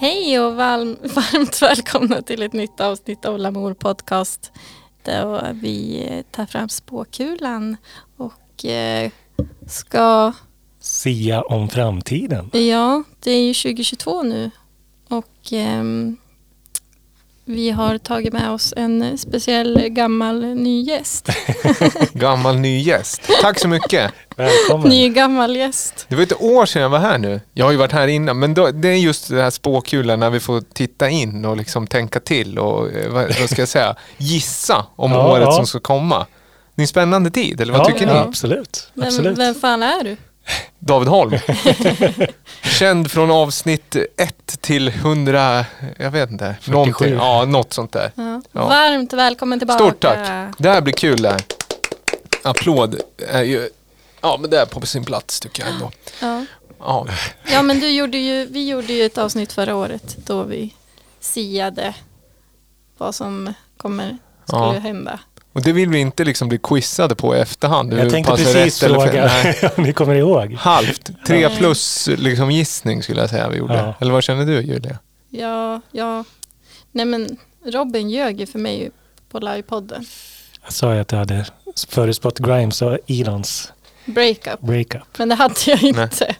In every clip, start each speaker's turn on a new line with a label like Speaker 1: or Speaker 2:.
Speaker 1: Hej och varm, varmt välkomna till ett nytt avsnitt av Lamour Podcast. Där vi eh, tar fram spåkulan och eh, ska...
Speaker 2: Sia om framtiden.
Speaker 1: Ja, det är ju 2022 nu och ehm, vi har tagit med oss en speciell gammal ny gäst.
Speaker 3: Gammal ny gäst. Tack så mycket.
Speaker 2: Välkommen.
Speaker 1: Ny gammal gäst.
Speaker 3: Det var ett år sedan jag var här nu. Jag har ju varit här innan, men då, det är just det här spåkulan när vi får titta in och liksom tänka till och eh, vad, vad ska jag säga, gissa om
Speaker 2: Ja,
Speaker 3: året
Speaker 2: ja.
Speaker 3: som ska komma. Det är en spännande tid, eller vad
Speaker 2: ja,
Speaker 3: tycker
Speaker 2: ja,
Speaker 3: ni?
Speaker 2: Absolut.
Speaker 1: Vem,
Speaker 2: absolut.
Speaker 1: vem fan är du?
Speaker 3: David Holm. Känd från avsnitt 1 till 100, jag vet inte,
Speaker 2: 47.
Speaker 3: någonting. Ja, något sånt där.
Speaker 1: Ja.
Speaker 3: Ja.
Speaker 1: Varmt välkommen tillbaka.
Speaker 3: Stort tack. Det här blir kul det här. Applåd är ju, ja men det är på sin plats tycker jag ändå.
Speaker 1: Ja.
Speaker 3: Ja,
Speaker 1: Ja men du gjorde ju, vi gjorde ju ett avsnitt förra året då vi siade vad som kommer skulle
Speaker 3: Ja.
Speaker 1: hända.
Speaker 3: Och det vill vi inte liksom bli quizade på i efterhand. hur
Speaker 2: Jag tänkte
Speaker 3: pass
Speaker 2: precis
Speaker 3: rätt eller fel.
Speaker 2: fråga
Speaker 3: Nej.
Speaker 2: om ni kommer ihåg.
Speaker 3: Halvt, tre
Speaker 1: Ja.
Speaker 3: plus liksom gissning skulle jag säga vi gjorde.
Speaker 2: Ja.
Speaker 3: Eller vad känner du Julia?
Speaker 1: Ja, ja. Nej men Robin ljög ju för mig ju på livepodden.
Speaker 2: Jag sa ju att jag hade förutspått Grimes och Elons
Speaker 1: Breakup.
Speaker 2: breakup.
Speaker 1: Men det hade jag inte.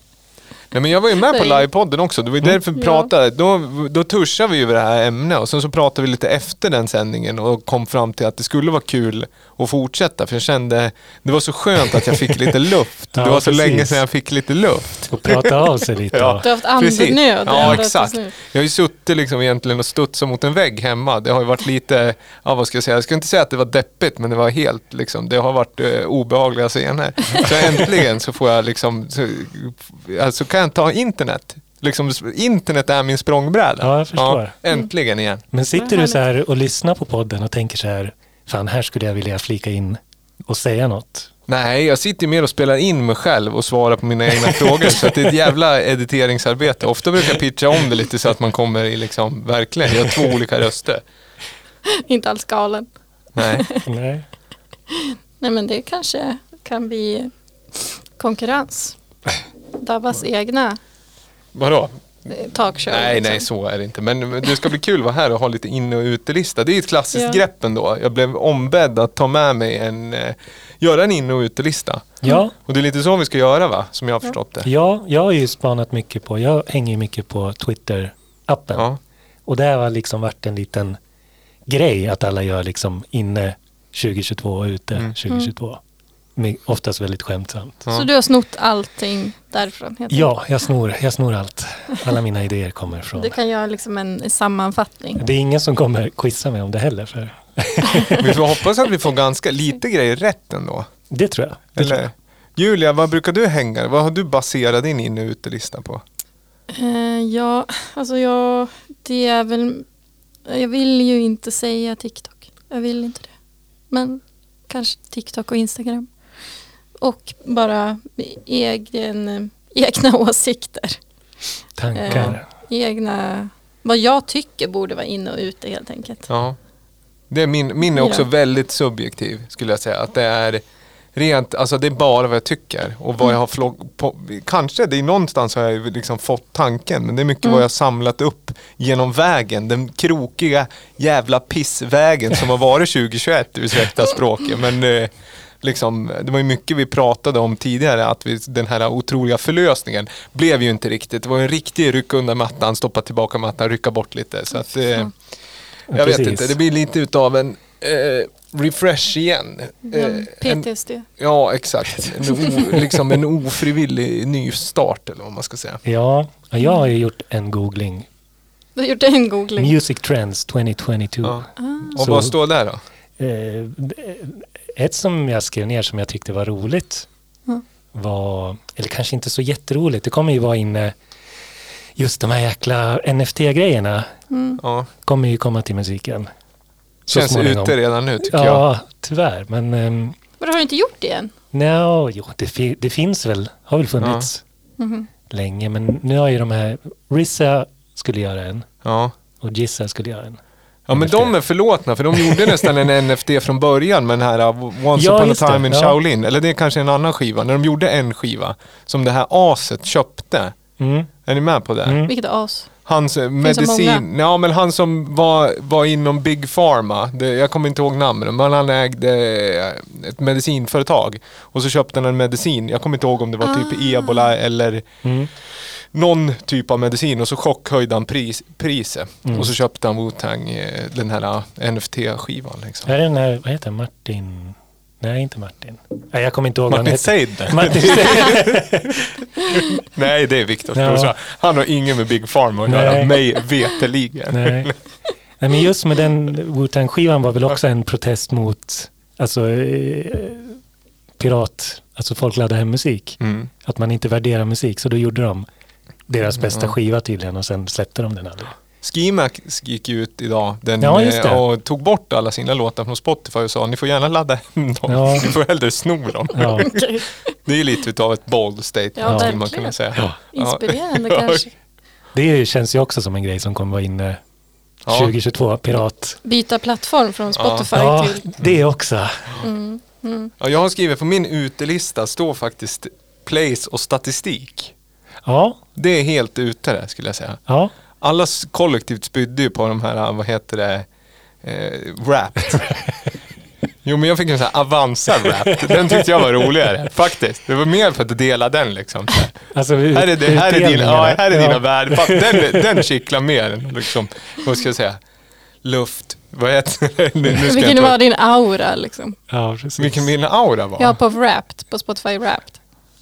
Speaker 3: Nej men jag var ju med på
Speaker 1: Nej. Mm.
Speaker 3: livepodden också, det var ju därför vi
Speaker 1: Ja.
Speaker 3: pratade. Då, då tuschade vi ju över det här ämnet och sen så pratade vi lite efter den sändningen och kom fram till att det skulle vara kul att fortsätta. För jag kände, det var så skönt att jag fick lite luft.
Speaker 2: Ja,
Speaker 3: det var så
Speaker 2: precis.
Speaker 3: länge sedan jag fick lite luft.
Speaker 2: Och prata av sig lite.
Speaker 3: Ja.
Speaker 1: Du har haft
Speaker 3: Precis.
Speaker 1: andnöd.
Speaker 3: Ja,
Speaker 1: ända tills
Speaker 3: exakt.
Speaker 1: nu.
Speaker 3: Jag har ju suttit liksom egentligen och studsat mot en vägg hemma. Det har ju varit lite, ja vad ska jag säga, jag ska inte säga att det var deppigt men det var helt liksom, det har varit eh, obehagliga scener. Så äntligen så får jag liksom, så, ja, så kan jag ta internet. Liksom, s- internet är min språngbräda.
Speaker 2: Ja, jag förstår.
Speaker 3: äntligen igen.
Speaker 2: Men
Speaker 1: Vad
Speaker 2: sitter du
Speaker 1: härligt.
Speaker 2: så här och lyssnar på podden och tänker så här, fan här skulle jag vilja flika in och säga något.
Speaker 3: Nej, jag sitter ju mer och spelar in mig själv och svarar på mina egna frågor. Så att det är ett jävla editeringsarbete. Ofta brukar jag pitcha om det lite så att man kommer i liksom, verkligen, jag har två olika röster.
Speaker 1: Inte alls galen.
Speaker 3: Nej.
Speaker 2: Nej.
Speaker 1: Nej men det kanske kan bli konkurrens. Dabbas egna
Speaker 3: Vadå?
Speaker 1: eh, talkshow.
Speaker 3: Nej,
Speaker 1: liksom.
Speaker 3: nej så är det inte. Men men det ska bli kul att vara här och ha lite inne och utelista. Det är ett klassiskt
Speaker 1: Ja.
Speaker 3: grepp ändå. Jag blev ombedd att ta med mig en, eh, göra en inne och utelista.
Speaker 2: Ja,
Speaker 3: Och det är lite så vi ska göra va? Som jag har förstått det.
Speaker 2: ja, jag har ju spanat mycket på, jag hänger ju mycket på Twitter-appen.
Speaker 3: Ja.
Speaker 2: Och det har liksom varit en liten grej att alla gör liksom inne 2022 och ute
Speaker 3: Mm.
Speaker 2: 2022. Men Oftast väldigt skämtsamt.
Speaker 1: Så du har snott allting därifrån? helt
Speaker 2: Ja, jag snor, jag snor allt. Alla mina idéer kommer från...
Speaker 1: Du kan göra liksom en sammanfattning.
Speaker 2: Det är ingen som kommer quizza mig om det heller. För
Speaker 3: Vi får hoppas att vi får ganska lite grejer rätt ändå.
Speaker 2: det tror jag. Det tror
Speaker 3: Eller? Julia, vad brukar du hänga? Vad har du baserat din inne och utelista på?
Speaker 1: Eh, ja, alltså jag, det är väl, jag vill ju inte säga TikTok. Jag vill inte det. Men kanske TikTok och Instagram. Och bara egen, eh, egna åsikter.
Speaker 2: jag. Tankar.
Speaker 1: Eh. Egna, vad jag tycker borde vara inne och ute helt enkelt.
Speaker 3: Ja. Det är min, min är också
Speaker 1: Ja.
Speaker 3: väldigt subjektiv skulle jag säga. Att det är rent, alltså det är bara vad jag tycker och vad jag har flog, på, Kanske, det är någonstans har jag ju liksom fått tanken men det är mycket vad jag har samlat upp genom vägen. Den krokiga jävla pissvägen som har varit 2021, ursäkta språket. Men eh, liksom, det var ju mycket vi pratade om tidigare att vi, den här otroliga förlösningen blev ju inte riktigt. Det var ju en riktig ryck under mattan, stoppa tillbaka mattan, rycka bort lite. Så att, eh, jag vet
Speaker 2: Precis.
Speaker 3: inte, det blir lite utav en eh, refresh igen. Eh, en,
Speaker 1: PTSD.
Speaker 3: ja, exakt. En o, liksom en ofrivillig nystart eller vad man ska säga.
Speaker 2: Ja, och jag har ju gjort en googling.
Speaker 1: Du har gjort en googling.
Speaker 2: Music Trends 2022.
Speaker 3: Ja. Och
Speaker 2: Så-
Speaker 3: vad står där då?
Speaker 2: Eh, ett som jag skrev ner som jag tyckte var roligt
Speaker 1: Mm.
Speaker 2: var, eller kanske inte så jätteroligt, det kommer ju vara inne, just de här jäkla NFT-grejerna
Speaker 3: Ja.
Speaker 2: kommer ju komma till musiken. Så
Speaker 3: Känns
Speaker 2: småningom.
Speaker 3: ute redan nu tycker jag.
Speaker 2: Ja, tyvärr, men um,
Speaker 1: Men har du inte gjort det än?
Speaker 2: no, jo, det, fi- det finns väl, har väl funnits länge, men nu har ju de här, Rissa skulle göra en
Speaker 3: Ja.
Speaker 2: och Gissa skulle göra en.
Speaker 3: Ja men de är förlåtna för de gjorde nästan en NFT från början med den här uh, Once
Speaker 2: Ja,
Speaker 3: upon a
Speaker 2: just det,
Speaker 3: time in
Speaker 2: ja.
Speaker 3: Shaolin. Eller det är kanske en annan skiva. När de gjorde en skiva som det här aset köpte.
Speaker 2: Mm.
Speaker 3: Är ni med på det?
Speaker 2: Mm.
Speaker 1: Vilket as.
Speaker 3: Han som,
Speaker 1: Finns det
Speaker 3: medicin, ja, men han som var, var inom Big Pharma, det, jag kommer inte ihåg namnet, men han ägde eh, ett medicinföretag. Och så köpte han en medicin, jag kommer inte ihåg om det var typ ebola eller
Speaker 2: mm.
Speaker 3: någon typ av medicin. Och så chockhöjde han pris, priset.
Speaker 2: Mm.
Speaker 3: Och så köpte han Wu-Tang, eh, den här NFT-skivan. Liksom.
Speaker 2: Är det den här, vad heter han? Martin? Nej, inte Martin. Nej, jag kommer inte ihåg
Speaker 3: Martin
Speaker 2: vad han
Speaker 3: Seidner?
Speaker 2: heter. Martin Seid.
Speaker 3: Nej, det är Viktor
Speaker 2: Ja.
Speaker 3: Storsjö. Han har ingen med Big Pharma att göra,
Speaker 2: Nej.
Speaker 3: mig veterligen.
Speaker 2: Nej. Nej, men just med den Wu-Tang-skivan var väl också en protest mot alltså, eh, pirat, alltså folk laddar hem musik.
Speaker 3: Mm.
Speaker 2: Att man inte värderar musik, så då gjorde de deras bästa skiva tydligen och sen släppte de den aldrig.
Speaker 3: Skimax gick ju ut idag den,
Speaker 2: Ja, just det.
Speaker 3: eh, och tog bort alla sina låtar från Spotify och sa ni får gärna ladda hem dem,
Speaker 2: Ja.
Speaker 3: ni får hellre sno dem.
Speaker 2: Ja.
Speaker 1: Okej.
Speaker 3: Det är lite utav ett bold statement
Speaker 1: Ja,
Speaker 3: skulle man
Speaker 1: verkligen.
Speaker 3: kunna säga.
Speaker 2: Ja.
Speaker 1: Inspirerande
Speaker 3: Ja.
Speaker 1: kanske.
Speaker 2: Det känns ju också som en grej som kommer vara inne
Speaker 3: Ja.
Speaker 2: 2022, pirat.
Speaker 1: Byta plattform från Spotify
Speaker 2: Ja,
Speaker 1: till...
Speaker 2: det också.
Speaker 3: Ja, jag har skrivit på min utelista står faktiskt place och statistik.
Speaker 2: Ja,
Speaker 3: Det är helt ute där skulle jag säga.
Speaker 2: ja.
Speaker 3: Alla s- kollektivt spydde ju på de här, vad heter det, eh, Wrapped. Jo men jag fick en sån här Avanza-rap. Den tyckte jag var roligare faktiskt. Det var mer för att dela den liksom.
Speaker 2: Alltså,
Speaker 3: Här är, det, här är dina,
Speaker 2: utdelningarna.
Speaker 3: ja, här är dina
Speaker 2: Ja.
Speaker 3: värden. Fan, Den, den kittlar mer än liksom, vad ska jag säga, luft. Vad heter det? Nu ska jag
Speaker 1: Vilken
Speaker 3: inte-
Speaker 1: var din aura liksom?
Speaker 2: Ja, precis.
Speaker 3: Vilken min aura var?
Speaker 1: Ja, på Wrapped, på Spotify Wrapped.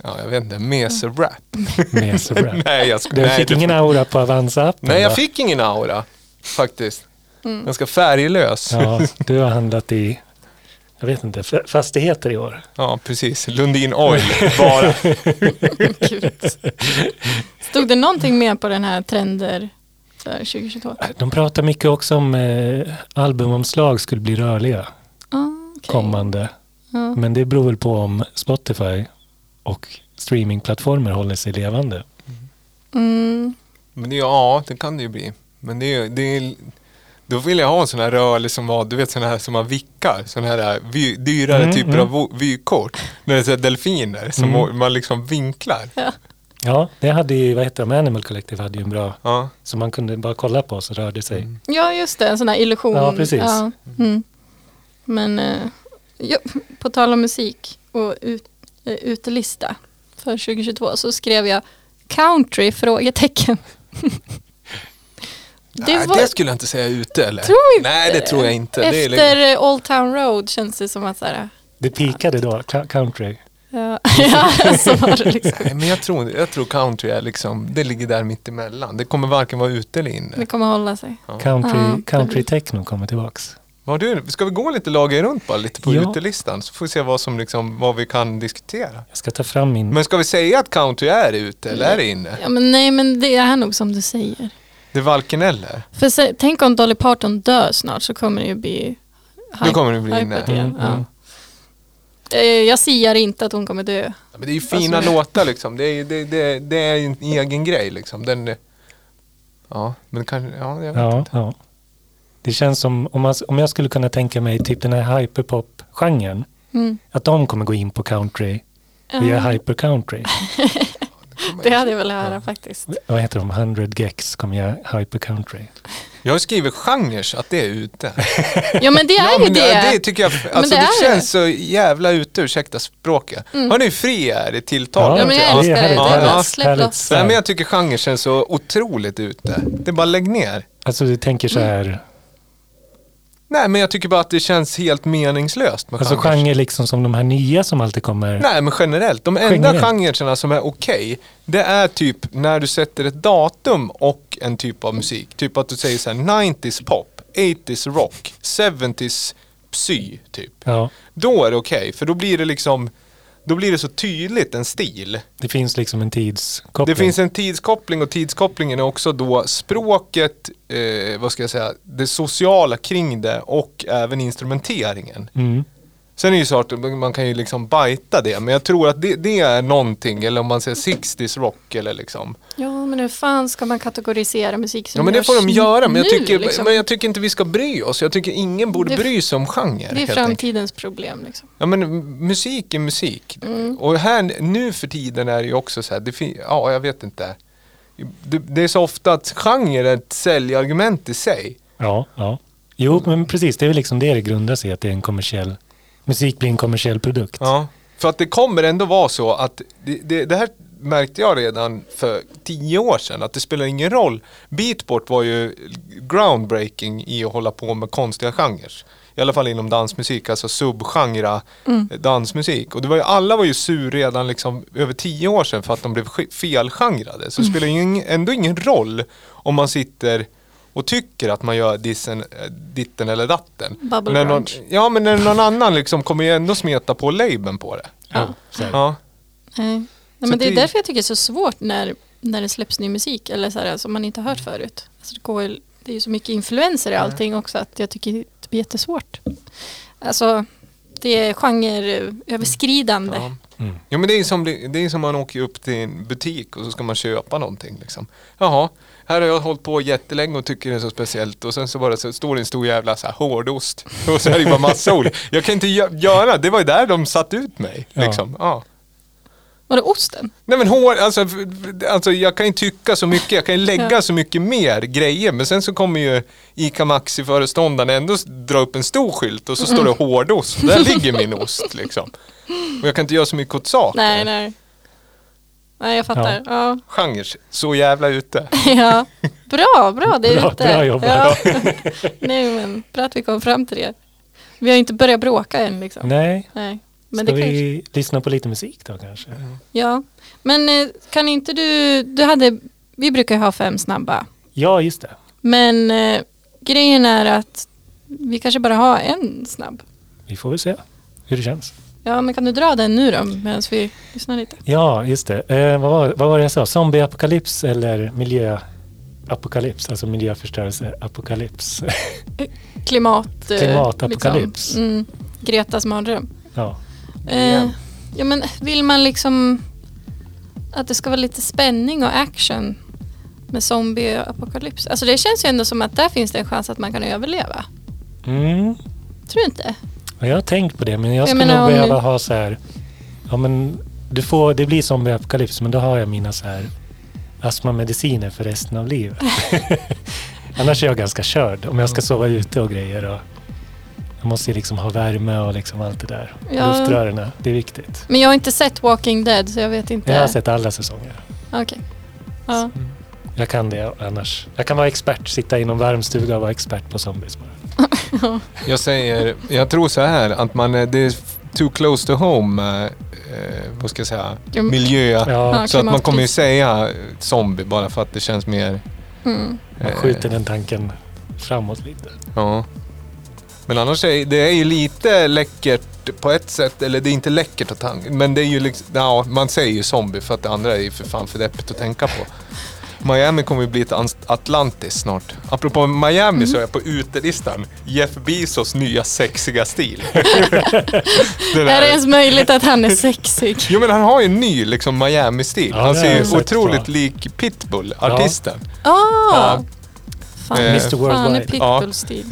Speaker 3: Ja, jag vet inte. Mese-rap.
Speaker 2: Med så bra.
Speaker 3: Nej, jag skulle...
Speaker 2: Du
Speaker 3: Nej,
Speaker 2: fick
Speaker 3: det-
Speaker 2: ingen aura på Avanza-appen?
Speaker 3: nej, jag
Speaker 2: va?
Speaker 3: fick ingen aura faktiskt.
Speaker 1: Mm.
Speaker 3: Ganska färglös. Ja.
Speaker 2: Ja, du har handlat i, jag vet inte, fa- fastigheter i år.
Speaker 3: precis. Lundin Oil, bara.
Speaker 1: Gud. Stod det någonting mer på den här trender för 2022?
Speaker 3: Äh,
Speaker 2: De pratar mycket också om eh, albumomslag skulle bli rörliga
Speaker 1: Ah, okej.
Speaker 2: kommande.
Speaker 1: Ja.
Speaker 2: Men det beror väl på om Spotify och streamingplattformar håller sig levande.
Speaker 1: Mm.
Speaker 3: Men det, ja, det kan det ju bli. Men det, är- det är... Då vill jag ha en sån här rörlig som var, du vet sån här som man vickar, sån här vy, dyrare
Speaker 2: Mm,
Speaker 3: typer
Speaker 2: mm.
Speaker 3: av vo- vykort. När det är så här delfiner som å- man liksom vinklar.
Speaker 1: Ja.
Speaker 2: Ja, det hade ju, vad heter de, Animal Collective hade ju en bra,
Speaker 3: Ja.
Speaker 2: som man kunde bara kolla på så rörde sig.
Speaker 3: Mm.
Speaker 1: ja, just det. En sån här illusion.
Speaker 2: Ja, precis.
Speaker 1: Mm. Men eh, ja, på tal om musik och ut, eh, utelista för 2022 så skrev jag country? frågetecken.
Speaker 3: Det, Nej, det skulle jag inte säga ute eller?
Speaker 1: Tror inte
Speaker 3: Nej, det tror jag inte. Det är liksom-
Speaker 1: Efter eh, Old Town Road känns det som att så här,
Speaker 2: Det pikade då, cou- country.
Speaker 1: ja, Eh, ja, så var det liksom.
Speaker 3: Nej, men jag tror, jag tror country är liksom, det ligger där mittemellan. Det kommer varken vara ute eller inne.
Speaker 1: Det kommer hålla sig.
Speaker 2: Country,
Speaker 1: Ja,
Speaker 2: country techno kommer tillbaks.
Speaker 3: Vad har du, ska vi gå lite lager runt bara, lite på
Speaker 2: Ja.
Speaker 3: utelistan? Så får vi se vad, som liksom, vad vi kan diskutera.
Speaker 2: Jag ska ta fram min...
Speaker 3: Men ska vi säga att country är ute eller är det inne?
Speaker 1: Ja, men nej, men det är nog som du säger.
Speaker 3: Det är varken eller.
Speaker 1: För se, tänk om Dolly Parton dör snart så kommer det ju bli
Speaker 3: Då kommer det bli inne.
Speaker 1: hypat igen.
Speaker 2: Mm, mm.
Speaker 1: Ja. Eh, Jag siar inte att hon kommer dö.
Speaker 3: Ja, Men det är ju fina
Speaker 1: Alltså-
Speaker 3: låtar liksom. Det är, ju- det, det, det är ju en egen grej liksom. Den, ja, men kanske, ja, jag vet
Speaker 2: Ja,
Speaker 3: inte.
Speaker 2: ja. Det känns som, om, man, om jag skulle kunna tänka mig typ den här hyperpop-genren,
Speaker 1: Mm.
Speaker 2: att de kommer gå in på country via
Speaker 1: Eh,
Speaker 2: hypercountry.
Speaker 1: det hade jag velat höra faktiskt.
Speaker 2: Vad heter de? 100 gex kommer göra hypercountry.
Speaker 3: Jag har skrivit genres, att det är ute.
Speaker 1: Ja men det är
Speaker 3: Ja,
Speaker 1: ju
Speaker 3: men det,
Speaker 1: det.
Speaker 3: det tycker jag, alltså
Speaker 1: det är
Speaker 3: det,
Speaker 1: Mm.
Speaker 3: känns så jävla ute, ursäkta språket. Har ni fri är i tilltal?
Speaker 1: Ja, men jag älskar det.
Speaker 2: härligt,
Speaker 1: Det
Speaker 3: är bara
Speaker 2: härligt,
Speaker 1: släpp
Speaker 2: härligt
Speaker 1: loss.
Speaker 2: starkt.
Speaker 3: Nej, men jag tycker genren känns så otroligt ute. Det är bara lägg ner.
Speaker 2: Alltså du tänker
Speaker 1: Mm.
Speaker 2: så här,
Speaker 3: Nej, men jag tycker bara att det känns helt meningslöst med
Speaker 2: alltså
Speaker 3: genrer.
Speaker 2: genre liksom som de här nya som alltid kommer.
Speaker 3: Nej, men generellt. De enda
Speaker 2: Generellt.
Speaker 3: genrerna som är okej, det är typ när du sätter ett datum och en typ av musik. Typ att du säger så här 90s pop, 80s rock, 70s psy, typ.
Speaker 2: Ja,
Speaker 3: Då är det okej, för då blir det liksom, då blir det så tydligt en stil.
Speaker 2: det finns liksom en tidskoppling.
Speaker 3: Det finns en tidskoppling och tidskopplingen är också då språket, eh, vad ska jag säga, det sociala kring det och även instrumenteringen.
Speaker 2: Mm.
Speaker 3: Sen är det ju så att man kan ju liksom bajta det, men jag tror att det, det är någonting, eller om man säger 60s rock eller liksom.
Speaker 1: Ja men hur fan ska man kategorisera musik som
Speaker 3: Ja men det
Speaker 1: görs
Speaker 3: får de göra, men jag,
Speaker 1: nu,
Speaker 3: tycker,
Speaker 1: liksom?
Speaker 3: men jag tycker inte vi ska bry oss. Jag tycker ingen borde
Speaker 1: Det-
Speaker 3: bry sig om genre.
Speaker 1: Det är
Speaker 3: helt enkelt.
Speaker 1: framtidens problem liksom.
Speaker 3: Ja men m- musik är musik. Och här nu för tiden är det ju också så här, det fin- ja jag vet inte. det, det är så ofta att genre är ett säljargument i sig.
Speaker 2: Ja, ja. Jo, men precis. Det är väl liksom det det grundar sig i, att det är en kommersiell... Musik blir en kommersiell produkt.
Speaker 3: Ja. För att det kommer ändå vara så att, det, det, det här märkte jag redan för tio år sedan, att det spelar ingen roll. Beatport var ju groundbreaking i att hålla på med konstiga genrer. I alla fall inom dansmusik, alltså subgenre eh, dansmusik. Och det var ju, alla var ju sur redan liksom över tio år sedan för att de blev sk- felgenrade. Så det spelar ju ing- ändå ingen roll om man sitter och tycker att man gör dissen, eh, ditten eller datten.
Speaker 1: Bubble
Speaker 3: När någon,
Speaker 1: grunge.
Speaker 3: ja men när någon annan liksom kommer ju ändå smeta på labeln på det.
Speaker 2: Ja, så här.
Speaker 3: Ja.
Speaker 1: Nej. Nej,
Speaker 3: Så
Speaker 1: men det är
Speaker 3: det-
Speaker 1: därför jag tycker det är så svårt när, när det släpps ny musik eller så här, alltså, som man inte har hört förut. Alltså det, går, ju- det är ju så mycket influenser i allting också att jag tycker det blir jättesvårt. Alltså det är genreöverskridande.
Speaker 3: Ja.
Speaker 2: Mm.
Speaker 3: Jo men det är som, det det är som man åker upp till en butik och så ska man köpa någonting liksom. Jaha, här har jag hållit på jättelänge och tycker det är så speciellt och sen så bara så står det en stor jävla så här hårdost. Och så är det bara massa ord. Jag kan inte gö- göra, det var ju där de satt ut mig.
Speaker 2: Ja.
Speaker 3: Liksom. Ja.
Speaker 1: Var det osten?
Speaker 3: Nej men hår, alltså, f- f- alltså jag kan ju tycka så mycket, jag kan ju lägga
Speaker 1: Ja.
Speaker 3: så mycket mer grejer. Men sen så kommer ju ICA Maxi-föreståndaren ändå s- dra upp en stor skylt och så står det
Speaker 1: Mm.
Speaker 3: hårdost. Där ligger min ost liksom. Och jag kan inte göra så mycket åt saker.
Speaker 1: Nej, nej. Nej, jag fattar. Ja.
Speaker 3: genre så jävla ute.
Speaker 1: Ja. Bra, bra. Det är
Speaker 2: Bra-
Speaker 1: ute.
Speaker 2: bra jobbat.
Speaker 1: Ja. Nej, men bra att vi kom fram till det. Vi har inte börjat bråka än liksom.
Speaker 2: Nej,
Speaker 1: Nej. Men
Speaker 2: ska
Speaker 1: det kanske...
Speaker 2: vi lyssna på lite musik då kanske?
Speaker 1: Ja, men eh, kan inte du, du hade, vi brukar ju ha fem snabba,
Speaker 2: Ja, just det.
Speaker 1: men eh, grejen är att vi kanske bara har en snabb.
Speaker 2: Vi får väl se hur det känns.
Speaker 1: Ja, men kan du dra den nu då, medan vi lyssnar lite?
Speaker 2: Ja, just det. Eh, vad, var, vad var det jag sa? Zombieapokalyps eller miljöapokalyps? Alltså miljöförstörelseapokalyps.
Speaker 1: Klimat... eh,
Speaker 2: Klimatapokalyps.
Speaker 1: Liksom, mm, Gretas mardröm.
Speaker 2: ja.
Speaker 1: Eh, ja, men vill man liksom att det ska vara lite spänning och action med zombieapokalyps? Alltså det känns ju ändå som att där finns det en chans att man kan överleva.
Speaker 2: Mm.
Speaker 1: Tror du inte?
Speaker 2: Och Jag har tänkt på det, men jag
Speaker 1: Jag
Speaker 2: skulle
Speaker 1: menar,
Speaker 2: nog
Speaker 1: om
Speaker 2: behöva
Speaker 1: ni-
Speaker 2: ha så här... Ja, men du får, det blir zombieapokalyps, men då har jag mina så här astmamediciner för resten av livet. Annars är jag ganska körd om jag
Speaker 1: Mm.
Speaker 2: ska sova ute och grejer. Och jag måste ju liksom ha värme och liksom allt det där.
Speaker 1: Ja.
Speaker 2: Luftrörerna, det är viktigt.
Speaker 1: Men jag har inte sett Walking Dead så jag vet inte.
Speaker 2: Jag har sett alla säsonger.
Speaker 1: Okej. Ja.
Speaker 2: Jag kan det annars. Jag kan vara expert, sitta i någon varm stuga och vara expert på zombies bara.
Speaker 3: Jag säger, jag tror så här att man, eh, det är f- too close to home, eh, eh, vad ska jag säga,
Speaker 1: Mm.
Speaker 3: miljö.
Speaker 2: Ja,
Speaker 1: Ja.
Speaker 3: Så att man kommer ju
Speaker 1: klimatkris.
Speaker 3: säga eh, zombie bara för att det känns mer...
Speaker 1: Mm.
Speaker 2: man
Speaker 3: eh,
Speaker 2: skjuter den tanken framåt lite.
Speaker 3: Ja. Men annars är det är ju lite läckert på ett sätt, eller det är inte läckert att tanka, men det är ju liksom, ja, man säger ju zombie för att det andra är ju för fan för deppigt att tänka på. Miami kommer ju bli ett ans- Atlantis snart. Apropå Miami så är jag på
Speaker 2: Mhm.
Speaker 3: utelistan Jeff Bezos nya sexiga stil. Den
Speaker 1: Är
Speaker 3: här-
Speaker 1: det ens möjligt att han är sexig?
Speaker 3: Jo men han har ju en ny liksom Miami-stil.
Speaker 2: Ja,
Speaker 3: han
Speaker 2: det
Speaker 3: ser
Speaker 2: har jag
Speaker 3: ju
Speaker 2: sett,
Speaker 3: otroligt
Speaker 2: va?
Speaker 3: lik Pitbull, artisten.
Speaker 1: Ah!
Speaker 3: Ja.
Speaker 1: Fan,
Speaker 3: Eh,
Speaker 2: Mr
Speaker 1: fan är
Speaker 2: Worldwide.
Speaker 1: Pitbull-stil.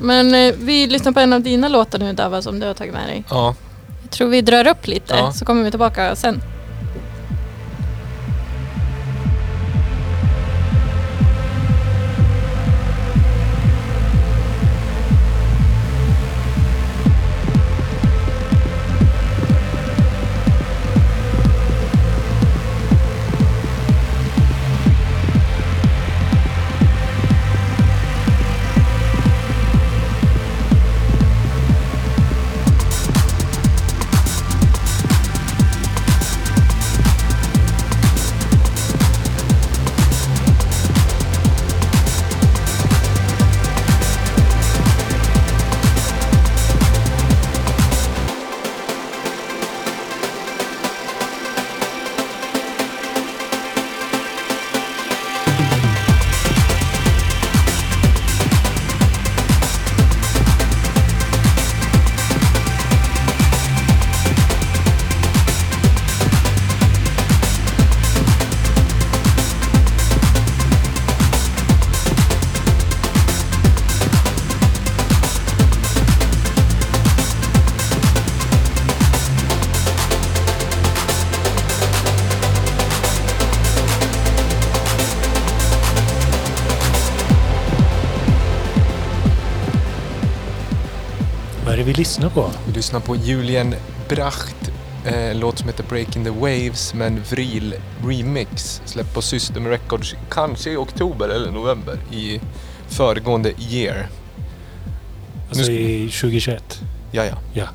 Speaker 1: Men eh, vi lyssnar på en av dina låtar nu Dava som du har tagit med dig.
Speaker 3: Ja.
Speaker 1: Jag tror vi drar upp lite
Speaker 3: Ja.
Speaker 1: så kommer vi tillbaka sen.
Speaker 2: det vi lyssnar på?
Speaker 3: Vi lyssnar på Julian Bracht, eh, en låt som heter Breaking the Waves med en Vril Remix. Släppt på System Records kanske i oktober eller november i föregående year.
Speaker 2: Alltså
Speaker 3: Nu-
Speaker 2: i 2021.
Speaker 3: Ja, ja.
Speaker 2: Ja.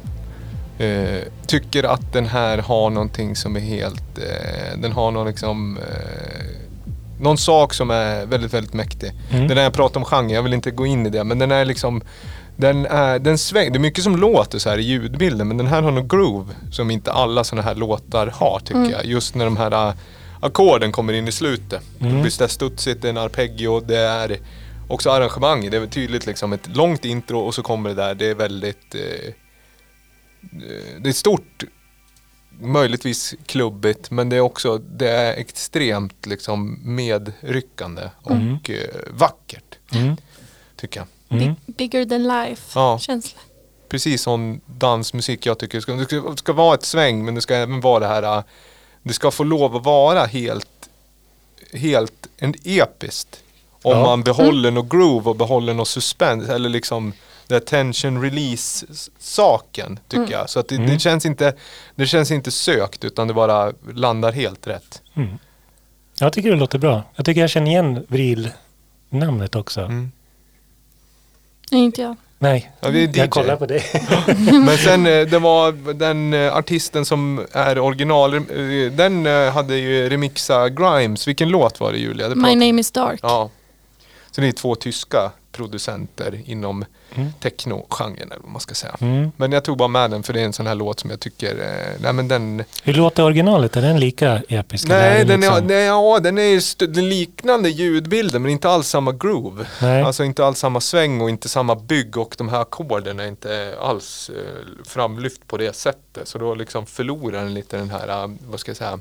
Speaker 3: Eh, tycker att den här har någonting som är helt... Eh, den har någon liksom... Eh, någon sak som är väldigt, väldigt mäktig.
Speaker 2: Mm.
Speaker 3: Den här jag pratar om genre, jag vill inte gå in i det, men den är liksom... Den är, den sväng, det är mycket som låter så här i ljudbilden, men den här har någon groove som inte alla sådana här låtar har tycker jag. Just när de här äh, ackorden kommer in i slutet. Det
Speaker 2: Mm.
Speaker 3: blir sådär studsigt, det är en arpeggio, det är också arrangemang. Det är väl tydligt liksom ett långt intro och så kommer det där, det är väldigt... Eh, det är stort, möjligtvis klubbigt, men det är också det är extremt liksom medryckande och eh, vackert,
Speaker 2: Mm.
Speaker 3: tycker jag.
Speaker 2: Mm.
Speaker 1: Big, bigger than
Speaker 3: Ja.
Speaker 1: life-känsla.
Speaker 3: Precis sån dansmusik jag tycker ska, det ska, det ska vara ett sväng, men det ska även vara det här, eh, det ska få lov att vara helt, helt en episkt. Om
Speaker 2: Ja.
Speaker 3: man behåller något groove och behåller något suspense, eller liksom det här tension release-saken, tycker jag. Så att det,
Speaker 2: Mm.
Speaker 3: det, känns inte, det känns inte sökt, utan det bara landar helt rätt.
Speaker 2: Mm. Jag tycker det låter bra. Jag tycker jag känner igen Vril-namnet också.
Speaker 3: Mm.
Speaker 1: Nej, inte jag.
Speaker 2: Nej,
Speaker 3: Ja, vi är DJ.
Speaker 2: jag kollar på dig.
Speaker 3: Men sen eh, det var den eh, artisten som är original, eh, den eh, hade ju remixa Grimes. Vilken låt var det Julia? Det
Speaker 1: My
Speaker 3: pratade-
Speaker 1: name is dark.
Speaker 3: Ja. Så det är två tyska producenter inom techno-genren eller vad man ska säga.
Speaker 2: Mm.
Speaker 3: Men jag tog bara med den för det är en sån här låt som jag tycker, eh, nej men den,
Speaker 2: Hur låter originalet? Är den lika episk? Eller
Speaker 3: nej, den, är,
Speaker 2: liksom-
Speaker 3: nej ja, den är ju st- den liknande ljudbilden men inte alls samma groove.
Speaker 2: Nej.
Speaker 3: Alltså inte alls samma sväng och inte samma bygg och de här ackorden är inte alls eh, framlyft på det sättet. Så då liksom förlorar den lite den här, eh, vad ska jag säga,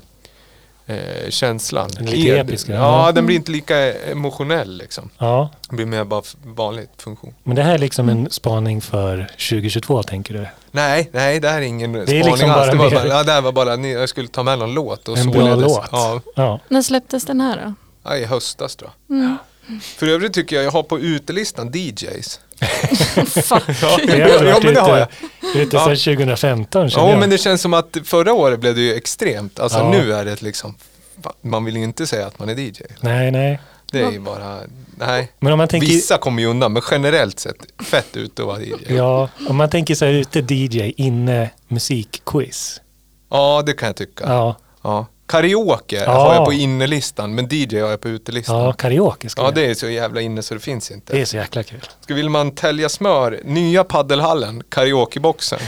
Speaker 3: eh, känslan.
Speaker 2: Den är lite
Speaker 3: Ed-
Speaker 2: episka,
Speaker 3: Ja,
Speaker 2: ja.
Speaker 3: den blir inte lika emotionell liksom.
Speaker 2: Ja,
Speaker 3: Det blir mer bara f- vanligt funktion.
Speaker 2: men det här är liksom en spaning för 2022 tänker du?
Speaker 3: Nej, nej, det här är ingen det
Speaker 2: liksom bara
Speaker 3: alls. Det var
Speaker 2: mer-
Speaker 3: bara, ja, det här var bara, ni- jag skulle ta med någon låt. Och
Speaker 2: en bra
Speaker 3: således-
Speaker 2: låt.
Speaker 3: Ja,
Speaker 2: Ja.
Speaker 1: När släpptes den här då?
Speaker 3: ja, i höstas tror jag.
Speaker 1: Mm.
Speaker 3: För övrigt tycker jag, jag har på utelistan DJs.
Speaker 1: Fuck.
Speaker 2: Men Jag har
Speaker 3: Ja,
Speaker 2: varit
Speaker 3: men det har
Speaker 2: ute, ute
Speaker 3: Ja.
Speaker 2: sedan 2015 känner
Speaker 3: Ja,
Speaker 2: jag.
Speaker 3: men det känns som att förra året blev det ju extremt. Alltså
Speaker 2: Ja.
Speaker 3: nu är det liksom, fan, man vill ju inte säga att man är DJ.
Speaker 2: Nej, nej.
Speaker 3: Det är ju bara, nej.
Speaker 2: Men om man tänker,
Speaker 3: Vissa kommer ju undan, men generellt sett, fett ut att vara DJ. Ja.
Speaker 2: ja, om man tänker så här ute DJ, inne musikquiz.
Speaker 3: det kan jag tycka.
Speaker 2: Ja,
Speaker 3: Ja. Karaoke
Speaker 2: Ja.
Speaker 3: har jag på innerlistan, men DJ har jag på utelistan.
Speaker 2: ja
Speaker 3: Ja.
Speaker 2: karaoke ska
Speaker 3: det
Speaker 2: det...
Speaker 3: är så jävla inne så det finns inte.
Speaker 2: det är så jäkla kul.
Speaker 3: Ska vill man tälja smör, nya paddelhallen, karaokeboxen.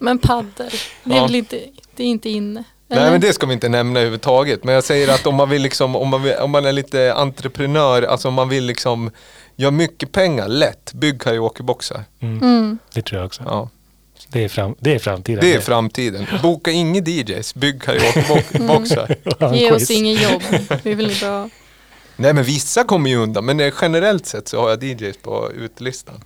Speaker 1: Men paddel, det är
Speaker 3: Ja.
Speaker 1: väl inte, det är inte inne?
Speaker 3: Nej men det ska vi inte nämna överhuvudtaget. Men jag säger att om man vill liksom, om man, vill, om man är lite entreprenör, alltså om man vill liksom göra mycket pengar, lätt, bygg karaokeboxar.
Speaker 1: Mm.
Speaker 2: Det tror jag också.
Speaker 3: Ja.
Speaker 2: Det, är fram, det är framtiden.
Speaker 3: Det är framtiden. Boka inga DJs, bygg karaokeboxar.
Speaker 2: Ja, en
Speaker 1: Ge
Speaker 2: quiz.
Speaker 1: oss inget jobb, vi vill inte ha.
Speaker 3: Nej men vissa kommer ju undan, men eh, generellt sett så har jag DJs på utelistan.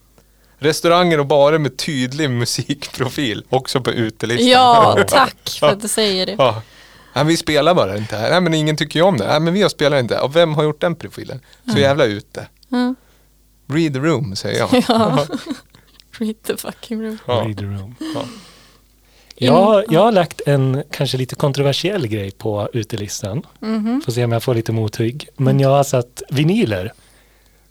Speaker 3: Restauranger och barer med tydlig musikprofil, också på utelistan.
Speaker 1: Ja, tack för att du säger det.
Speaker 3: Ja. Nej, vi spelar bara inte här. Nej, men ingen tycker ju om det. Nej, men vi spelar inte. Och vem har gjort den profilen? Så jävla ute.
Speaker 1: Mm.
Speaker 3: Read the room, säger jag.
Speaker 1: Ja. Read the fucking room.
Speaker 3: Ja.
Speaker 2: Read the room.
Speaker 3: Ja.
Speaker 2: Jag, jag har lagt en kanske lite kontroversiell grej på utelistan.
Speaker 1: Mhm.
Speaker 2: Får se om jag får lite mothugg. Men jag har satt vinyler.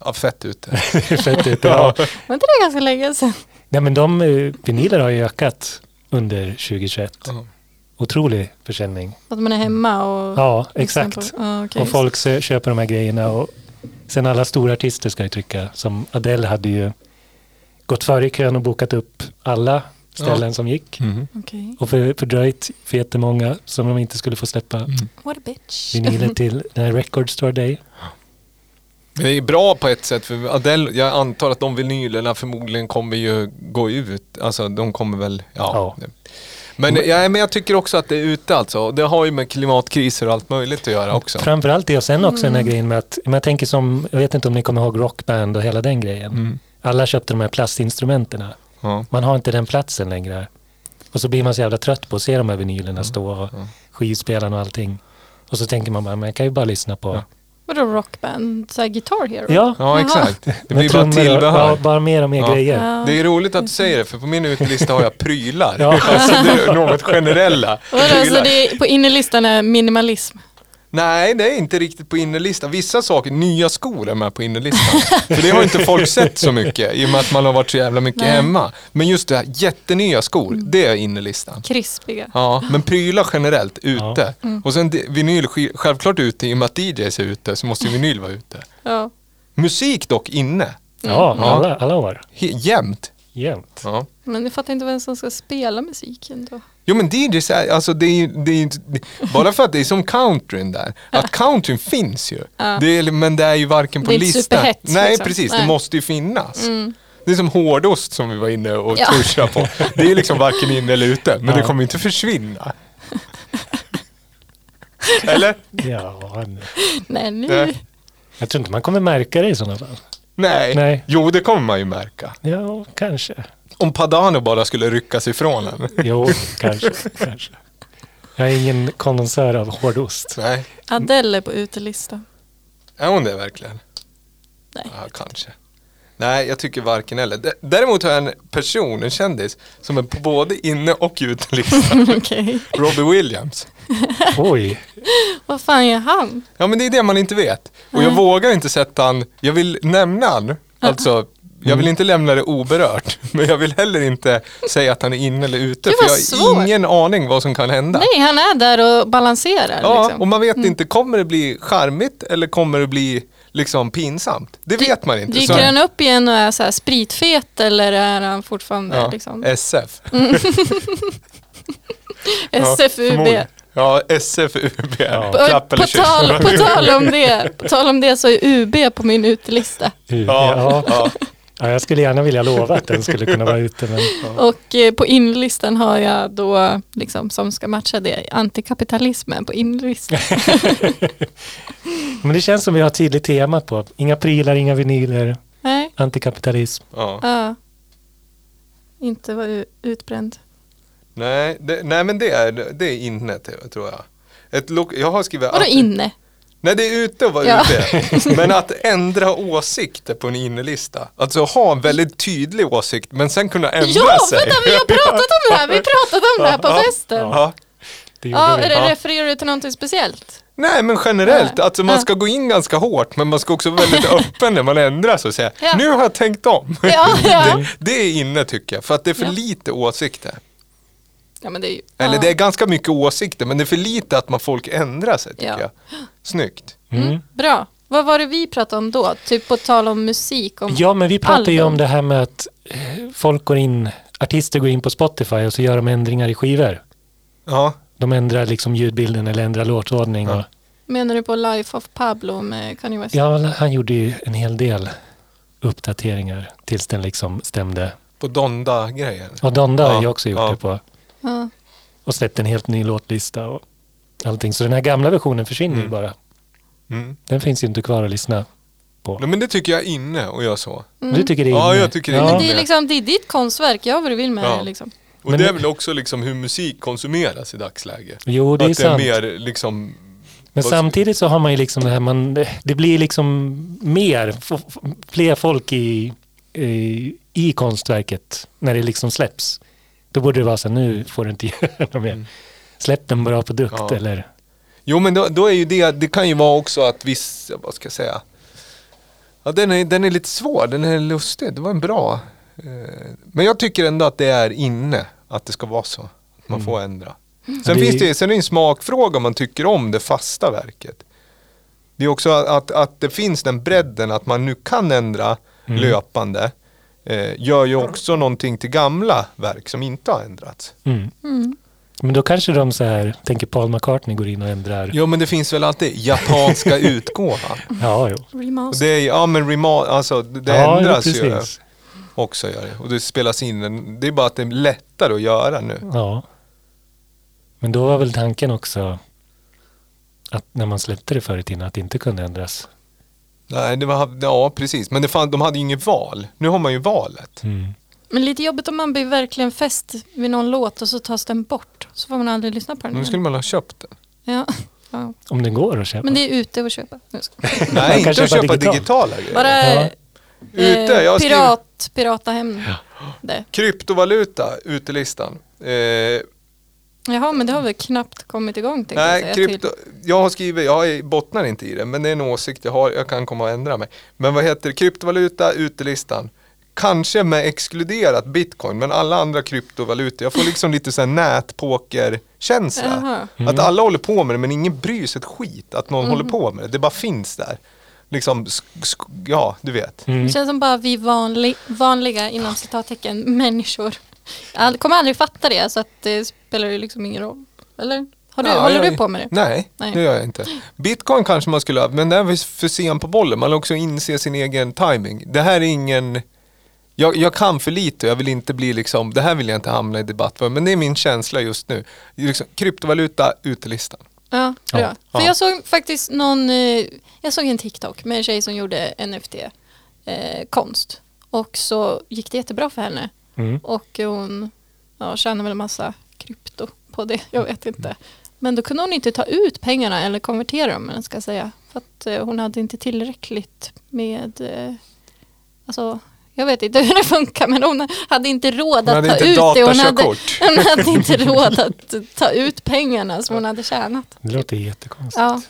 Speaker 3: Ja, fett ute.
Speaker 2: Det är fett ute. Ja.
Speaker 1: Var inte det ganska länge sedan?
Speaker 2: Nej men de eh, vinyler har ju ökat under 2021.
Speaker 3: Ja.
Speaker 2: Otrolig försäljning.
Speaker 1: Att man är hemma och...
Speaker 2: Ja,
Speaker 1: lyssnar
Speaker 2: exakt.
Speaker 1: På. Ja, okej.
Speaker 2: Och folk sö- köper de här grejerna. Och sen alla stora artister ska ju trycka. Som Adele hade ju gått före i kön och bokat upp alla ställen som gick.
Speaker 3: Mm-hmm.
Speaker 1: Okej.
Speaker 2: Och för, fördröjt för jättemånga som de inte skulle få släppa
Speaker 3: Mm.
Speaker 1: What a bitch.
Speaker 2: vinylen till den här Record Store Day.
Speaker 3: Men det är bra på ett sätt för Adele, jag antar att de vinylerna förmodligen kommer ju gå ut. Alltså de kommer väl, ja. Mm.
Speaker 2: Ja.
Speaker 3: Men, ja, men jag tycker också att det är ute alltså. Det har ju med klimatkriser och allt möjligt att göra också.
Speaker 2: Framförallt det och sen också den här grejen med att, men jag tänker som, jag vet inte om ni kommer ihåg Rockband och hela den grejen.
Speaker 3: Mm.
Speaker 2: Alla köpte de här plastinstrumenterna.
Speaker 3: Ja.
Speaker 2: Man har inte den platsen längre. Och så blir man så jävla trött på att se de
Speaker 3: Mm.
Speaker 2: här vinylerna stå och skivspelarna och allting. Och så tänker man bara, men jag kan ju bara lyssna på
Speaker 1: Vadå rockband? Så här Guitar Hero?
Speaker 2: Ja,
Speaker 1: Jaha.
Speaker 3: Ja, exakt. Det
Speaker 2: med
Speaker 3: blir bara
Speaker 2: trummor och-
Speaker 3: tillbehör.
Speaker 2: ja, bara mer och mer
Speaker 3: Ja.
Speaker 2: grejer.
Speaker 1: Ja.
Speaker 3: Det är roligt att du säger det, för på min utelista har jag prylar.
Speaker 2: Ja.
Speaker 3: Alltså, det är något generella.
Speaker 1: Vadå, så
Speaker 3: Prylar.
Speaker 1: det är, på innerlistan är minimalism?
Speaker 3: Nej, det är inte riktigt på innerlistan. Vissa saker, nya skor är med på innerlistan. för det har inte folk sett så mycket, i och med att man har varit så jävla mycket
Speaker 1: Nej.
Speaker 3: hemma. Men just det här, jättenya skor, det är innerlistan.
Speaker 1: Krispiga?
Speaker 3: Ja, men prylar generellt ute. Och sen det- vinyl, sk- självklart ute, i och med att DJs är ute så måste ju vinyl vara ute.
Speaker 1: Ja.
Speaker 3: Musik dock inne,
Speaker 2: Ja,
Speaker 3: Ja.
Speaker 2: alla, alla år.
Speaker 3: he- jämt.
Speaker 2: Jämt.
Speaker 3: Ja.
Speaker 1: Men jag fattar inte vem som ska spela musiken då.
Speaker 3: Jo men DJs, är- alltså det är ju, det är ju inte- det, bara för att det är som countryn där, att countryn finns ju. Det är, men det är ju varken på
Speaker 1: Det är inte
Speaker 3: listan.
Speaker 1: superhett,
Speaker 3: Nej
Speaker 1: liksom.
Speaker 3: precis, det
Speaker 1: Nej. Mm.
Speaker 3: måste ju finnas. Det är som hårdost som vi var inne och
Speaker 1: Ja.
Speaker 3: touchade på. Det är liksom varken inne eller ute, men det
Speaker 2: Ja.
Speaker 3: kommer inte försvinna. Eller?
Speaker 2: Ja, nu.
Speaker 1: Nej, nu.
Speaker 3: Nej.
Speaker 2: jag tror inte man kommer märka det i sådana fall.
Speaker 3: Nej.
Speaker 2: Nej.
Speaker 3: Jo, det kommer man ju märka.
Speaker 2: Ja, kanske.
Speaker 3: Om Padano bara skulle ryckas ifrån en.
Speaker 2: Jo, kanske, kanske. Jag är ingen kondensör av hårdost.
Speaker 3: Nej,
Speaker 1: Adele är på utelistan.
Speaker 3: är hon det verkligen?
Speaker 1: Nej.
Speaker 3: Ja, kanske. Nej, jag tycker varken eller. D- Däremot har jag en person, en kändis, som är på både inne och utelistan.
Speaker 1: Okej.
Speaker 3: Robbie Williams.
Speaker 2: Oj,
Speaker 1: Vad fan gör han?
Speaker 3: Ja, men det är det man inte vet. Och jag vågar inte sätta han, jag vill nämna han, alltså jag
Speaker 1: Mm.
Speaker 3: vill inte lämna det oberört, men jag vill heller inte säga att han är inne eller ute,
Speaker 1: Gud,
Speaker 3: för
Speaker 1: vad
Speaker 3: jag har
Speaker 1: svårt.
Speaker 3: ingen aning vad som kan hända.
Speaker 1: Nej, han är där och balanserar.
Speaker 3: ja,
Speaker 1: liksom.
Speaker 3: och man vet inte, kommer det bli charmigt eller kommer det bli liksom pinsamt? Det vet man inte.
Speaker 1: Dyker
Speaker 3: Så-
Speaker 1: han upp igen och är så här spritfet eller är han fortfarande
Speaker 3: ja, Eh,
Speaker 1: liksom,
Speaker 3: SF.
Speaker 1: SFUB?
Speaker 3: förmodligen. Ja, SFUB. Ja.
Speaker 1: På,
Speaker 3: Klapp eller
Speaker 1: på,
Speaker 3: kyss.
Speaker 1: tal, på, tal om det, på tal om det så är UB på min utelista.
Speaker 2: ja.
Speaker 3: Ja, ja.
Speaker 2: ja, jag skulle gärna vilja lova att den skulle kunna vara ute, men
Speaker 1: Och eh, på inlistan har jag då, liksom, som ska matcha det, antikapitalismen på inlistan.
Speaker 2: Men det känns som vi har ett tydligt tema på. Inga prylar, inga vinyler,
Speaker 1: Nej,
Speaker 2: antikapitalism.
Speaker 3: Ja.
Speaker 1: ja. Inte vara u- utbränd.
Speaker 3: Nej, det, nej, men det är, det är inne tror jag. Ett lok- jag har skrivit
Speaker 1: Vadå
Speaker 3: att-
Speaker 1: inne?
Speaker 3: Nej, det är ute och vara
Speaker 1: Ja.
Speaker 3: ute. Men att ändra åsikter på en innelista. Alltså ha en väldigt tydlig åsikt, men sen kunna ändra
Speaker 1: Ja,
Speaker 3: sig.
Speaker 1: vänta, vi har pratat om det här, vi pratade om det här på
Speaker 3: Ja,
Speaker 1: festen.
Speaker 3: Ja.
Speaker 2: Det gjorde
Speaker 1: Ja,
Speaker 2: vi.
Speaker 1: är det
Speaker 3: Ja.
Speaker 1: refererar du till någonting speciellt?
Speaker 3: Nej men generellt,
Speaker 1: Ja.
Speaker 3: alltså man
Speaker 1: Ja.
Speaker 3: ska gå in ganska hårt men man ska också vara väldigt öppen när man ändrar sig och säga
Speaker 1: Ja.
Speaker 3: nu har jag tänkt om.
Speaker 1: Ja, ja.
Speaker 3: Det, det är inne tycker jag, för att det är för
Speaker 1: Ja.
Speaker 3: lite åsikter.
Speaker 1: ja men det är ju...
Speaker 3: Eller
Speaker 1: ja.
Speaker 3: det är ganska mycket åsikter men det är för lite att man folk ändrar sig tycker
Speaker 1: Ja.
Speaker 3: jag. Snyggt.
Speaker 2: Mm.
Speaker 1: Bra. Vad var det vi pratade om då? Typ på tal om musik? Om...
Speaker 2: Ja, men vi pratar ju
Speaker 1: Album.
Speaker 2: om det här med att eh, folk går in, artister går in på Spotify och så gör de ändringar i skivor.
Speaker 3: Ja,
Speaker 2: De ändrar liksom ljudbilden eller ändrar låtordning. Och,
Speaker 1: Menar du på Life of Pablo med Kanye West?
Speaker 2: ja, han gjorde ju en hel del uppdateringar tills den liksom stämde.
Speaker 3: på Donda-grejen.
Speaker 2: Och Donda har
Speaker 3: Ja,
Speaker 2: ju också gjort
Speaker 3: ja.
Speaker 2: det på.
Speaker 1: Ja.
Speaker 2: Och släppt en helt ny låtlista och allting. Så den här gamla versionen försvinner ju bara.
Speaker 3: Mm.
Speaker 2: Den finns ju inte kvar att lyssna på.
Speaker 3: Nej, men det tycker jag är inne och gör så.
Speaker 2: Du tycker det är
Speaker 3: Ja,
Speaker 2: inne.
Speaker 3: jag tycker det är
Speaker 1: Men
Speaker 2: ja.
Speaker 1: det är
Speaker 3: med.
Speaker 1: liksom, det är ditt konstverk, gör vad du vill med
Speaker 3: Ja.
Speaker 1: det liksom.
Speaker 3: Och
Speaker 2: Men
Speaker 3: det
Speaker 2: det-
Speaker 3: är väl också liksom hur musik konsumeras i dagsläget.
Speaker 2: Jo, det är
Speaker 3: att det är
Speaker 2: sant.
Speaker 3: mer liksom,
Speaker 2: Men
Speaker 3: Vad-
Speaker 2: samtidigt så har man ju liksom det här, man, det blir liksom mer, f- f- fler folk i, i, i konstverket när det liksom släpps. Då borde det vara så här, nu får du inte göra något mer. Släpp en bra produkt
Speaker 3: Mm. Ja.
Speaker 2: eller...
Speaker 3: jo men då, då är ju det, det kan ju vara också att viss, vad ska jag säga, ja, den, är, den är lite svår, den är lustig, det var en bra. eh, Men jag tycker ändå att det är inne, att det ska vara så. Att man får ändra. Sen,
Speaker 2: Mm. det är-
Speaker 3: finns det, sen är det en smakfråga om man tycker om det fasta verket. Det är också att, att, att det finns den bredden att man nu kan ändra
Speaker 2: Mm.
Speaker 3: löpande. Eh, gör ju också någonting till gamla verk som inte har ändrats.
Speaker 2: Mm.
Speaker 1: Mm.
Speaker 2: Men då kanske de så här, tänker Paul McCartney går in och ändrar.
Speaker 3: Ja men det finns väl alltid japanska utgåvan.
Speaker 2: Ja, jo.
Speaker 3: Och
Speaker 1: Remaster.
Speaker 3: det är, ja men rema- alltså det det
Speaker 2: ja,
Speaker 3: ändras
Speaker 2: jo,
Speaker 3: ju eh, också gör det. Och det spelas in, en- det är bara att det är lättare att göra nu.
Speaker 2: Ja. Men då var väl tanken också att när man släppte det förr i tiden att det inte kunde ändras.
Speaker 3: Nej, det var, ja precis. Men det fan, de hade ju inget val. Nu har man ju valet.
Speaker 2: Mm.
Speaker 1: Men lite jobbigt om man blir verkligen fäst vid någon låt och så tas den bort. Så får man aldrig lyssna på den
Speaker 3: Nu
Speaker 1: igen.
Speaker 3: skulle man ha köpt den.
Speaker 1: ja. Ja.
Speaker 2: Om det går att köpa.
Speaker 1: Men det är ute att köpa. Nu ska jag-
Speaker 3: Nej,
Speaker 2: kan
Speaker 3: inte att
Speaker 2: köpa
Speaker 3: köpa
Speaker 2: digitalt.
Speaker 3: digitala grejer.
Speaker 1: Bara
Speaker 2: Ja.
Speaker 3: Ute,
Speaker 1: eh,
Speaker 3: jag har skrivit-
Speaker 1: pirat, pirata hem det.
Speaker 3: Kryptovaluta, utelistan. Eh,
Speaker 1: Jaha, men det har väl knappt kommit igång tänkte jag
Speaker 3: nej,
Speaker 1: säga typ.
Speaker 3: krypto,
Speaker 1: till.
Speaker 3: jag har skrivit, jag bottnar inte i det, men det är en åsikt jag har, jag kan komma och ändra mig. Men vad heter det? kryptovaluta, utelistan? Kanske med exkluderat bitcoin, men alla andra kryptovalutor. Jag får liksom lite sån här nätpokerkänsla.
Speaker 1: Jaha. Mm.
Speaker 3: Att alla håller på med det, men ingen bryr sig ett skit att någon håller på med det. Det bara finns där. Liksom, sk- sk- ja, du vet.
Speaker 2: Mm.
Speaker 1: Det känns som bara vi vanli, vanliga, inom citattecken, människor. All, kommer aldrig fatta det, så att det spelar ju liksom ingen roll. Eller? Har du,
Speaker 3: Ja,
Speaker 1: håller
Speaker 3: jag-
Speaker 1: du på med det?
Speaker 3: Nej,
Speaker 1: Nej.
Speaker 3: det gör jag inte. Bitcoin kanske man skulle ha, men där är vi för sen på bollen. Man vill också inse sin egen timing. Det här är ingen... Jag, jag kan för lite och jag vill inte bli liksom, det här vill jag inte hamna i debatt för, men det är min känsla just nu. Liksom, kryptovaluta, utelistan.
Speaker 1: Ja, bra.
Speaker 2: Ja.
Speaker 1: För
Speaker 3: Ja.
Speaker 1: jag såg faktiskt någon, eh, jag såg en TikTok med en tjej som gjorde NFT-konst. eh, och så gick det jättebra för henne.
Speaker 2: Mm.
Speaker 1: Och hon ja, tjänade väl en massa krypto på det, jag vet inte. Men då kunde hon inte ta ut pengarna eller konvertera dem, eller vad ska jag säga. För att eh, hon hade inte tillräckligt med, eh, alltså jag vet inte hur det funkar, men hon hade inte råd
Speaker 3: Hon
Speaker 1: att
Speaker 3: hade
Speaker 1: ta
Speaker 3: inte
Speaker 1: ut det. Hon hade,
Speaker 3: datakörkort.
Speaker 1: hon hade inte råd att ta ut pengarna som hon hade tjänat.
Speaker 2: Det låter jättekonstigt.
Speaker 1: Ja.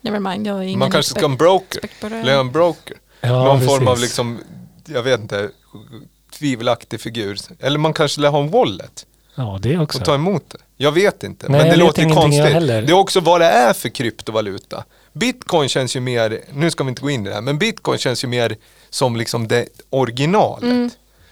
Speaker 1: Never mind, jag är ingen
Speaker 3: Mm. Man kanske ska ha en
Speaker 1: expert.
Speaker 3: broker,
Speaker 1: expert på det.
Speaker 3: eller en broker.
Speaker 2: Ja,
Speaker 3: Någon
Speaker 2: precis.
Speaker 3: form av liksom, jag vet inte, tvivelaktig figur. Eller man kanske lär ha en wallet.
Speaker 2: Ja, det också.
Speaker 3: och ta emot det. Jag vet inte, men
Speaker 2: Nej,
Speaker 3: det
Speaker 2: jag vet
Speaker 3: låter ju
Speaker 2: ingenting jag
Speaker 3: konstigt.
Speaker 2: heller.
Speaker 3: Det är också vad det är för kryptovaluta. Bitcoin känns ju mer, nu ska vi inte gå in i det här, men bitcoin känns ju mer som liksom det originalet.
Speaker 1: Mm.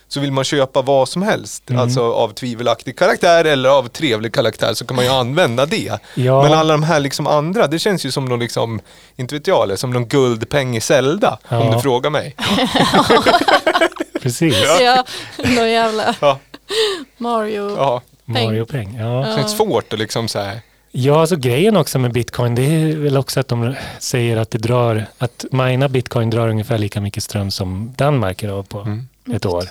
Speaker 3: Så vill man köpa vad som helst,
Speaker 2: Mm.
Speaker 3: alltså av tvivelaktig karaktär eller av trevlig karaktär så kan man ju använda det.
Speaker 2: Ja.
Speaker 3: Men alla de här liksom andra, det känns ju som någon liksom, inte vet jag, eller som någon guldpeng i Zelda, om
Speaker 2: Ja.
Speaker 3: du frågar mig.
Speaker 2: Precis.
Speaker 1: Så jag, någon jävla
Speaker 3: Ja,
Speaker 1: Mario.
Speaker 3: ja.
Speaker 2: Mario-peng. Ja.
Speaker 3: Det känns svårt att liksom så här,
Speaker 2: Ja, alltså grejen också med bitcoin, det är väl också att de säger att det drar, att mina bitcoin drar ungefär lika mycket ström som Danmark är av på
Speaker 3: Mm.
Speaker 2: ett år.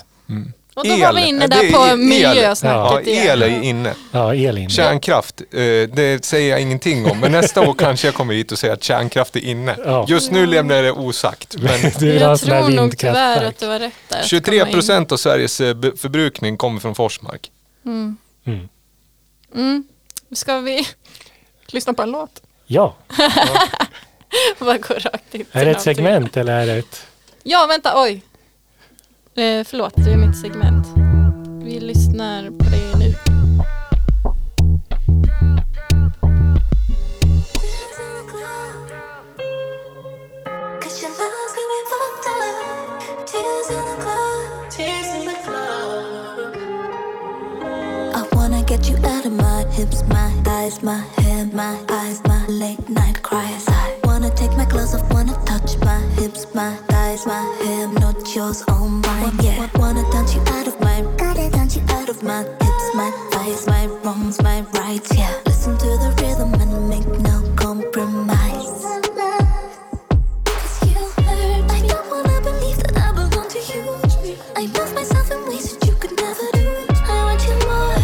Speaker 1: Och då var vi inne där på
Speaker 3: Ja,
Speaker 1: miljösnacket
Speaker 3: el är
Speaker 1: igen.
Speaker 3: ju inne.
Speaker 2: Ja, el in.
Speaker 3: Kärnkraft, eh, det säger jag ingenting om. Men nästa år kanske jag kommer hit och säger att kärnkraft är inne.
Speaker 2: Ja.
Speaker 3: Just nu lämnar jag det osagt. Men
Speaker 2: Du vill ha en
Speaker 1: Jag
Speaker 2: sån här
Speaker 1: tror nog tyvärr
Speaker 2: vindkraftverk.
Speaker 1: att du var rätt där. att
Speaker 3: 23
Speaker 1: komma in.
Speaker 3: procent av Sveriges eh, be- förbrukning kommer från Forsmark.
Speaker 2: Mm.
Speaker 1: Mm. Ska vi lyssna på en låt?
Speaker 2: Ja,
Speaker 1: Vad går rakt in till
Speaker 2: är det ett
Speaker 1: någonting.
Speaker 2: segment eller är det ett...
Speaker 1: Ja, vänta, oj. Eh, förlåt, det är mitt segment. Vi lyssnar på det nu.
Speaker 4: Cause your love's got me fucked up. Tears in the club. Tears in the club. I wanna get you out of my hips, my thighs, my hair, my eyes, my late night cries. I wanna take my clothes off, wanna touch my hips, my thighs, my hair, not yours, all mine. Yeah, wanna dance you out of my, gotta dance you out of my hips, my thighs, my wrongs, my rights. Yeah, listen to the rhythm and make no compromise. Cause you hurt me. I don't wanna believe that I belong to you. I love myself in ways that you could never do. I want you more.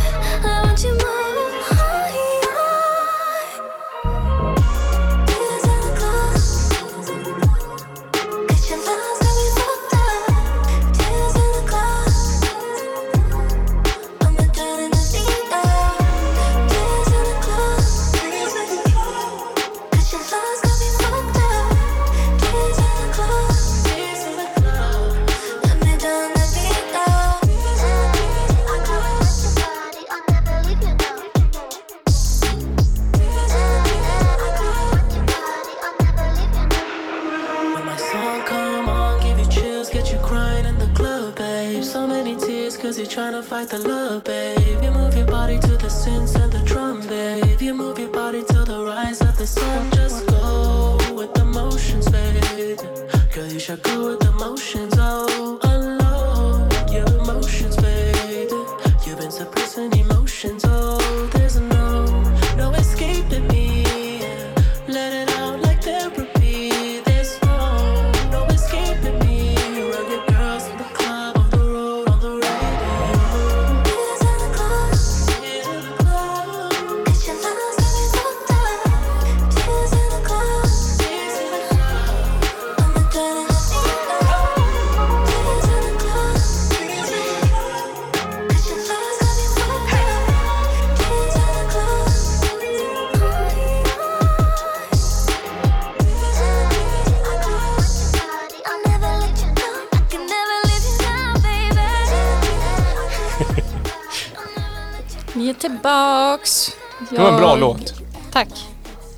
Speaker 4: I want you more. Tears in the club. 'Cause your love's got me fucked up. Tears in the club. I'm a turn in the deep end. Tears in the club. Tears in the club. 'Cause your love's got me fucked up. Tears in the club. Tears in the club. Let me down, let me down. I can't let your body. I'll never leave you now. I can't let your body. I'll never leave you now.
Speaker 5: When my song come on, give you chills, get you crying in the club, babe. So many tears, cause you're trying to fight the love, babe. You move your body to the synths and the drum, babe. You move your body to the rise of the sun. Just go with the motions, babe. Girl, you should go with the motions, oh. Unload your emotions, babe. You've been suppressing emotions, oh. There's no, no escaping me. Let it out like therapy. There's no, no escaping me. Rugged girls in the club, on the road, on the radio.
Speaker 4: Tears in the club.
Speaker 5: In the club.
Speaker 4: Cause your love's got me fucked up.
Speaker 1: Vi är tillbaks.
Speaker 3: Det var en bra
Speaker 1: Jag-
Speaker 3: låt.
Speaker 1: Tack.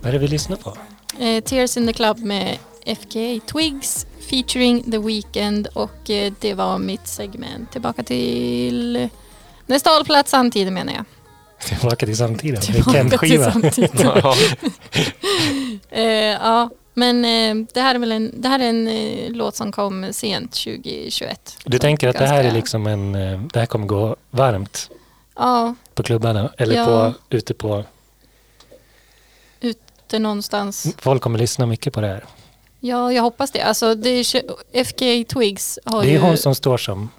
Speaker 2: Vad är det vi lyssnar på?
Speaker 1: Eh, Tears in the Club med FKA Twigs featuring The Weeknd och eh, det var mitt segment. Tillbaka till nästa hållplats samtidigt menar jag.
Speaker 2: Tillbaka till samtiden.
Speaker 1: Tillbaka till
Speaker 2: Weekend-skiva.
Speaker 1: samtidigt.
Speaker 3: Ja.
Speaker 1: Eh, ja, men eh, det här är väl en, det här är en eh, låt som kom sent 2021.
Speaker 2: Du tänker att det här är
Speaker 1: Ganska-
Speaker 2: liksom en, eh, det här kommer gå varmt
Speaker 1: Ja,
Speaker 2: på klubbarna eller
Speaker 1: Ja.
Speaker 2: på, ute på,
Speaker 1: det är någonstans.
Speaker 2: folk kommer lyssna mycket på det här.
Speaker 1: Ja, jag hoppas det. Alltså, det är, FKA Twigs har
Speaker 2: Det
Speaker 1: ju...
Speaker 2: är hon som står som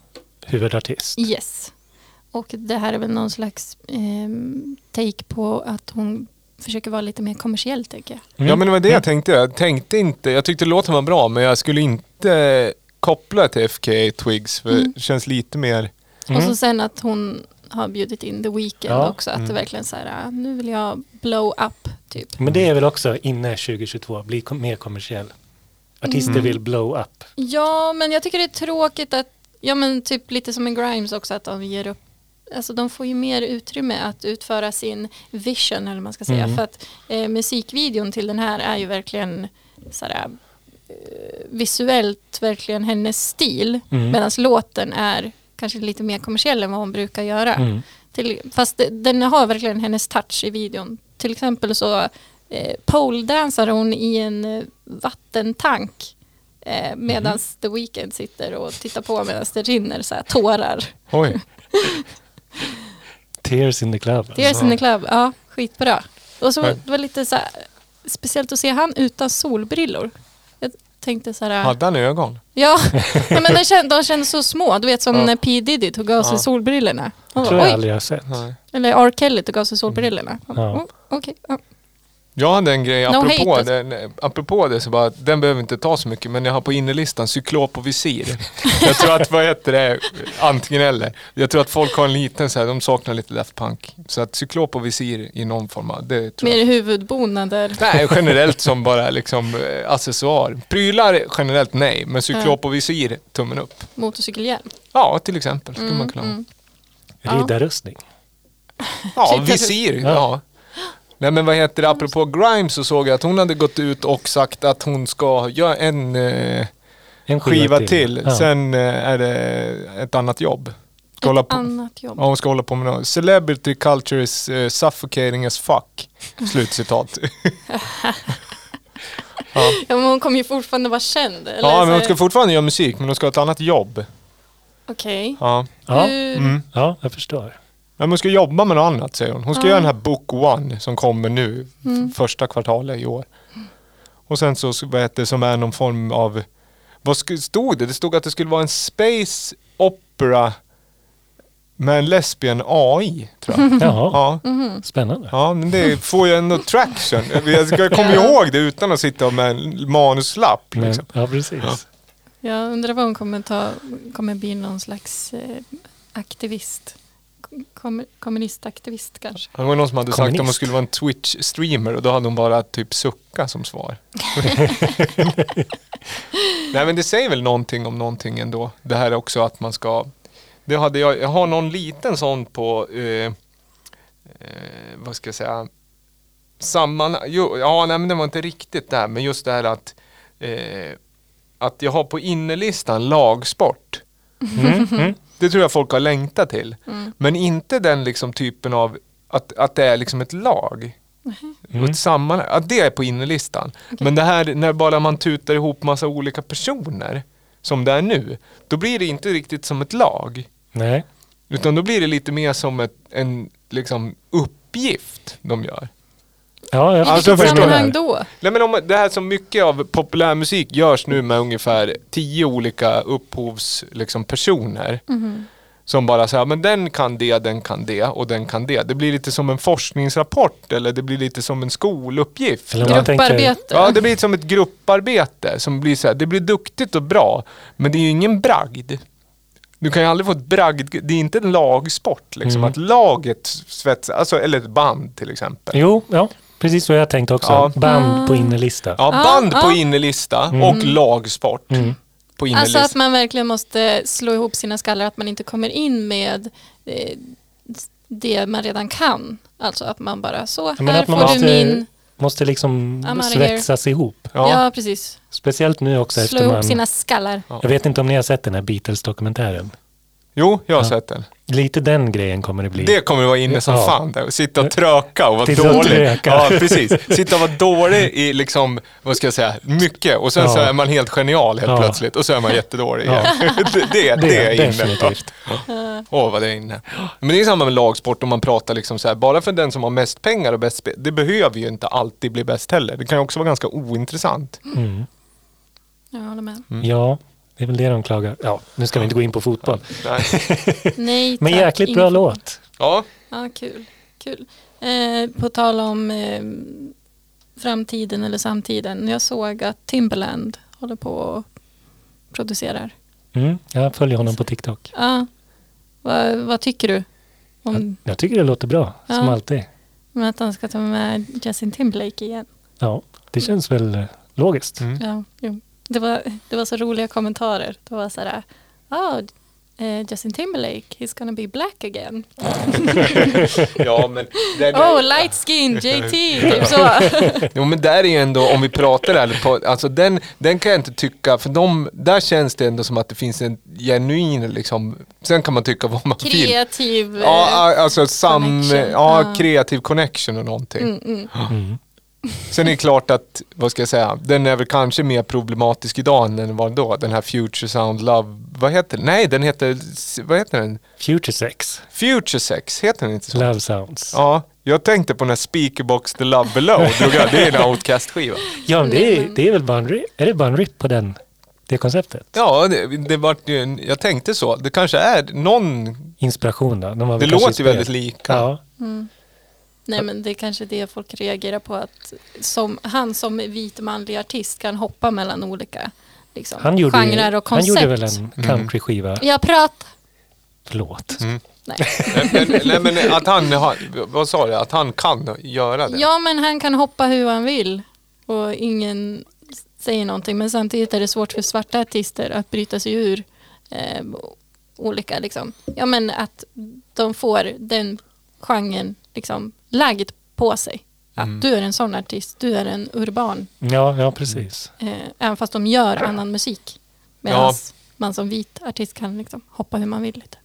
Speaker 2: huvudartist.
Speaker 1: Yes. Och det här är väl någon slags ehm, take på att hon försöker vara lite mer kommersiell tänker jag.
Speaker 2: Mm.
Speaker 3: Ja men det var det jag tänkte. Jag tänkte inte, jag tyckte låten var bra men jag skulle inte koppla till FKA Twigs för
Speaker 1: Mm.
Speaker 3: det känns lite mer...
Speaker 2: Mm.
Speaker 1: Och så sen att hon har bjudit in The Weeknd
Speaker 2: Ja. Mm.
Speaker 1: också. Att det verkligen så här, ah, nu vill jag blow up typ.
Speaker 2: Men det är väl också inne 2022, bli kom, mer kommersiell. Artister
Speaker 3: Mm.
Speaker 2: vill blow up.
Speaker 1: Ja, men jag tycker det är tråkigt att, ja men typ lite som en Grimes också att de ger upp Alltså de får ju mer utrymme att utföra sin vision eller vad man ska säga.
Speaker 2: Mm.
Speaker 1: För att eh, musikvideon till den här är ju verkligen sådär, eh, visuellt verkligen hennes stil.
Speaker 2: Mm.
Speaker 1: Medan låten är kanske lite mer kommersiell än vad hon brukar göra.
Speaker 2: Mm.
Speaker 1: Till, fast de- den har verkligen hennes touch i videon. Till exempel så eh, poledansar hon i en eh, vattentank eh, medan
Speaker 2: Mhm.
Speaker 1: The Weeknd sitter och tittar på medan det rinner så här, tårar.
Speaker 3: Oj.
Speaker 2: Tears in the club.
Speaker 1: Tears in the club, ja skitbra. Och så
Speaker 3: Men-
Speaker 1: det var lite så här, speciellt att se han utan solbrillor. Jag tänkte så här,
Speaker 3: Hade han ögon?
Speaker 1: ja, nej, men de kändes, de kändes så små, du vet som
Speaker 3: Ja.
Speaker 1: när P Diddy tog av sig
Speaker 3: Ja.
Speaker 1: solbrillorna. Man
Speaker 2: tror
Speaker 1: Bara,
Speaker 2: jag
Speaker 1: Oj,
Speaker 2: aldrig jag har sett.
Speaker 3: Nej.
Speaker 1: eller R. Kelly tog av sig solbrillorna. Man bara,
Speaker 2: Ja.
Speaker 1: "Oh, Okej, ja.
Speaker 3: Jag hade en grej,
Speaker 1: No
Speaker 3: apropå,
Speaker 1: hate. alltså.
Speaker 3: den, apropå det så bara, den behöver inte ta så mycket, men jag har på innerlistan cyklop och visir. jag tror att, vad heter det, antingen eller. Jag tror att folk har en liten så här, de saknar lite Daft Punk. Så att cyklop och visir i någon form av, det tror jag.
Speaker 1: mer huvudbonader.
Speaker 3: Nej, generellt som bara liksom eh, accessoar. Prylar generellt nej, men cyklop och visir, tummen upp.
Speaker 1: motorcykelhjälm.
Speaker 3: Ja, till exempel skulle man kunna ha.
Speaker 1: Ja.
Speaker 2: Riddarrustning.
Speaker 3: Ja,
Speaker 1: Typ
Speaker 3: visir.
Speaker 2: Ja.
Speaker 3: Ja. Nej men vad heter det, apropå Grimes så såg jag att hon hade gått ut och sagt att hon ska göra en eh,
Speaker 2: En
Speaker 3: skiva till.
Speaker 2: Ja.
Speaker 3: Sen eh, är det ett annat jobb. Ska hålla
Speaker 1: Ett
Speaker 3: på.
Speaker 1: annat jobb.
Speaker 3: Ja, hon ska hålla på med något. Celebrity culture is eh, suffocating as fuck. Slutcitat.
Speaker 1: Ja, men hon kommer ju fortfarande vara känd. Eller?
Speaker 3: ja,
Speaker 1: så
Speaker 3: men hon
Speaker 1: här-
Speaker 3: ska fortfarande göra musik, men hon ska ha ett annat jobb.
Speaker 1: Okej.
Speaker 3: Ja.
Speaker 2: Ja.
Speaker 1: Hur-
Speaker 3: Mm.
Speaker 2: ja, jag förstår.
Speaker 1: Mm.
Speaker 3: Men hon ska jobba med något annat säger hon. Hon ska
Speaker 1: Ja.
Speaker 3: göra den här Book One som kommer nu, f- första kvartalet i år. Och sen så, så- vad heter det, som är någon form av, vad sk- stod det? Det stod att det skulle vara en space opera med en lesbian AI, tror jag.
Speaker 2: Jaha,
Speaker 3: Ja,
Speaker 2: spännande.
Speaker 3: ja men det får ju ändå traction. Jag ska- jag kommer ju ihåg det utan att sitta med en manuslapp.
Speaker 2: Men,
Speaker 3: Liksom.
Speaker 2: ja, precis.
Speaker 1: Jag undrar vad hon kommer ta, kommer bli någon slags eh, aktivist. Kommer, kommunistaktivist kanske.
Speaker 3: Det var någon som hade sagt att hon
Speaker 2: Kommunist.
Speaker 3: skulle vara en Twitch-streamer och då hade hon bara typ sucka som svar. Nej men det säger väl någonting om någonting ändå. Det här är också att man ska... Det hade jag, jag har någon liten sån på, eh, eh, vad ska jag säga, samman... Jo, ja, nej men det var inte riktigt där, men just det här att, eh, att jag har på innerlistan lagsport.
Speaker 2: Mm, mm.
Speaker 3: Det tror jag folk har längtat till. Men inte den liksom typen av att, att det är liksom ett lag. Och ett sammanhang. Att det är på innerlistan. Men det här när bara man tutar ihop massa olika personer, som det är nu, då blir det inte riktigt som ett lag.
Speaker 2: Nej,
Speaker 3: Utan då blir det lite mer som ett, en liksom uppgift de gör.
Speaker 2: ja, jag
Speaker 1: I
Speaker 3: Alltså,
Speaker 2: förstår
Speaker 1: vilket
Speaker 2: vad du
Speaker 1: sammanhang
Speaker 2: menar.
Speaker 1: då?
Speaker 3: Nej, men om, det här som mycket av populärmusik görs nu med ungefär tio olika upphovspersoner. Liksom, personer. Som bara säger, men den kan det, den kan det och den kan det. Det blir lite som en forskningsrapport eller det blir lite som en skoluppgift.
Speaker 2: Eller om man tänker,
Speaker 1: Grupparbete.
Speaker 3: Ja, det blir som ett grupparbete som blir så här, det blir duktigt och bra, men det är ju ingen bragd. Du kan ju aldrig få ett bragd, det är inte en lagsport liksom, att laget svetsar, alltså, eller ett band till exempel.
Speaker 2: jo, ja, precis så jag tänkte också.
Speaker 3: Ja.
Speaker 2: Band på
Speaker 1: Ah.
Speaker 2: innerlista.
Speaker 3: Ja, band på
Speaker 1: ja.
Speaker 3: innerlista
Speaker 2: Mm.
Speaker 3: och lagsport på
Speaker 1: Alltså
Speaker 3: innerlista.
Speaker 1: att man verkligen måste slå ihop sina skallar, att man inte kommer in med eh, det man redan kan. Alltså att man bara så,
Speaker 2: men
Speaker 1: här
Speaker 2: att man
Speaker 1: får du
Speaker 2: måste-
Speaker 1: min...
Speaker 2: Måste liksom
Speaker 1: I'm outta here.
Speaker 2: svetsas ihop.
Speaker 1: Ja,
Speaker 3: Ja.
Speaker 1: precis.
Speaker 2: Speciellt nu också
Speaker 1: Slå
Speaker 2: efter
Speaker 1: ihop
Speaker 2: man...
Speaker 1: sina skallar.
Speaker 2: Jag vet inte om ni har sett den här Beatles-dokumentären.
Speaker 3: Jo, jag har
Speaker 2: Ja.
Speaker 3: sett den.
Speaker 2: Lite den grejen kommer det bli.
Speaker 3: Det kommer att vara inne som
Speaker 2: Ja.
Speaker 3: fan. Där. och Sitta och tröka och vara
Speaker 2: Sitta och
Speaker 3: dålig.
Speaker 2: tröka.
Speaker 3: Ja, precis. Sitta och vara dålig i liksom, vad ska jag säga, mycket. Och sen
Speaker 2: Ja.
Speaker 3: så är man helt genial helt
Speaker 2: Ja.
Speaker 3: plötsligt. Och så är man jättedålig igen.
Speaker 2: Ja.
Speaker 3: Det, det, det är inne. Ja.
Speaker 2: definitivt.
Speaker 3: Åh, vad det är inne. Men det är samma med lagsport om man pratar liksom så här, bara för den som har mest pengar och bäst spel, det behöver ju inte alltid bli bäst heller. Det kan ju också vara ganska ointressant.
Speaker 2: Mm.
Speaker 1: Jag håller med.
Speaker 3: Mm.
Speaker 2: Ja, det är väl det de klagar. Ja, nu ska vi inte gå in på fotboll.
Speaker 3: Nej.
Speaker 1: Nej,
Speaker 2: Men
Speaker 1: tack,
Speaker 2: jäkligt bra
Speaker 1: ingen-
Speaker 2: låt.
Speaker 3: Ja,
Speaker 1: Ja, kul. kul. Eh, på tal om eh, framtiden eller samtiden. Jag såg att Timberland håller på och producerar.
Speaker 2: Mm, jag följer honom på TikTok.
Speaker 1: Ja. Vad, vad tycker du? Om
Speaker 2: Jag tycker det låter bra, som
Speaker 1: Mm. Ja.
Speaker 2: alltid.
Speaker 1: om att han ska ta med Justin Timberlake igen?
Speaker 2: Ja, det känns väl eh, logiskt.
Speaker 3: Mm.
Speaker 1: Ja, jo. Det, var, det var så roliga kommentarer. Det var så här, oh, eh, Justin Timberlake, he's gonna be black again.
Speaker 3: ja men... Det,
Speaker 1: Oh, light skin, JT, typ så.
Speaker 3: Jo men där är ju ändå, om vi pratar ärligt på, alltså den, den kan jag inte tycka, för de, där känns det ändå som att det finns en genuin liksom, sen kan man tycka vad man vill.
Speaker 1: Kreativ. eh,
Speaker 3: Ja, a- alltså sam,
Speaker 1: connection.
Speaker 3: ja,
Speaker 1: Ja.
Speaker 3: kreativ connection och någonting.
Speaker 1: mm, mm.
Speaker 2: Mm.
Speaker 3: Sen är det klart att, vad ska jag säga, den är väl kanske mer problematisk idag än den var då, den här Future Sound Love, vad heter den? Nej, den heter, vad heter den?
Speaker 2: Future Sex,
Speaker 3: Future Sex, heter den inte så?
Speaker 2: Love Sounds. Ja,
Speaker 3: Ja, jag tänkte på den här Speakerbox The Love Below, drog jag- det är en Outcast-skiva.
Speaker 2: men det, är, det är väl bara en rip, är det bara en rip på den, det konceptet?
Speaker 3: Ja, det, det vart ju en, jag tänkte så. Det kanske är någon,
Speaker 2: Inspiration då? De var väl
Speaker 3: det
Speaker 2: kanske
Speaker 3: låter ju
Speaker 2: inspirerade.
Speaker 3: väldigt lika.
Speaker 2: Ja,
Speaker 1: Nej men det är kanske det folk reagerar på att som, han som vit manlig artist kan hoppa mellan olika liksom,
Speaker 2: han gjorde, ju-
Speaker 1: genrer och
Speaker 2: han
Speaker 1: koncept.
Speaker 2: gjorde väl en
Speaker 3: Mm.
Speaker 2: countryskiva,
Speaker 1: Jag pratar.
Speaker 2: förlåt.
Speaker 1: Nej.
Speaker 3: Men, nej men att han, har- vad sa du, att han kan göra det?
Speaker 1: Ja men han kan hoppa hur han vill och ingen säger någonting men samtidigt är det svårt för svarta artister att bryta sig ur eh, olika liksom. Ja men att de får den genren liksom lagd på sig. Att du är en sån artist, du är en urban.
Speaker 2: Ja, ja precis.
Speaker 1: Eh, även fast de gör annan musik. Medan man som vit artist kan liksom hoppa hur man vill lite.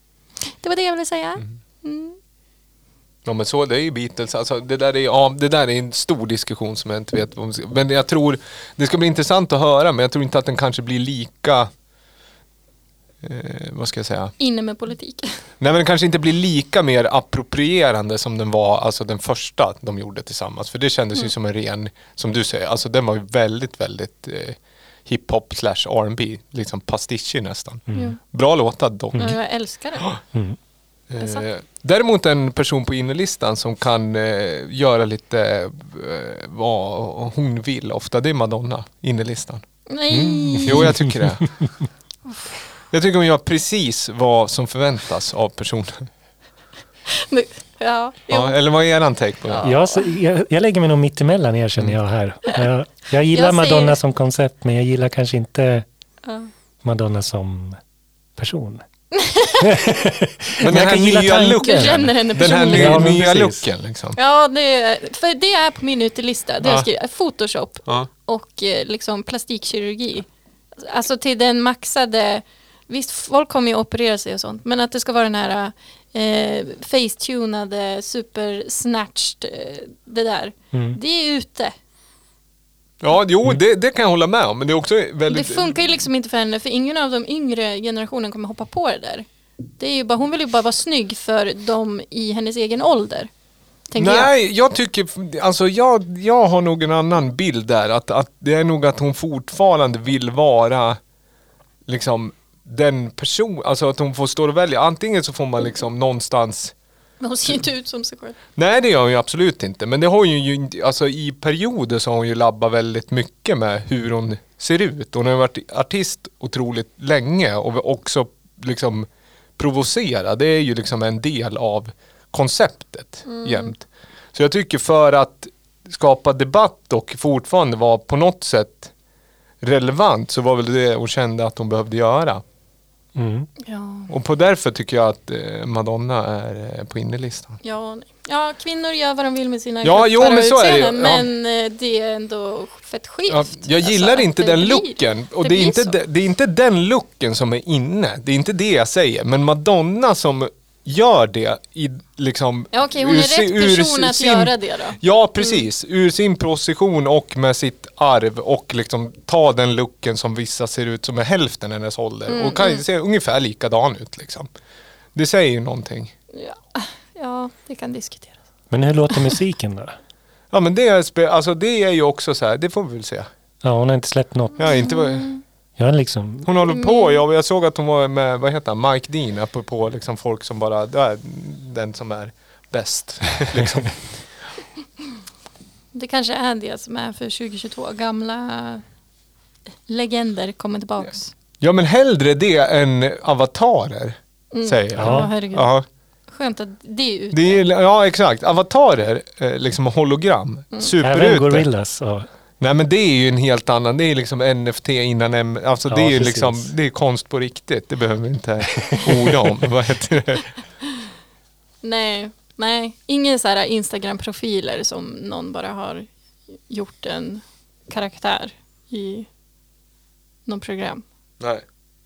Speaker 1: Det var det jag ville säga.
Speaker 3: Mm. Ja men så, det är ju Beatles. Alltså, det, där är, ja, det där är en stor diskussion som jag inte vet om. Men jag tror, det ska bli intressant att höra men jag tror inte att den kanske blir lika, eh, vad ska jag säga?
Speaker 1: Inne med politik.
Speaker 3: Nej men den kanske inte blir lika mer approprierande som den var, alltså den första de gjorde tillsammans. För det kändes ju som en ren, som du säger, alltså den var ju väldigt, väldigt eh, hiphop slash R&B liksom pastischig nästan.
Speaker 1: Jo.
Speaker 3: Bra låtar dock.
Speaker 1: Ja, jag älskar det. sant.
Speaker 3: Eh, däremot en person på innerlistan som kan eh, göra lite eh, vad hon vill ofta, det är Madonna, innerlistan.
Speaker 1: Nej.
Speaker 3: Mm, Jo, jag tycker det. Jag tycker hon gör precis vad som förväntas av personen.
Speaker 1: Nu. Ja, jo.
Speaker 3: Ja, eller vad är eran take på det?
Speaker 2: Jag, så- jag, jag lägger mig nog mittemellan er känner jag här. Jag, jag gillar
Speaker 1: Mm. Jag säger-
Speaker 2: Madonna som koncept men jag gillar kanske inte
Speaker 1: Ja.
Speaker 2: Madonna som person.
Speaker 3: Men den
Speaker 2: jag
Speaker 3: här
Speaker 2: kan gilla
Speaker 3: nya
Speaker 2: tanken.
Speaker 1: Du
Speaker 3: looken.
Speaker 1: känner henne
Speaker 3: Den här
Speaker 1: personligen.
Speaker 3: ny,
Speaker 2: Ja, men
Speaker 3: nya
Speaker 2: precis.
Speaker 3: looken liksom.
Speaker 1: Ja, det, är- för det är på min utelista. Det har
Speaker 3: Ja.
Speaker 1: jag skrivit. Photoshop
Speaker 3: Ja.
Speaker 1: och eh, liksom plastikkirurgi. Alltså till den maxade, visst folk kommer ju operera sig och sånt, men att det ska vara den här eh, facetunade, supersnatched, eh, det där.
Speaker 3: Mm.
Speaker 1: Det är ute.
Speaker 3: Ja, jo det, det kan jag hålla med om. Men det är också
Speaker 1: Det
Speaker 3: väldigt...
Speaker 1: funkar ju liksom inte för henne, för ingen av de yngre generationen kommer hoppa på det där. Det är ju bara, hon vill ju bara vara snygg för dem i hennes egen ålder. Tänker jag.
Speaker 3: Nej, jag tycker, alltså jag, jag har nog en annan bild där. Att, att det är nog att hon fortfarande vill vara liksom den person, alltså att hon får stå och välja. Antingen så får man liksom någonstans
Speaker 1: Men hon ser ju inte ut som sig själv.
Speaker 3: Nej det gör hon ju absolut inte. Men det har hon ju, inte- alltså i perioder så har hon ju labbat väldigt mycket med hur hon ser ut. Hon har ju varit artist otroligt länge och också liksom provocera. Det är ju liksom en del av konceptet jämt. Så jag tycker för att skapa debatt och fortfarande vara på något sätt relevant så var väl det hon kände att hon behövde göra.
Speaker 2: Mm.
Speaker 1: Ja.
Speaker 3: Och på därför tycker jag att eh, Madonna är eh, på innerlistan.
Speaker 1: Ja, nej. ja, kvinnor gör vad de vill med sina
Speaker 3: Ja, jo, men så är det ju.
Speaker 1: utseenden,
Speaker 3: Ja.
Speaker 1: Men eh, det är ändå fett skevt.
Speaker 3: Ja, jag
Speaker 1: Alltså,
Speaker 3: gillar
Speaker 1: att
Speaker 3: inte
Speaker 1: det
Speaker 3: den
Speaker 1: blir-
Speaker 3: looken. Och det, är
Speaker 1: blir
Speaker 3: inte
Speaker 1: så.
Speaker 3: de, det är inte den looken som är inne. Det är inte det jag säger. Men Madonna som gör det i liksom...
Speaker 1: Ja, okej, hon
Speaker 3: ur
Speaker 1: är
Speaker 3: si-
Speaker 1: rätt
Speaker 3: ur
Speaker 1: person att
Speaker 3: sin-
Speaker 1: göra Mm. det då.
Speaker 3: Ja, precis. Ur sin position och med sitt arv och liksom ta den looken som vissa ser ut som är hälften hennes ålder.
Speaker 1: Mm,
Speaker 3: och kan se ungefär likadan ut liksom. Det säger ju någonting.
Speaker 1: Ja, ja det kan diskuteras.
Speaker 2: Men hur låter musiken då?
Speaker 3: Ja men det är, spe- alltså, det är ju också så här, det får vi väl se.
Speaker 2: Ja, hon har inte släppt något.
Speaker 3: Ja, inte, vad-
Speaker 1: Mm.
Speaker 2: Jag är liksom...
Speaker 3: Hon håller på, jag, jag såg att hon var med, vad heter han, Mike Dean, apropå liksom folk som bara, det är den som är bäst. Liksom.
Speaker 1: Det kanske är det som är för 2022. Gamla eh, legender kommer tillbaks.
Speaker 3: Ja men hellre det än avatarer, säger jag.
Speaker 1: Ja,
Speaker 2: Ja.
Speaker 1: herregud.
Speaker 3: Ja.
Speaker 1: Skönt att det är ut.
Speaker 3: Det är, ja exakt, avatarer, eh, liksom hologram,
Speaker 2: Även
Speaker 3: superute.
Speaker 2: Gorillas. Och,
Speaker 3: Nej men det är ju en helt annan, det är liksom NFT innan, M- alltså
Speaker 2: Ja,
Speaker 3: det är ju
Speaker 2: precis.
Speaker 3: liksom, det är konst på riktigt, det behöver vi inte orda om. Vad heter det?
Speaker 1: Nej, nej. Ingen så här Instagram-profiler som någon bara har gjort en karaktär i någon program.
Speaker 3: Nej.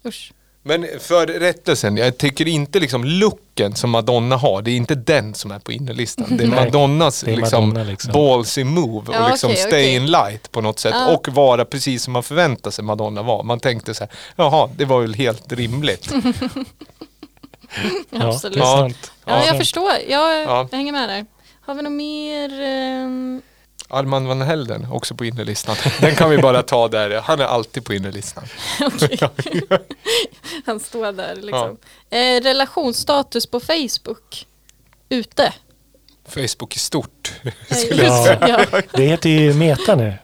Speaker 1: Usch.
Speaker 3: Men för rättelsen, jag tycker inte liksom looken som Madonna har, det är inte den som är på innerlistan. Det är
Speaker 2: Nej,
Speaker 3: Madonnas
Speaker 2: det är
Speaker 3: liksom,
Speaker 2: Madonna liksom.
Speaker 3: ballsy move och
Speaker 1: Ja,
Speaker 3: liksom
Speaker 1: okej,
Speaker 3: stay
Speaker 1: okej.
Speaker 3: in light på något sätt.
Speaker 1: Ja.
Speaker 3: Och vara precis som man förväntar sig Madonna vara. Man tänkte så här, jaha, det var väl helt rimligt.
Speaker 2: ja,
Speaker 1: Absolut.
Speaker 2: det är sant.
Speaker 1: Ja, jag förstår. Jag,
Speaker 3: Ja.
Speaker 1: jag hänger med där. Har vi något mer? ehm,
Speaker 3: Armand van Helden, också på innerlistan. Den kan vi bara ta där, han är alltid på innerlistan.
Speaker 1: Han står där liksom. Eh, relationsstatus på Facebook. Ute.
Speaker 3: Facebook i stort.
Speaker 1: Ja, ja.
Speaker 2: Det heter ju Meta nu.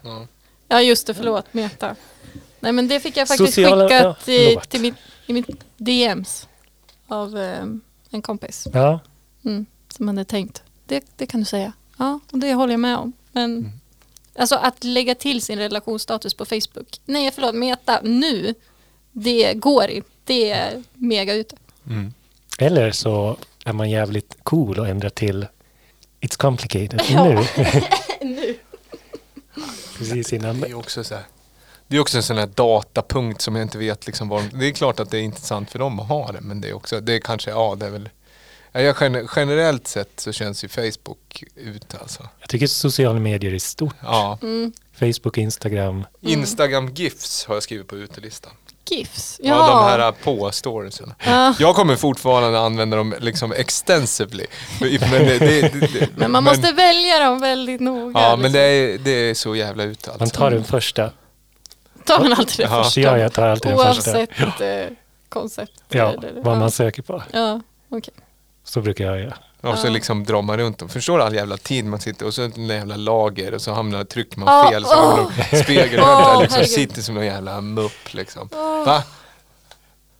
Speaker 1: ja, just det. Förlåt. Meta. Nej, men det fick jag faktiskt
Speaker 2: Sociala-
Speaker 1: skickat
Speaker 2: ja,
Speaker 1: i,
Speaker 2: förlåt.
Speaker 1: till mitt, i mitt DMs av ehm, en kompis
Speaker 2: Ja.
Speaker 1: mm, som hade tänkt. Det, det kan du säga. Ja, och det håller jag med om. Men
Speaker 2: Mm.
Speaker 1: alltså att lägga till sin relationsstatus på Facebook. Nej, förlåt. Meta nu. Det går inte. Det är mega ute.
Speaker 2: Eller så är man jävligt cool och ändrar till It's complicated
Speaker 1: Ja.
Speaker 2: nu.
Speaker 1: nu.
Speaker 2: Precis
Speaker 3: Det
Speaker 2: innan.
Speaker 3: är också så här. Det är också en sån här datapunkt som jag inte vet liksom var de, Det är klart att det är intressant för dem att ha det men det är också, det är kanske, ja det är väl Ja, jag, gen- generellt sett så känns ju Facebook ut alltså.
Speaker 2: Jag tycker sociala medier är stort.
Speaker 3: Ja.
Speaker 1: Mm.
Speaker 2: Facebook, Instagram.
Speaker 3: Instagram GIFs har jag skrivit på utelistan.
Speaker 1: GIFs.
Speaker 3: Ja. de här på storiesen. Jag kommer fortfarande använda dem liksom extensively. Men, det, det, det,
Speaker 1: Men man måste välja dem väldigt noga.
Speaker 3: Ja
Speaker 1: liksom.
Speaker 3: men det är, det är så jävla ute
Speaker 2: Man
Speaker 3: alltså.
Speaker 2: tar den första.
Speaker 1: Tar man alltid det
Speaker 3: Ja.
Speaker 1: första?
Speaker 2: Ja, jag tar alltid den första.
Speaker 1: Oavsett eh, koncept?
Speaker 2: Ja,
Speaker 1: eller-
Speaker 2: vad man söker på.
Speaker 1: Ja, okej.
Speaker 2: Så brukar jag göra.
Speaker 3: Och så liksom drar man runt dem. Förstår du all jävla tid man sitter och så en jävla lager och så hamnar, trycker man
Speaker 1: Ja,
Speaker 3: fel så hamnar oh. spegeln
Speaker 1: Åh,
Speaker 3: oh, liksom,
Speaker 1: herregud.
Speaker 3: sitter som någon jävla mupp liksom. Va?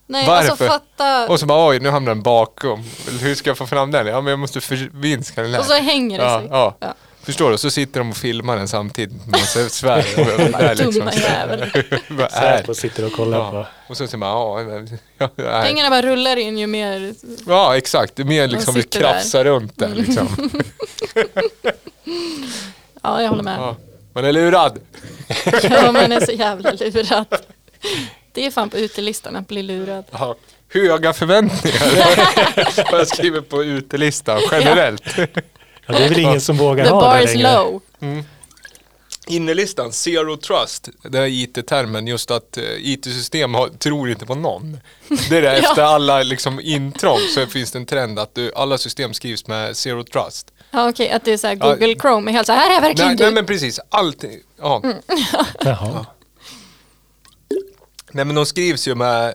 Speaker 1: Nej,
Speaker 3: Varför?
Speaker 1: alltså fatta.
Speaker 3: Och så bara oj, nu hamnar den bakom. Hur ska jag få fram den? Ja men jag måste förminska den här.
Speaker 1: Och så hänger det
Speaker 3: ja,
Speaker 1: sig.
Speaker 3: ja.
Speaker 1: Ja.
Speaker 3: Förstår du? Så sitter de och filmar den samtidigt med massa svär. Och där,
Speaker 1: Dumma jävel.
Speaker 3: Vad är
Speaker 2: Säpo
Speaker 3: det?
Speaker 2: sitter och kollar
Speaker 3: Ja.
Speaker 2: på.
Speaker 3: Och så ser man, ja, men- ja, nej.
Speaker 1: Pengarna bara rullar in ju mer.
Speaker 3: ja exakt. Det är mer liksom vi
Speaker 1: sitter där.
Speaker 3: krafsar runt där liksom.
Speaker 1: Ja, jag håller med.
Speaker 3: Ja. Man är lurad.
Speaker 1: Ja, man är så jävla lurad. Det är fan på utelistan att bli lurad.
Speaker 3: Ja, höga förväntningar. Vad jag skriver på utelistan generellt.
Speaker 2: Ja, det är väl ingen som vågar
Speaker 1: The
Speaker 2: ha
Speaker 1: bar
Speaker 2: det
Speaker 1: is
Speaker 2: längre.
Speaker 1: low.
Speaker 3: Innerlistan, zero trust. Det är IT-termen, just att eh, IT-system har, tror inte på någon. Det är det,
Speaker 1: Ja.
Speaker 3: efter alla liksom, intrång så finns det en trend att du, alla system skrivs med zero trust.
Speaker 1: Ja, okej, att det är så här
Speaker 3: Ja.
Speaker 1: Google Chrome är helt så här, här är verkligen
Speaker 3: Nej,
Speaker 1: du.
Speaker 3: nej men precis, allt. eh, Ja.
Speaker 2: Jaha.
Speaker 3: Nej men de skrivs ju med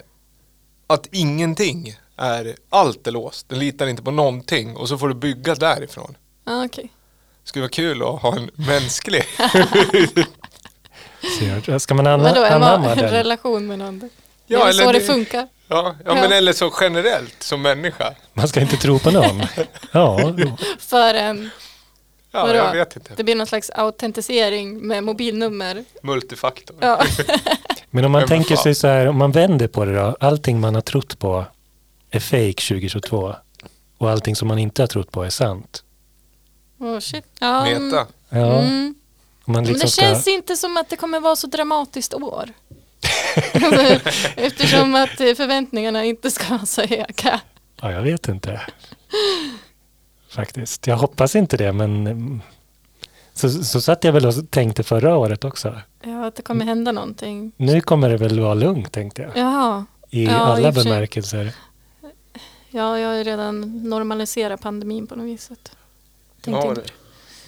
Speaker 3: att ingenting är, allt är låst. Den litar inte på någonting och så får du bygga därifrån.
Speaker 1: Ja, okej.
Speaker 3: Det skulle vara kul att ha en mänsklig
Speaker 2: Ser jag. Ska man anna-
Speaker 1: Vadå, är man
Speaker 2: anamma
Speaker 1: en
Speaker 2: den?
Speaker 1: relation med någon?
Speaker 3: Ja,
Speaker 1: Ja, det är
Speaker 3: eller
Speaker 1: så det
Speaker 3: det-
Speaker 1: funkar.
Speaker 3: Ja,
Speaker 1: Ja.
Speaker 3: ja, men eller så generellt som människa.
Speaker 2: Man ska inte tro på någon. Ja,
Speaker 1: Förrän
Speaker 3: Ja,
Speaker 1: Vadå?
Speaker 3: jag vet inte.
Speaker 1: Det blir någon slags autentisering med mobilnummer.
Speaker 3: Multifaktor.
Speaker 1: Ja.
Speaker 2: Men
Speaker 3: Men
Speaker 2: om man
Speaker 3: vad
Speaker 2: tänker
Speaker 3: fan.
Speaker 2: sig så här, om man vänder på det då, allting man har trott på är fake 2022 och allting som man inte har trott på är sant.
Speaker 1: Oh, shit. Ja, mm,
Speaker 3: Meta.
Speaker 2: Ja,
Speaker 1: Mm.
Speaker 2: om
Speaker 1: Men
Speaker 2: man liksom
Speaker 1: det
Speaker 2: ska,
Speaker 1: känns inte som att det kommer vara så dramatiskt år. Alltså, Eftersom att eh, förväntningarna inte ska vara så höga.
Speaker 2: ja, jag vet inte. Faktiskt, jag hoppas inte det, men mm, så, så satt jag väl och tänkte förra året också.
Speaker 1: Ja, att det kommer hända någonting.
Speaker 2: Nu kommer det väl vara lugnt tänkte jag,
Speaker 1: Jaha,
Speaker 2: i
Speaker 1: Ja, i
Speaker 2: alla
Speaker 1: och för sig.
Speaker 2: bemärkelser.
Speaker 1: ja, jag har ju redan normaliserat pandemin på något vis. så att- tänkte
Speaker 3: Ja,
Speaker 1: inte-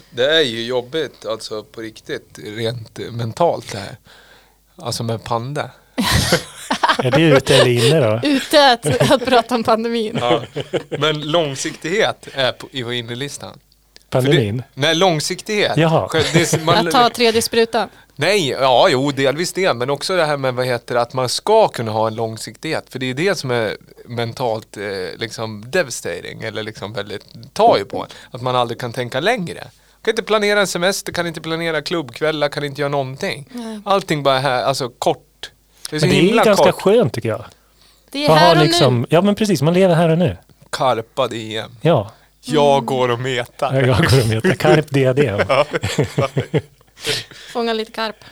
Speaker 3: det, det är ju jobbigt alltså på riktigt rent eh, mentalt det här. Alltså med panda.
Speaker 2: Är det ute eller inne då?
Speaker 1: Ute att, att prata om pandemin.
Speaker 3: Ja. Men långsiktighet är på, i på innerlistan. För
Speaker 2: Pandemin?
Speaker 3: Det, nej, långsiktighet.
Speaker 2: Jaha.
Speaker 3: Själv- Det, är- man,
Speaker 1: Att ta tredje sprutan.
Speaker 3: nej, ja, jo, delvis det. Men också det här med vad heter det, att man ska kunna ha en långsiktighet. För det är det som är mentalt eh, liksom devastating. Eller liksom väldigt, tar ju på en. Att man aldrig kan tänka längre. Kan inte planera en semester, kan inte planera klubbkvällar, kan inte göra någonting. Allting bara här, alltså kort. Det är så
Speaker 2: Men det är ju
Speaker 3: himla
Speaker 2: ganska
Speaker 3: kort.
Speaker 2: skönt tycker jag.
Speaker 1: Det är
Speaker 2: Man har
Speaker 1: här och nu.
Speaker 2: liksom, ja men precis, man lever här och nu.
Speaker 3: Karpad EM.
Speaker 2: Ja,
Speaker 3: Jag går och metar.
Speaker 2: jag går och metar Carp DD.
Speaker 1: Fånga lite karp.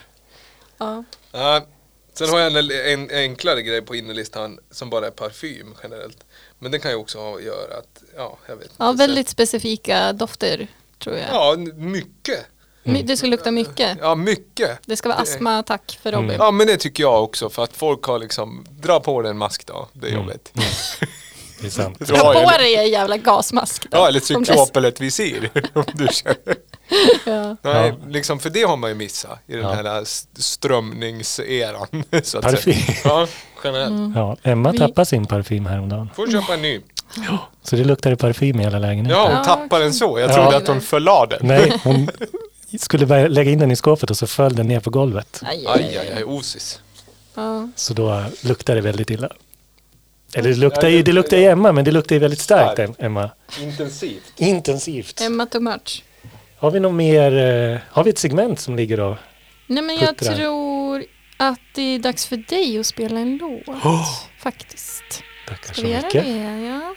Speaker 1: Ja.
Speaker 3: Ja, sen har jag en, en enklare grej på innerlistan som bara är parfym generellt. Men det kan ju också ha att göra att, ja, jag vet
Speaker 1: ja,
Speaker 3: inte.
Speaker 1: väldigt specifika dofter tror jag.
Speaker 3: Ja, n- mycket.
Speaker 1: My- Det ska lukta mycket.
Speaker 3: Ja, mycket.
Speaker 1: Det ska vara astmaattack
Speaker 2: Mm.
Speaker 1: för Robin.
Speaker 3: Ja, men det tycker jag också för att folk har liksom, dra på dig en mask då, det är
Speaker 2: Mm.
Speaker 3: jobbigt.
Speaker 2: Det är sant.
Speaker 3: Dra
Speaker 1: Ta på
Speaker 3: eller-
Speaker 1: dig en jävla gasmask. då.
Speaker 3: Ja, eller
Speaker 1: Om det är så-
Speaker 3: cyklop eller ett visir. om du känner.
Speaker 1: Ja.
Speaker 3: Nej,
Speaker 2: Ja.
Speaker 3: liksom, för det har man ju missat i den
Speaker 2: Ja.
Speaker 3: här s- strömningseran. Så att
Speaker 2: Parfym.
Speaker 3: Säga. Ja, generellt.
Speaker 1: Mm.
Speaker 2: Ja, Emma
Speaker 1: Vi-
Speaker 2: tappade sin parfym häromdagen.
Speaker 3: Får köpa en ny.
Speaker 2: Så det luktade parfym i hela lägenheten.
Speaker 3: Ja, hon
Speaker 1: Ja.
Speaker 3: tappar den så. Jag
Speaker 2: Ja.
Speaker 3: trodde att hon förlade den.
Speaker 2: Nej, hon skulle börja lägga in den i skåpet och så föll den ner på golvet.
Speaker 1: Aj, aj,
Speaker 3: Aj, aj, aj, osis.
Speaker 1: Ja.
Speaker 2: Så då luktade det väldigt illa. Eller det luktar ju, det luktar ju Emma, men det luktar ju väldigt starkt Em- Emma.
Speaker 3: Intensivt.
Speaker 2: Intensivt.
Speaker 1: Emma too much.
Speaker 2: Har vi något mer, eh, har vi ett segment som ligger då?
Speaker 1: Nej men jag
Speaker 2: Puttrar.
Speaker 1: tror att det är dags för dig att spela en låt. Faktiskt.
Speaker 2: Tackar
Speaker 1: Ska
Speaker 2: så
Speaker 1: vi göra
Speaker 2: mycket.
Speaker 1: det? Ja.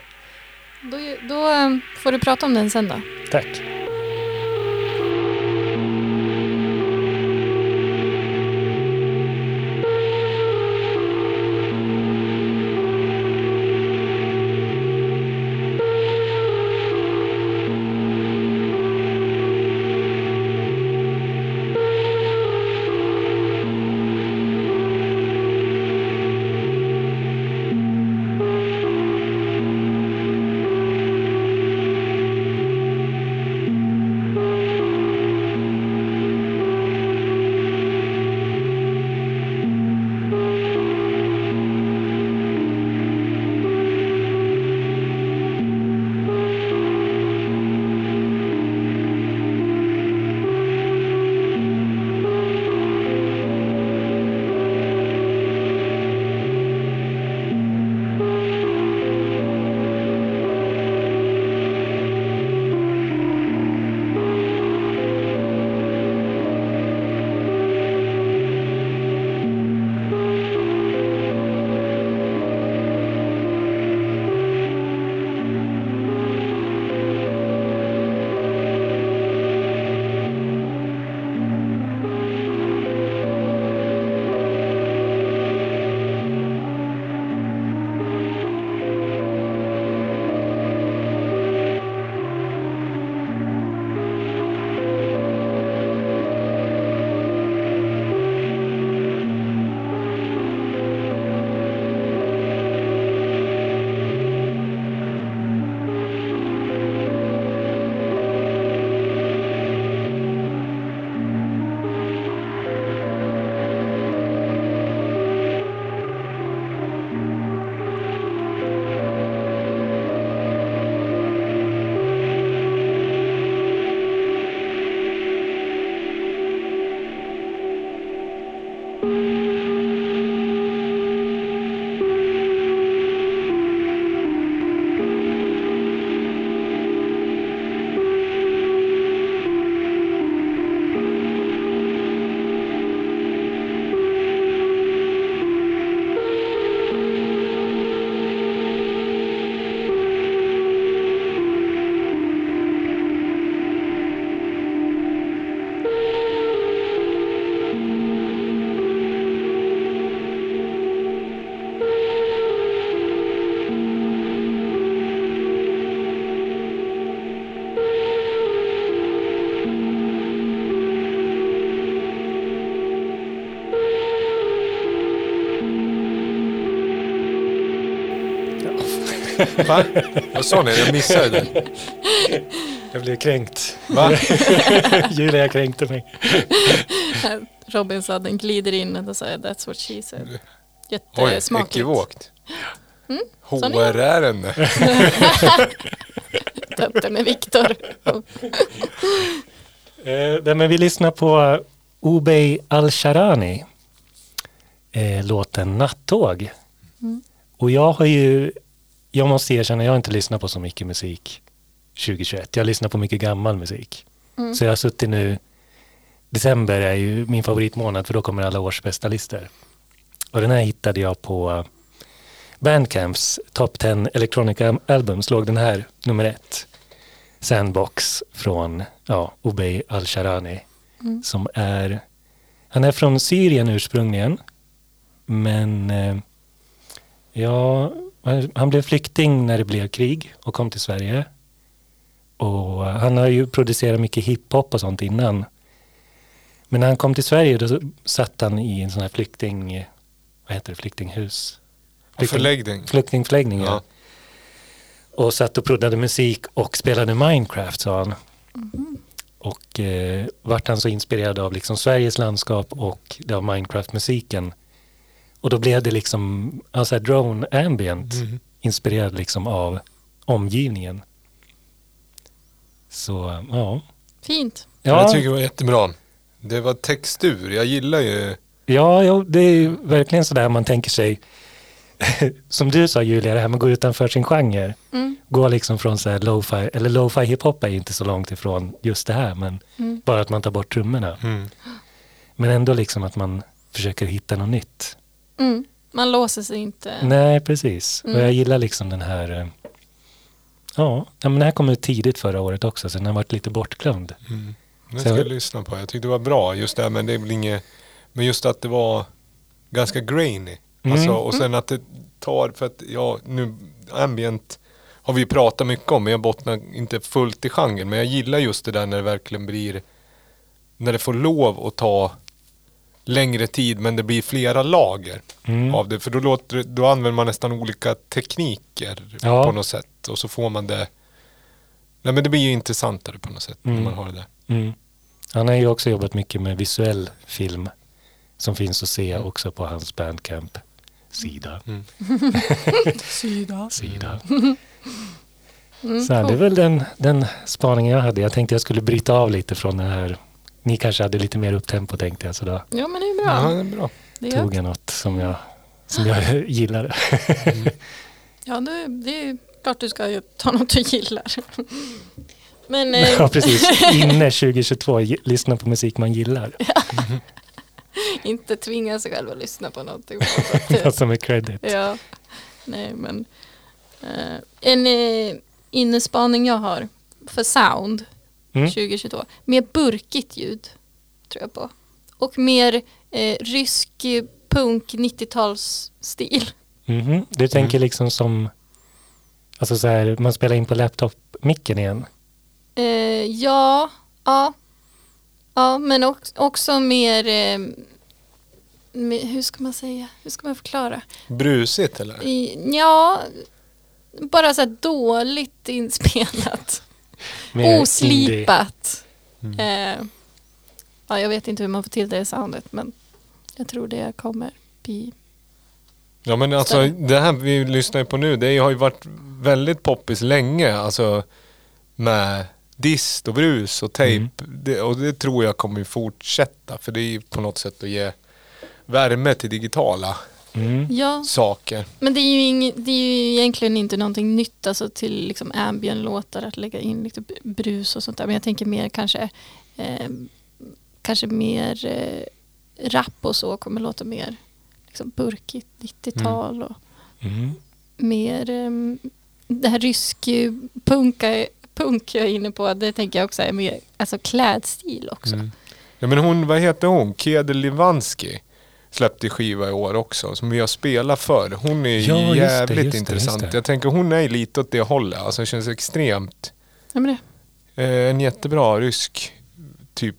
Speaker 1: Då, då ehm, får du prata om den sen då.
Speaker 2: Tack.
Speaker 3: Va? Vad sa ni? Jag missade det.
Speaker 2: Jag blev kränkt.
Speaker 3: Va?
Speaker 2: Julia kränkte mig.
Speaker 1: Robinsson glider in och säger that's what she said.
Speaker 3: Oj,
Speaker 1: Jättesmakligt.
Speaker 3: ekivokt.
Speaker 1: Mm? sa ni?
Speaker 3: HR-ärende.
Speaker 1: Döpte med Viktor.
Speaker 2: Eh, nej, men vi lyssnar på Obey Al-Sharani. Eh, låten Nattåg. Och jag har ju, jag måste erkänna, jag har inte lyssnat på så mycket musik 2021. Jag lyssnar på mycket gammal musik. Så jag har suttit nu, december är ju min favoritmånad för då kommer alla års bästa listor. Och den här hittade jag på Bandcamps Top 10 Electronic Al- Albums, låg den här nummer ett. Sandbox från ja, Obey Al-Sharani. Som är, han är från Syrien ursprungligen. Men eh, ja, han- han blev flykting när det blev krig och kom till Sverige. Och eh, han har ju producerat mycket hiphop och sånt innan. Men när han kom till Sverige då satt han i en sån här flykting, vad heter det, flyktinghus? Flykting-
Speaker 3: Förläggning.
Speaker 2: flyktingförläggning.
Speaker 3: Ja.
Speaker 2: Ja. Och satt och proddade musik och spelade Minecraft sa han.
Speaker 3: Mm-hmm.
Speaker 2: Och eh, vart han så inspirerad av liksom Sveriges landskap och av Minecraft-musiken. Och då blev det liksom alltså här drone ambient
Speaker 3: Mm-hmm.
Speaker 2: inspirerad liksom av omgivningen. Så ja.
Speaker 1: Fint.
Speaker 2: Ja,
Speaker 3: Jag tycker det var jättebra. Det var textur. Jag gillar ju...
Speaker 2: Ja, jo, det är ju verkligen sådär man tänker sig, som du sa Julia, det här med att gå utanför sin genre. Gå liksom från så här lo-fi, eller lo-fi hiphop är ju inte så långt ifrån just det här, men bara att man tar bort trummorna. Men ändå liksom att man försöker hitta något nytt.
Speaker 1: Mm. Man låser sig inte.
Speaker 2: Nej, precis. Och jag gillar liksom den här, eh, ja, ja, men den här kom ut tidigt förra året också, så den har varit lite bortglömd.
Speaker 3: Den
Speaker 2: Sen-
Speaker 3: ska jag lyssna på. Jag tyckte det var bra just det här, men det är väl inget... Men just att det var ganska grainy.
Speaker 2: Mm.
Speaker 3: Alltså, och sen att det tar, för att ja, nu ambient har vi ju pratat mycket om, men jag bottnar inte fullt i genren. Men jag gillar just det där när det verkligen blir, när det får lov att ta längre tid, men det blir flera lager
Speaker 2: Mm.
Speaker 3: av det. För då, låter, det- då använder man nästan olika tekniker
Speaker 2: Ja.
Speaker 3: på något sätt. Och så får man det, nej men det blir ju intressantare på något sätt när man har det där.
Speaker 2: Mm. Han har ju också jobbat mycket med visuell film som finns att se också på hans bandcamp sida. sida. sida. Så här, det är väl den, den spaningen jag hade. Jag tänkte jag skulle bryta av lite från den här. Ni kanske hade lite mer upptempo tänkte jag så då
Speaker 1: Ja men det är
Speaker 3: Ja,
Speaker 1: bra.
Speaker 3: det är bra.
Speaker 1: Det
Speaker 2: tog
Speaker 1: gör.
Speaker 2: jag något som jag, som jag gillade.
Speaker 1: Ja det, det är klart du ska ju ta något du gillar. Men eh,
Speaker 2: ja precis, inne 2022, ge- lyssna på musik man gillar.
Speaker 1: inte tvinga sig själv att lyssna på någonting.
Speaker 2: Alltså med credit.
Speaker 1: Ja, nej men. eh, en eh, innespaning jag har för sound
Speaker 2: Mm.
Speaker 1: 2022. Mer burkigt ljud, tror jag på. Och mer eh, rysk eh, punk 90-talsstil.
Speaker 2: Mhm, Du tänker liksom som, alltså så här, man spelar in på laptop-micken igen.
Speaker 1: Eh, ja, ja. Ja, men också, också mer, eh, mer, hur ska man säga, hur ska man förklara?
Speaker 3: Brusigt eller?
Speaker 1: I, ja, bara så här dåligt inspelat.
Speaker 2: Mer
Speaker 1: oslipat. Eh, ja, jag vet inte hur man får till det i soundet men jag tror det kommer bli.
Speaker 3: Ja men alltså det här vi lyssnar ju på nu, det har ju varit väldigt poppis länge. Alltså med dist och brus och tejp.
Speaker 2: Mm.
Speaker 3: Det, och det tror jag kommer ju fortsätta. För det är ju på något sätt att ge värme till digitala
Speaker 2: Mm.
Speaker 1: Ja,
Speaker 3: saker.
Speaker 1: men det är ju, ing, det är ju egentligen inte någonting nytt alltså till liksom ambient-låtar att lägga in lite b- brus och sånt där men jag tänker mer kanske eh, kanske mer eh, rap och så kommer låta mer liksom burkigt 90-tal och
Speaker 2: Mm.
Speaker 1: mer ehm, det här rysk eh, punka, punk jag är inne på, det tänker jag också är mer alltså klädstil också.
Speaker 3: Mm. Ja men hon, vad heter hon? Kede Livansky släppte ju skiva i år också, som vi har spelat för. Hon är
Speaker 2: Ja, just det,
Speaker 3: jävligt
Speaker 2: just det,
Speaker 3: intressant.
Speaker 2: just det.
Speaker 3: Jag tänker hon är lite åt det hållet. Alltså känns extremt
Speaker 1: Ja, men det.
Speaker 3: Eh, en jättebra rysk, typ,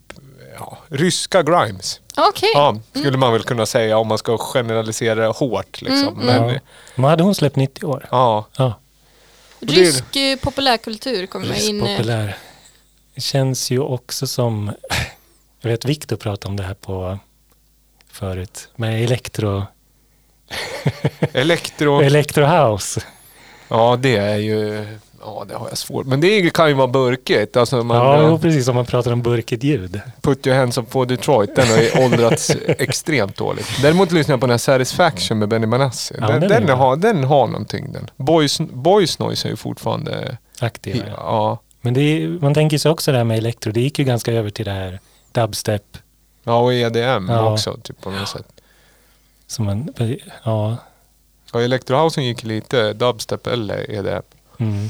Speaker 3: ja, ryska grimes.
Speaker 1: Okej,
Speaker 3: Ja, skulle man väl kunna säga
Speaker 2: Mm,
Speaker 3: om man ska generalisera det hårt. Liksom. Men,
Speaker 2: Ja. Men hade hon släppt 90 år?
Speaker 3: ja,
Speaker 2: Ja.
Speaker 3: det är-
Speaker 1: Rysk eh, populärkultur kommer in. eh,
Speaker 2: Populär. Det känns ju också som, jag vet Viktor pratade om det här på förut, med elektro,
Speaker 3: Elektro.
Speaker 2: elektro house.
Speaker 3: Ja, det är ju... Ja, det har jag svårt. Men det kan ju vara burkigt. Alltså man,
Speaker 2: ja, jo,
Speaker 3: ja,
Speaker 2: precis som man pratar om burkigt ljud.
Speaker 3: Put your hands up på Detroit, den har ju åldrats extremt dåligt. Däremot lyssnar jag på den här Satisfaction med Benny Manassi.
Speaker 2: Ja,
Speaker 3: den,
Speaker 2: den är
Speaker 3: den,
Speaker 2: bra.
Speaker 3: har, den har någonting den. Boys, boys Noise är ju fortfarande...
Speaker 2: Aktiva. Ja.
Speaker 3: Ja,
Speaker 2: Men det är, man tänker sig också det här med elektro, det gick ju ganska över till det här dubstep.
Speaker 3: ja och EDM
Speaker 2: Ja.
Speaker 3: också typ på något sätt.
Speaker 2: Som man, ja,
Speaker 3: Ja, Electrohousen gick lite dubstep eller EDM.
Speaker 2: mm,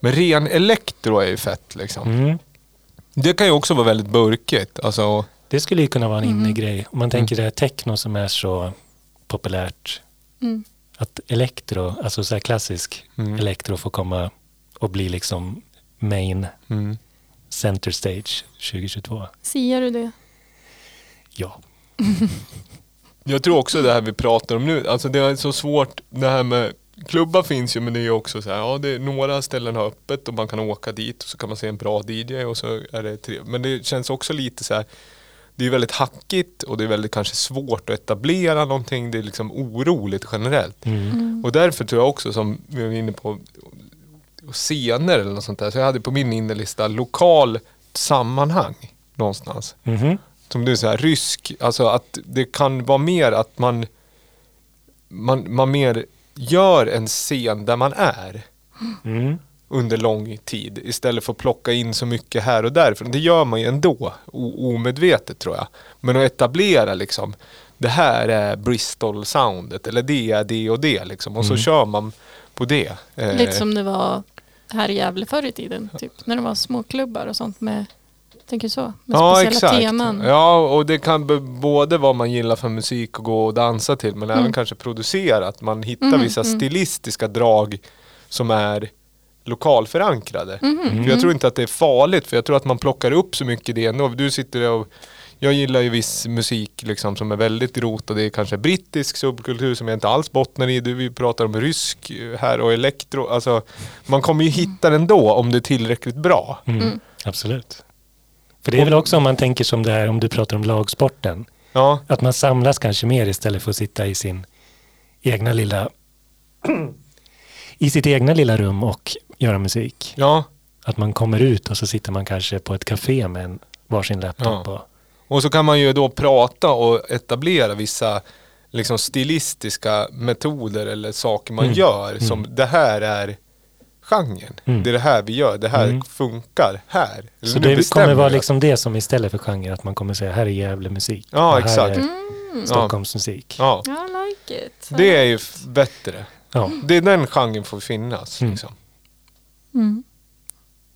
Speaker 3: Men ren elektro är ju fett liksom.
Speaker 2: mm.
Speaker 3: Det kan ju också vara väldigt burkigt. Alltså,
Speaker 2: Det skulle ju kunna vara en innegrej. Om man tänker det här techno som är så populärt.
Speaker 1: Mm.
Speaker 2: Att elektro, alltså så här klassisk
Speaker 3: Mm.
Speaker 2: elektro får komma och bli liksom main
Speaker 3: mm.
Speaker 2: center stage 2022.
Speaker 1: Siar du det?
Speaker 2: Ja.
Speaker 3: Jag tror också det här vi pratar om nu, alltså det är så svårt det här med Klubbar finns ju men det är ju också så här, ja det är, några ställen har öppet och man kan åka dit och så kan man se en bra DJ och så är det trevligt. Men det känns också lite så här, det är ju väldigt hackigt och det är väldigt kanske svårt att etablera någonting, det är liksom oroligt generellt. Och därför tror jag också som vi var inne på, scener eller något sånt där, så jag hade på min innerlista lokal sammanhang någonstans
Speaker 2: Mhm.
Speaker 3: som du säger, rysk, alltså att det kan vara mer att man, man, man mer gör en scen där man är
Speaker 2: Mm.
Speaker 3: under lång tid istället för att plocka in så mycket här och där. För det gör man ju ändå, o- omedvetet tror jag. Men att etablera liksom, det här är Bristol-soundet eller det är det och det liksom. Och så kör man på det. Eh,
Speaker 1: Lite som det var här i Gävle förr i tiden. Typ, när det var småklubbar och sånt med, tänker du så? Med speciella teman.
Speaker 3: Ja, och det kan be- både vad man gillar för musik och gå och dansa till
Speaker 1: Mm.
Speaker 3: men även kanske producera, att man hittar vissa stilistiska drag som är lokalförankrade.
Speaker 1: Mm-hmm.
Speaker 3: För jag tror inte att det är farligt, för jag tror att man plockar upp så mycket det ändå. Du sitter och jag gillar ju viss musik liksom som är väldigt rotad i kanske brittisk subkultur som jag inte alls bottnar i. Du, vi pratar om rysk eh, här och elektro. Alltså, man kommer ju hitta den då om det är tillräckligt bra.
Speaker 2: Mm. Absolut. För det är väl också om man tänker som det här om du pratar om lagsporten.
Speaker 3: Ja.
Speaker 2: Att man samlas kanske mer istället för att sitta i sin egna lilla i sitt egna lilla rum och göra musik.
Speaker 3: ja.
Speaker 2: Att man kommer ut och så sitter man kanske på ett café med en varsin laptop.
Speaker 3: Ja.
Speaker 2: Och,
Speaker 3: Och så kan man ju då prata och etablera vissa liksom stilistiska metoder eller saker
Speaker 2: Mm.
Speaker 3: man gör som det här är genren. Det är det här vi gör, det här funkar här.
Speaker 2: Mm. så
Speaker 3: Nu
Speaker 2: det
Speaker 3: bestämmer
Speaker 2: kommer vara
Speaker 3: vi.
Speaker 2: liksom det som istället för genre, att man kommer säga här är Gävle musik.
Speaker 3: Ja,
Speaker 2: och här
Speaker 3: exakt.
Speaker 2: är Stockholms musik. Ja.
Speaker 3: Ja,
Speaker 1: I like it.
Speaker 3: det är ju f- bättre. Det är den genren får finnas. Liksom.
Speaker 1: Mm.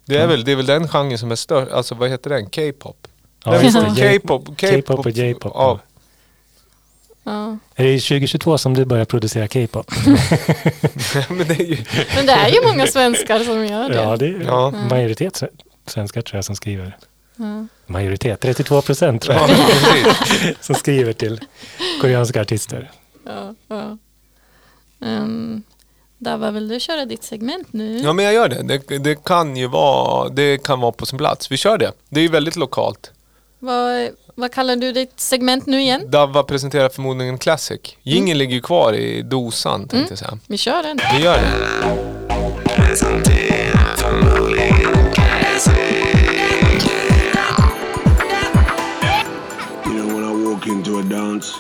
Speaker 3: Det,
Speaker 2: Mm.
Speaker 3: är väl, det är väl den genren som är störst, alltså vad heter den? K-pop?
Speaker 2: Ja,
Speaker 3: Den-
Speaker 2: just det.
Speaker 3: K-pop,
Speaker 2: K-pop och J-pop.
Speaker 3: Ja.
Speaker 1: Ja.
Speaker 2: Är det 2022 som du börjar producera K-pop?
Speaker 3: Mm. Men det är ju,
Speaker 1: Men det är ju många svenskar som gör det.
Speaker 2: Ja, det är
Speaker 3: Ja.
Speaker 2: majoritet sve- svenskar tror jag som skriver.
Speaker 1: Ja.
Speaker 2: Majoritet, 32 procent tror
Speaker 3: ja,
Speaker 2: jag,
Speaker 3: precis.
Speaker 2: som skriver till koreanska artister.
Speaker 1: Ja, ja. Um, Dava, vill du köra ditt segment nu?
Speaker 3: Ja men jag gör det. det. Det kan ju vara, det kan vara på sin plats. Vi kör det. Det är ju väldigt lokalt.
Speaker 1: Vad, vad kallar du ditt segment nu igen?
Speaker 3: Davva presenterar förmodligen Classic. Jingeln ligger ju kvar i dosan tänkte jag säga.
Speaker 1: Vi kör den.
Speaker 3: Vi gör det.
Speaker 6: You know, when I walk into a dance,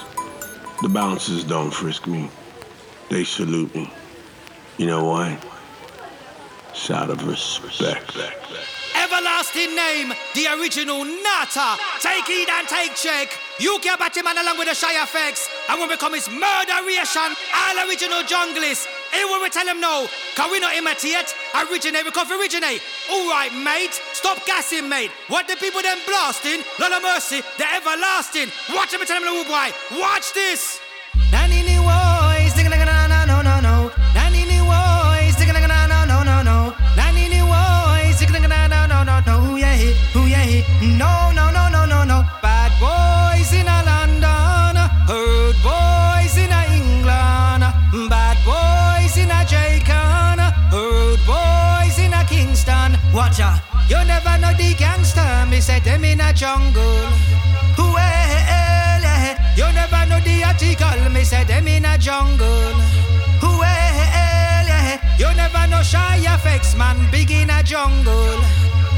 Speaker 6: the bouncers don't frisk me. They salute me. You know why? It's out of respect.
Speaker 7: Everlasting name, the original Nata. Take heed and take check. You care about your man along with the shy effects. And when we come, it's murderation. All original junglists. Here when we tell them no, can we not imitate? Originate, we come for originate. All right, mate. Stop gassing, mate. What the people them blasting? Lord of mercy, the everlasting. Watch them and tell them, little boy. Watch this. Nanini boys, digga digga na na no no no. Nanini boys, digga digga na no no no no. Nanini boys, digga digga na no no no no. Ooh yeah, he, ooh yeah, he. no no no no no no. Bad boys in a London, rude boys in a England, bad boys in a Jamaican, rude boys. gangster, me say them in a jungle. eh, Well, eh, you never know the article, me say them in a jungle. eh, Well, eh, you never know shy effects, man, big in a jungle.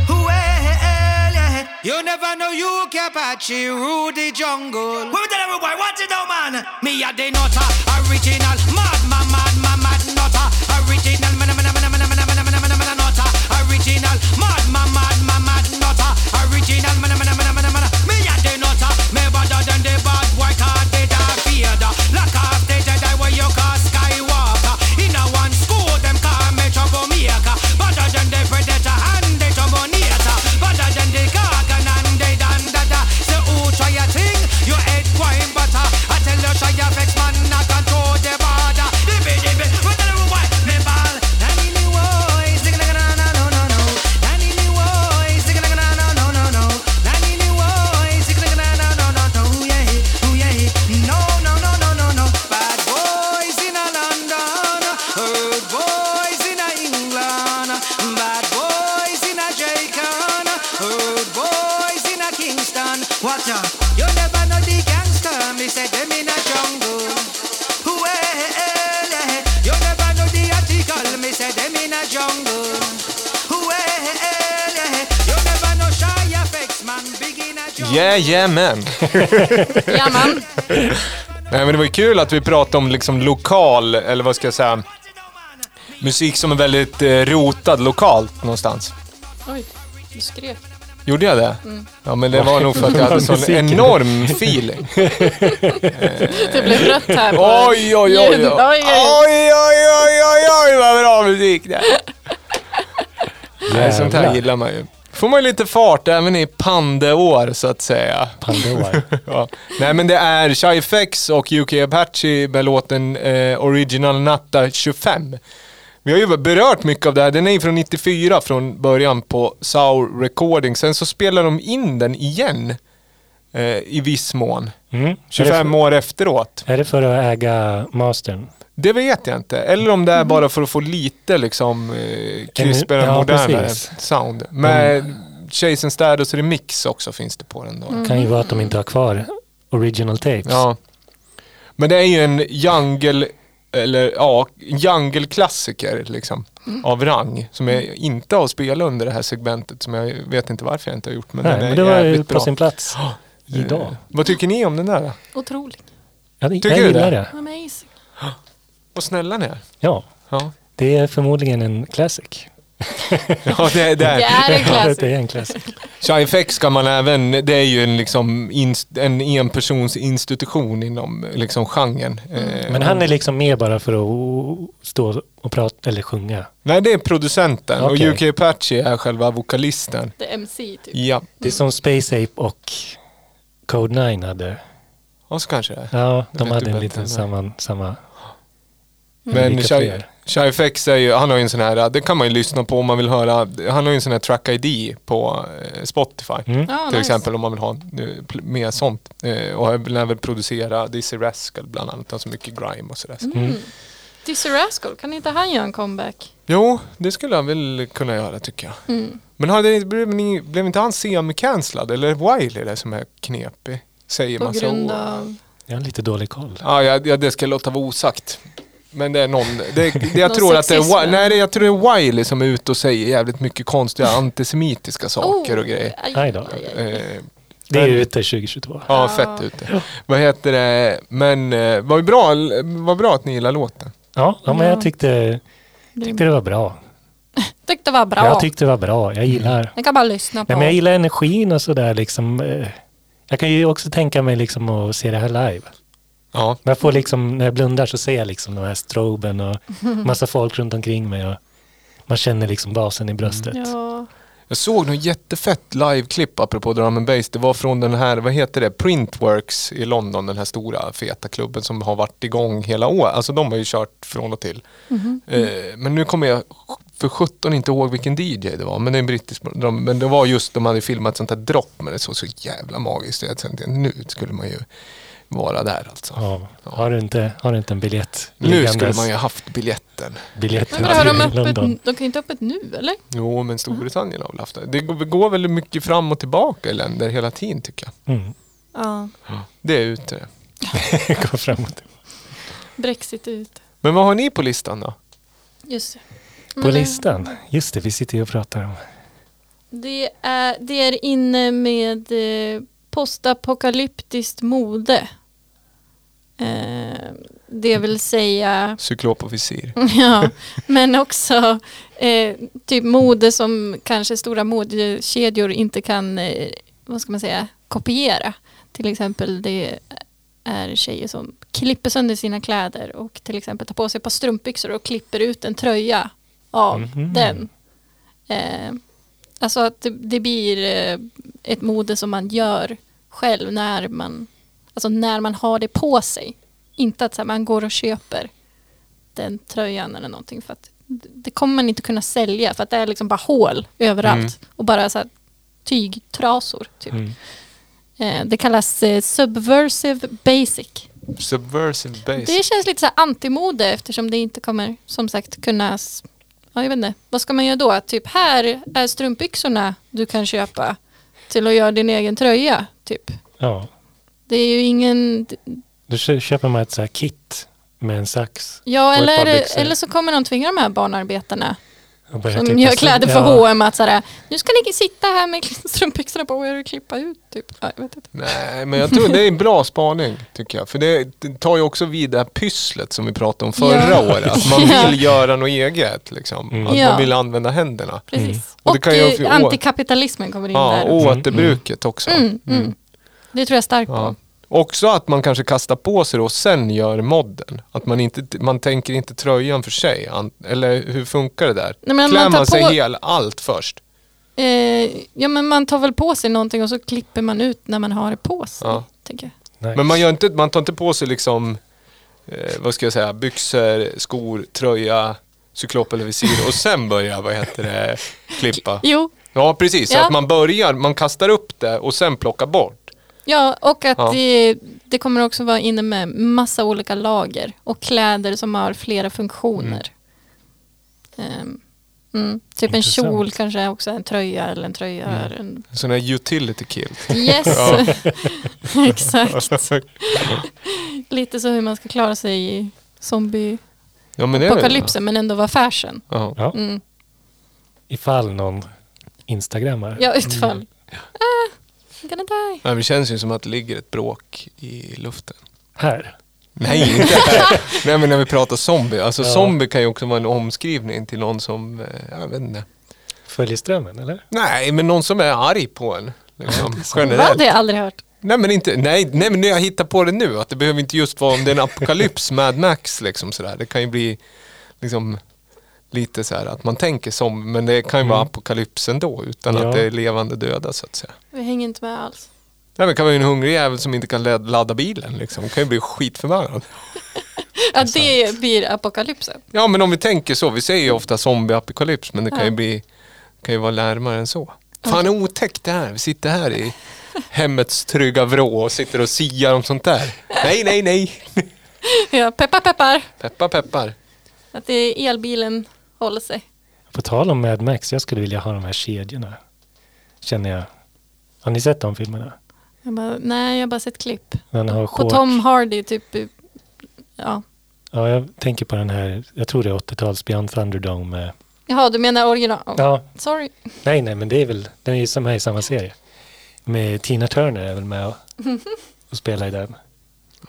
Speaker 7: eh, Well, you never know you Apache rule the jungle. What tell everybody what you know, man? Me a the nutter, original, mad, mad, mad, mad, mad nutter, original, man, man, man, man, man, man, man, man, man, man, nutter, original, mad, mad, mad, mad, mad nutter, original, man, man, man, man, man, man. Me a the nutter, me better than the bad boy, cause they da feared. Lock off the Jedi where you call Skywalker. In a one school, them call me troublemaker. Better than the predator and the dominator. Better than the gargan and the dandada. Say who try a thing, your head crime butter. I tell you, shy effects man, I control the border. Dibby dibby, we tell you why, me ball. Nanny me boy, sing like na na no no no. Nanny me boy, sing like na na no no no. Nanny me boy, sing like na na no no no. Ooh yeah, ooh yeah. No no no no no no. Bad boys in a London, hurt boys in a England, bad boys in a Jamaican, hurt boys in a Kingston. What up? You never know the gangster, me say them in a jungle. Well, you never know the article, me say them in a jungle. Well, you never know shy effects, man, big in a jungle.
Speaker 3: Yeah, yeah man.
Speaker 1: Ja, man.
Speaker 3: Nej men det var ju kul att vi pratade om liksom lokal, eller vad ska jag säga, musik som är väldigt eh, rotad lokalt någonstans.
Speaker 1: Oj, du skrek.
Speaker 3: Gjorde jag det? Ja men det var nog för att jag hade sån
Speaker 2: Musiken.
Speaker 3: enorm feeling.
Speaker 1: Det typ blev rött här. på-
Speaker 3: Oj, oj, oj. Oj,
Speaker 1: Ljud.
Speaker 3: oj, oj, oj, oj, oj vad bra musik det är. Nej, sånt här
Speaker 2: Jävlar.
Speaker 3: gillar man ju. Får man ju lite fart även i pandeår så att säga.
Speaker 2: Pandora.
Speaker 3: Ja. Nej men det är Shy FX och UK Apache med låten eh, Original Natta 25. Vi har ju berört mycket av det här. Den är ju från 94 från början på Sour Recording. Sen så spelar de in den igen eh, i viss mån.
Speaker 2: Mm.
Speaker 3: 25 år efteråt.
Speaker 2: Är det för att äga mastern?
Speaker 3: Det vet jag inte. Eller om det är bara för att få lite liksom eh, krispigare,
Speaker 2: Ja,
Speaker 3: modernare
Speaker 2: precis. Mm.
Speaker 3: sound. Med Chase and Stados remix också finns det på den då.
Speaker 2: Kan ju vara att de inte har kvar original tapes.
Speaker 3: Ja. Men det är ju en jungle, eller ja, jungle-klassiker liksom. Av rang. Som jag inte har spelat under det här segmentet. Som jag vet inte varför jag inte har gjort. Men
Speaker 2: Nej,
Speaker 3: den är
Speaker 2: men det var ju
Speaker 3: jävligt
Speaker 2: på
Speaker 3: bra.
Speaker 2: sin plats
Speaker 3: Eh,
Speaker 2: idag.
Speaker 3: Vad tycker ni om den där? då?
Speaker 1: Otrolig.
Speaker 2: Jag,
Speaker 3: tycker
Speaker 2: jag
Speaker 3: du
Speaker 2: gillar
Speaker 3: det?
Speaker 2: det.
Speaker 1: Amazing.
Speaker 3: Vad snälla ni är.
Speaker 2: Ja,
Speaker 3: Ja,
Speaker 2: det är förmodligen en classic.
Speaker 3: ja det, det
Speaker 1: Det är
Speaker 3: är
Speaker 1: en
Speaker 2: Ja,
Speaker 1: classic.
Speaker 2: det är en classic.
Speaker 3: Shifex ska man även, det är ju en, liksom, inst, en enpersonsinstitution inom liksom, genren. Eh,
Speaker 2: Men han är liksom med bara för att stå och prata eller sjunga.
Speaker 3: Nej, det är producenten
Speaker 2: Okej.
Speaker 3: och UK Apache är själva vokalisten.
Speaker 1: Det är MC typ.
Speaker 3: Ja,
Speaker 2: Det är som Space Ape och Code 9 hade.
Speaker 3: och så kanske det är.
Speaker 2: Ja,
Speaker 3: Jag
Speaker 2: de
Speaker 3: vet
Speaker 2: hade
Speaker 3: ju
Speaker 2: en
Speaker 3: bättre
Speaker 2: liten
Speaker 3: än det.
Speaker 2: samman, samma...
Speaker 3: Men
Speaker 2: Vilka
Speaker 3: Shai-
Speaker 2: fler?
Speaker 3: Shai Fex är ju, han har ju en sån här, det kan man ju lyssna på om man vill höra, han har ju en sån här track ID på eh, Spotify.
Speaker 2: Mm.
Speaker 1: Ja,
Speaker 2: Ah,
Speaker 1: nice.
Speaker 3: Till exempel om man vill ha eh, pl- mer sånt. Eh, Och han vill även producera Dizzy Rascal bland annat, alltså mycket grime och sådär.
Speaker 1: Dizzy Rascal, kan inte han göra en comeback?
Speaker 3: Jo, det skulle han väl kunna göra tycker jag.
Speaker 1: Mm.
Speaker 3: Men hade, ni- blev, ni, blev inte han semi-cancellad? Eller är Wiley det som är knepig? Säger
Speaker 1: På
Speaker 3: man så?
Speaker 1: grund av...
Speaker 2: Jag har lite dålig koll.
Speaker 3: Ja, ja, ja, det ska jag låta vara osagt. Men det är någon, det, det, jag
Speaker 1: Någon
Speaker 3: tror att det är,
Speaker 1: sexism,
Speaker 3: Wi-
Speaker 1: eller?
Speaker 3: nej, det- jag tror det är Wiley som är ute och säger jävligt mycket konstiga
Speaker 1: Oh.
Speaker 3: antisemitiska saker och grejer.
Speaker 1: aj,
Speaker 2: Aj då.
Speaker 1: aj, aj.
Speaker 3: Eh,
Speaker 2: Det är ute 2022.
Speaker 3: ja, fett ute. Vad heter det, men eh, vad bra, vad bra att ni gillar låten.
Speaker 2: Ja, ja men
Speaker 1: Ja.
Speaker 2: jag tyckte, tyckte det var bra.
Speaker 1: Tyckte det var bra.
Speaker 2: Jag tyckte det var bra. Jag gillar
Speaker 1: Ni kan bara lyssna på.
Speaker 2: Nej, men jag gillar energin och sådär liksom. eh, Jag kan ju också tänka mig liksom att se det här live.
Speaker 3: Ja,
Speaker 2: Men jag får liksom, när jag blundar så ser jag liksom de här stroben och massa folk runt omkring mig och man känner liksom basen i bröstet.
Speaker 1: Mm. Ja,
Speaker 3: jag såg något jättefett liveklipp apropå drum and bass. Det var från den här, vad heter det, Printworks i London, den här stora feta klubben som har varit igång hela året. Alltså de har ju kört från och till. Eh, men nu kommer jag för 17 inte ihåg vilken DJ det var, men det är en brittisk de, Men det var just, de hade filmat sånt här dropp, men det såg så jävla magiskt ut. Jag tänkte, nu skulle man ju vara där alltså.
Speaker 2: Ja. Har, du inte, har du inte en biljett
Speaker 3: Nu skulle man ju ha haft biljetten.
Speaker 2: Biljetten
Speaker 1: Men vadå, har de,
Speaker 2: till London.
Speaker 1: öppet, de kan ju inte ha öppet nu eller?
Speaker 3: Jo, men Storbritannien har väl haft det. Det går, går väl mycket fram och tillbaka i länder hela tiden tycker jag.
Speaker 2: Mm.
Speaker 1: Ja,
Speaker 3: Det är ute.
Speaker 2: Gå framåt.
Speaker 1: Brexit är ute.
Speaker 3: Men vad har ni på listan då?
Speaker 1: Just det.
Speaker 2: På listan. Just det, vi sitter ju och pratar om.
Speaker 1: Det är, det är inne med eh, postapokalyptiskt mode. Eh, det vill säga,
Speaker 3: Cyklop och visir.
Speaker 1: ja, men också eh, typ mode som kanske stora modekedjor inte kan, eh, vad ska man säga, kopiera. Till exempel det är tjejer som klipper sönder sina kläder och till exempel tar på sig ett par strumpbyxor och klipper ut en tröja av
Speaker 2: Mhm.
Speaker 1: den. Eh, alltså att det, det blir eh, ett mode som man gör själv när man, alltså när man har det på sig. Inte att så här, man går och köper den tröjan eller någonting för att det det kommer man inte kunna sälja för att det är liksom bara hål överallt och bara så här tygtrasor. Typ.
Speaker 2: Mm.
Speaker 1: Eh, Det kallas eh, subversive basic.
Speaker 3: Subversive base.
Speaker 1: Det känns lite så här antimode eftersom det inte kommer som sagt kunna... s- Ja, jag vet inte. Vad ska man göra då? Typ här är strumpbyxorna du kan köpa till att göra din egen tröja. Typ.
Speaker 2: Ja.
Speaker 1: Det är ju ingen...
Speaker 2: Då kö- köper man ett så här kit med en sax.
Speaker 1: Ja,
Speaker 2: ett par
Speaker 1: eller,
Speaker 2: byxor.
Speaker 1: eller så kommer de tvinga de här barnarbetarna
Speaker 2: och börjar
Speaker 1: som
Speaker 2: klippa
Speaker 1: gör
Speaker 2: sig.
Speaker 1: kläder för
Speaker 2: Ja.
Speaker 1: H&M att så här, nu ska ni sitta här med strumpbyxorna på er och klippa ut. Typ. Ja, jag vet inte.
Speaker 3: Nej, men jag tror det är en bra spaning tycker jag. För det det tar ju också vid det här pysslet som vi pratade om förra
Speaker 1: Ja.
Speaker 3: året. Att man vill
Speaker 1: Ja.
Speaker 3: göra något eget liksom. Att
Speaker 1: Ja.
Speaker 3: man vill använda händerna.
Speaker 1: Precis.
Speaker 3: Mm. Och
Speaker 1: Och,
Speaker 3: det kan ju-
Speaker 1: eh, antikapitalismen kommer in
Speaker 3: Ja,
Speaker 1: där.
Speaker 3: och återbruket också.
Speaker 1: Mm, mm. Det tror jag starkt
Speaker 3: Ja.
Speaker 1: på.
Speaker 3: Också att man kanske kastar på sig det och sen gör modden. Att man inte, man tänker inte tröjan för sig. An- Eller hur funkar det där?
Speaker 1: Nej, men
Speaker 3: Klär man,
Speaker 1: man tar
Speaker 3: sig
Speaker 1: på-
Speaker 3: hel, allt först?
Speaker 1: Eh, ja men man tar väl på sig någonting och så klipper man ut när man har det på sig.
Speaker 3: Ja.
Speaker 1: Tänker jag.
Speaker 2: Nice.
Speaker 3: Men man, gör inte, man tar inte på sig liksom, eh, vad ska jag säga, byxor, skor, tröja, cyklop eller visir och sen börjar, vad heter det, klippa.
Speaker 1: Jo,
Speaker 3: Ja, precis. Så
Speaker 1: Ja.
Speaker 3: att man börjar, man kastar upp det och sen plockar bort.
Speaker 1: ja och att
Speaker 3: Ja.
Speaker 1: Det, det kommer också vara inne med massa olika lager och kläder som har flera funktioner. Ehm, mm. Typ en
Speaker 2: Intressant.
Speaker 1: kjol kanske också, en tröja eller en tröja. eller En...
Speaker 3: En sån här utility kilt.
Speaker 1: Yes, exakt. Lite så hur man ska klara sig i zombie-apokalypsen
Speaker 3: Ja, men det är det.
Speaker 1: men ändå vara fashion.
Speaker 3: Ja.
Speaker 2: Ja.
Speaker 1: Mm.
Speaker 2: Ifall någon instagrammar.
Speaker 1: Mm. Ja, utfall. Ah, I'm gonna die.
Speaker 3: Nej, men det känns ju som att det ligger ett bråk i luften.
Speaker 2: Här.
Speaker 3: Nej, inte här. Nej, men när vi pratar zombie. Alltså
Speaker 2: Ja.
Speaker 3: zombie kan ju också vara en omskrivning till någon som, eh, jag vet inte.
Speaker 2: Följer strömmen, eller?
Speaker 3: Nej, men någon som är arg på en. Liksom,
Speaker 1: Va? Det har
Speaker 3: generellt.
Speaker 1: jag aldrig hört.
Speaker 3: Nej men inte, nej, nej men jag hittar på det nu att det behöver inte just vara om det är en apokalyps Mad Max liksom sådär. Det kan ju bli liksom lite så här att man tänker som, men det kan ju vara apokalyps ändå utan
Speaker 2: Ja.
Speaker 3: att det är levande döda så att säga.
Speaker 1: Vi hänger inte med alls.
Speaker 3: Nej men det kan vara en hungrig jävel som inte kan lad- ladda bilen liksom, Det kan ju bli skitförbannad.
Speaker 1: Ja, det blir apokalypsen.
Speaker 3: Ja men om vi tänker så, vi säger ju ofta zombie-apokalyps men det kan ju
Speaker 1: Ja.
Speaker 3: bli, kan ju vara närmare än så. Fan otäckt det här, vi sitter här i hemmets trygga vrå och sitter och siar om sånt där. Nej, nej, nej.
Speaker 1: Ja, peppar peppar.
Speaker 3: Peppar peppar.
Speaker 1: Att det är elbilen håller sig.
Speaker 2: På tal om Mad Max, jag skulle vilja ha de här kedjorna. Känner jag. Har ni sett de filmerna?
Speaker 1: Jag bara, nej, jag har bara sett klipp.
Speaker 2: Den har
Speaker 1: På
Speaker 2: shorts.
Speaker 1: Tom Hardy, typ. Ja.
Speaker 2: Ja, jag tänker på den här, jag tror det är 80-tals Beyond Thunderdome. eh.
Speaker 1: Jaha, du menar original? Oh,
Speaker 2: Ja,
Speaker 1: Sorry.
Speaker 2: nej, nej, men det är väl, den är ju som här i samma serie. Med Tina Turner är väl med och, och spelar i den.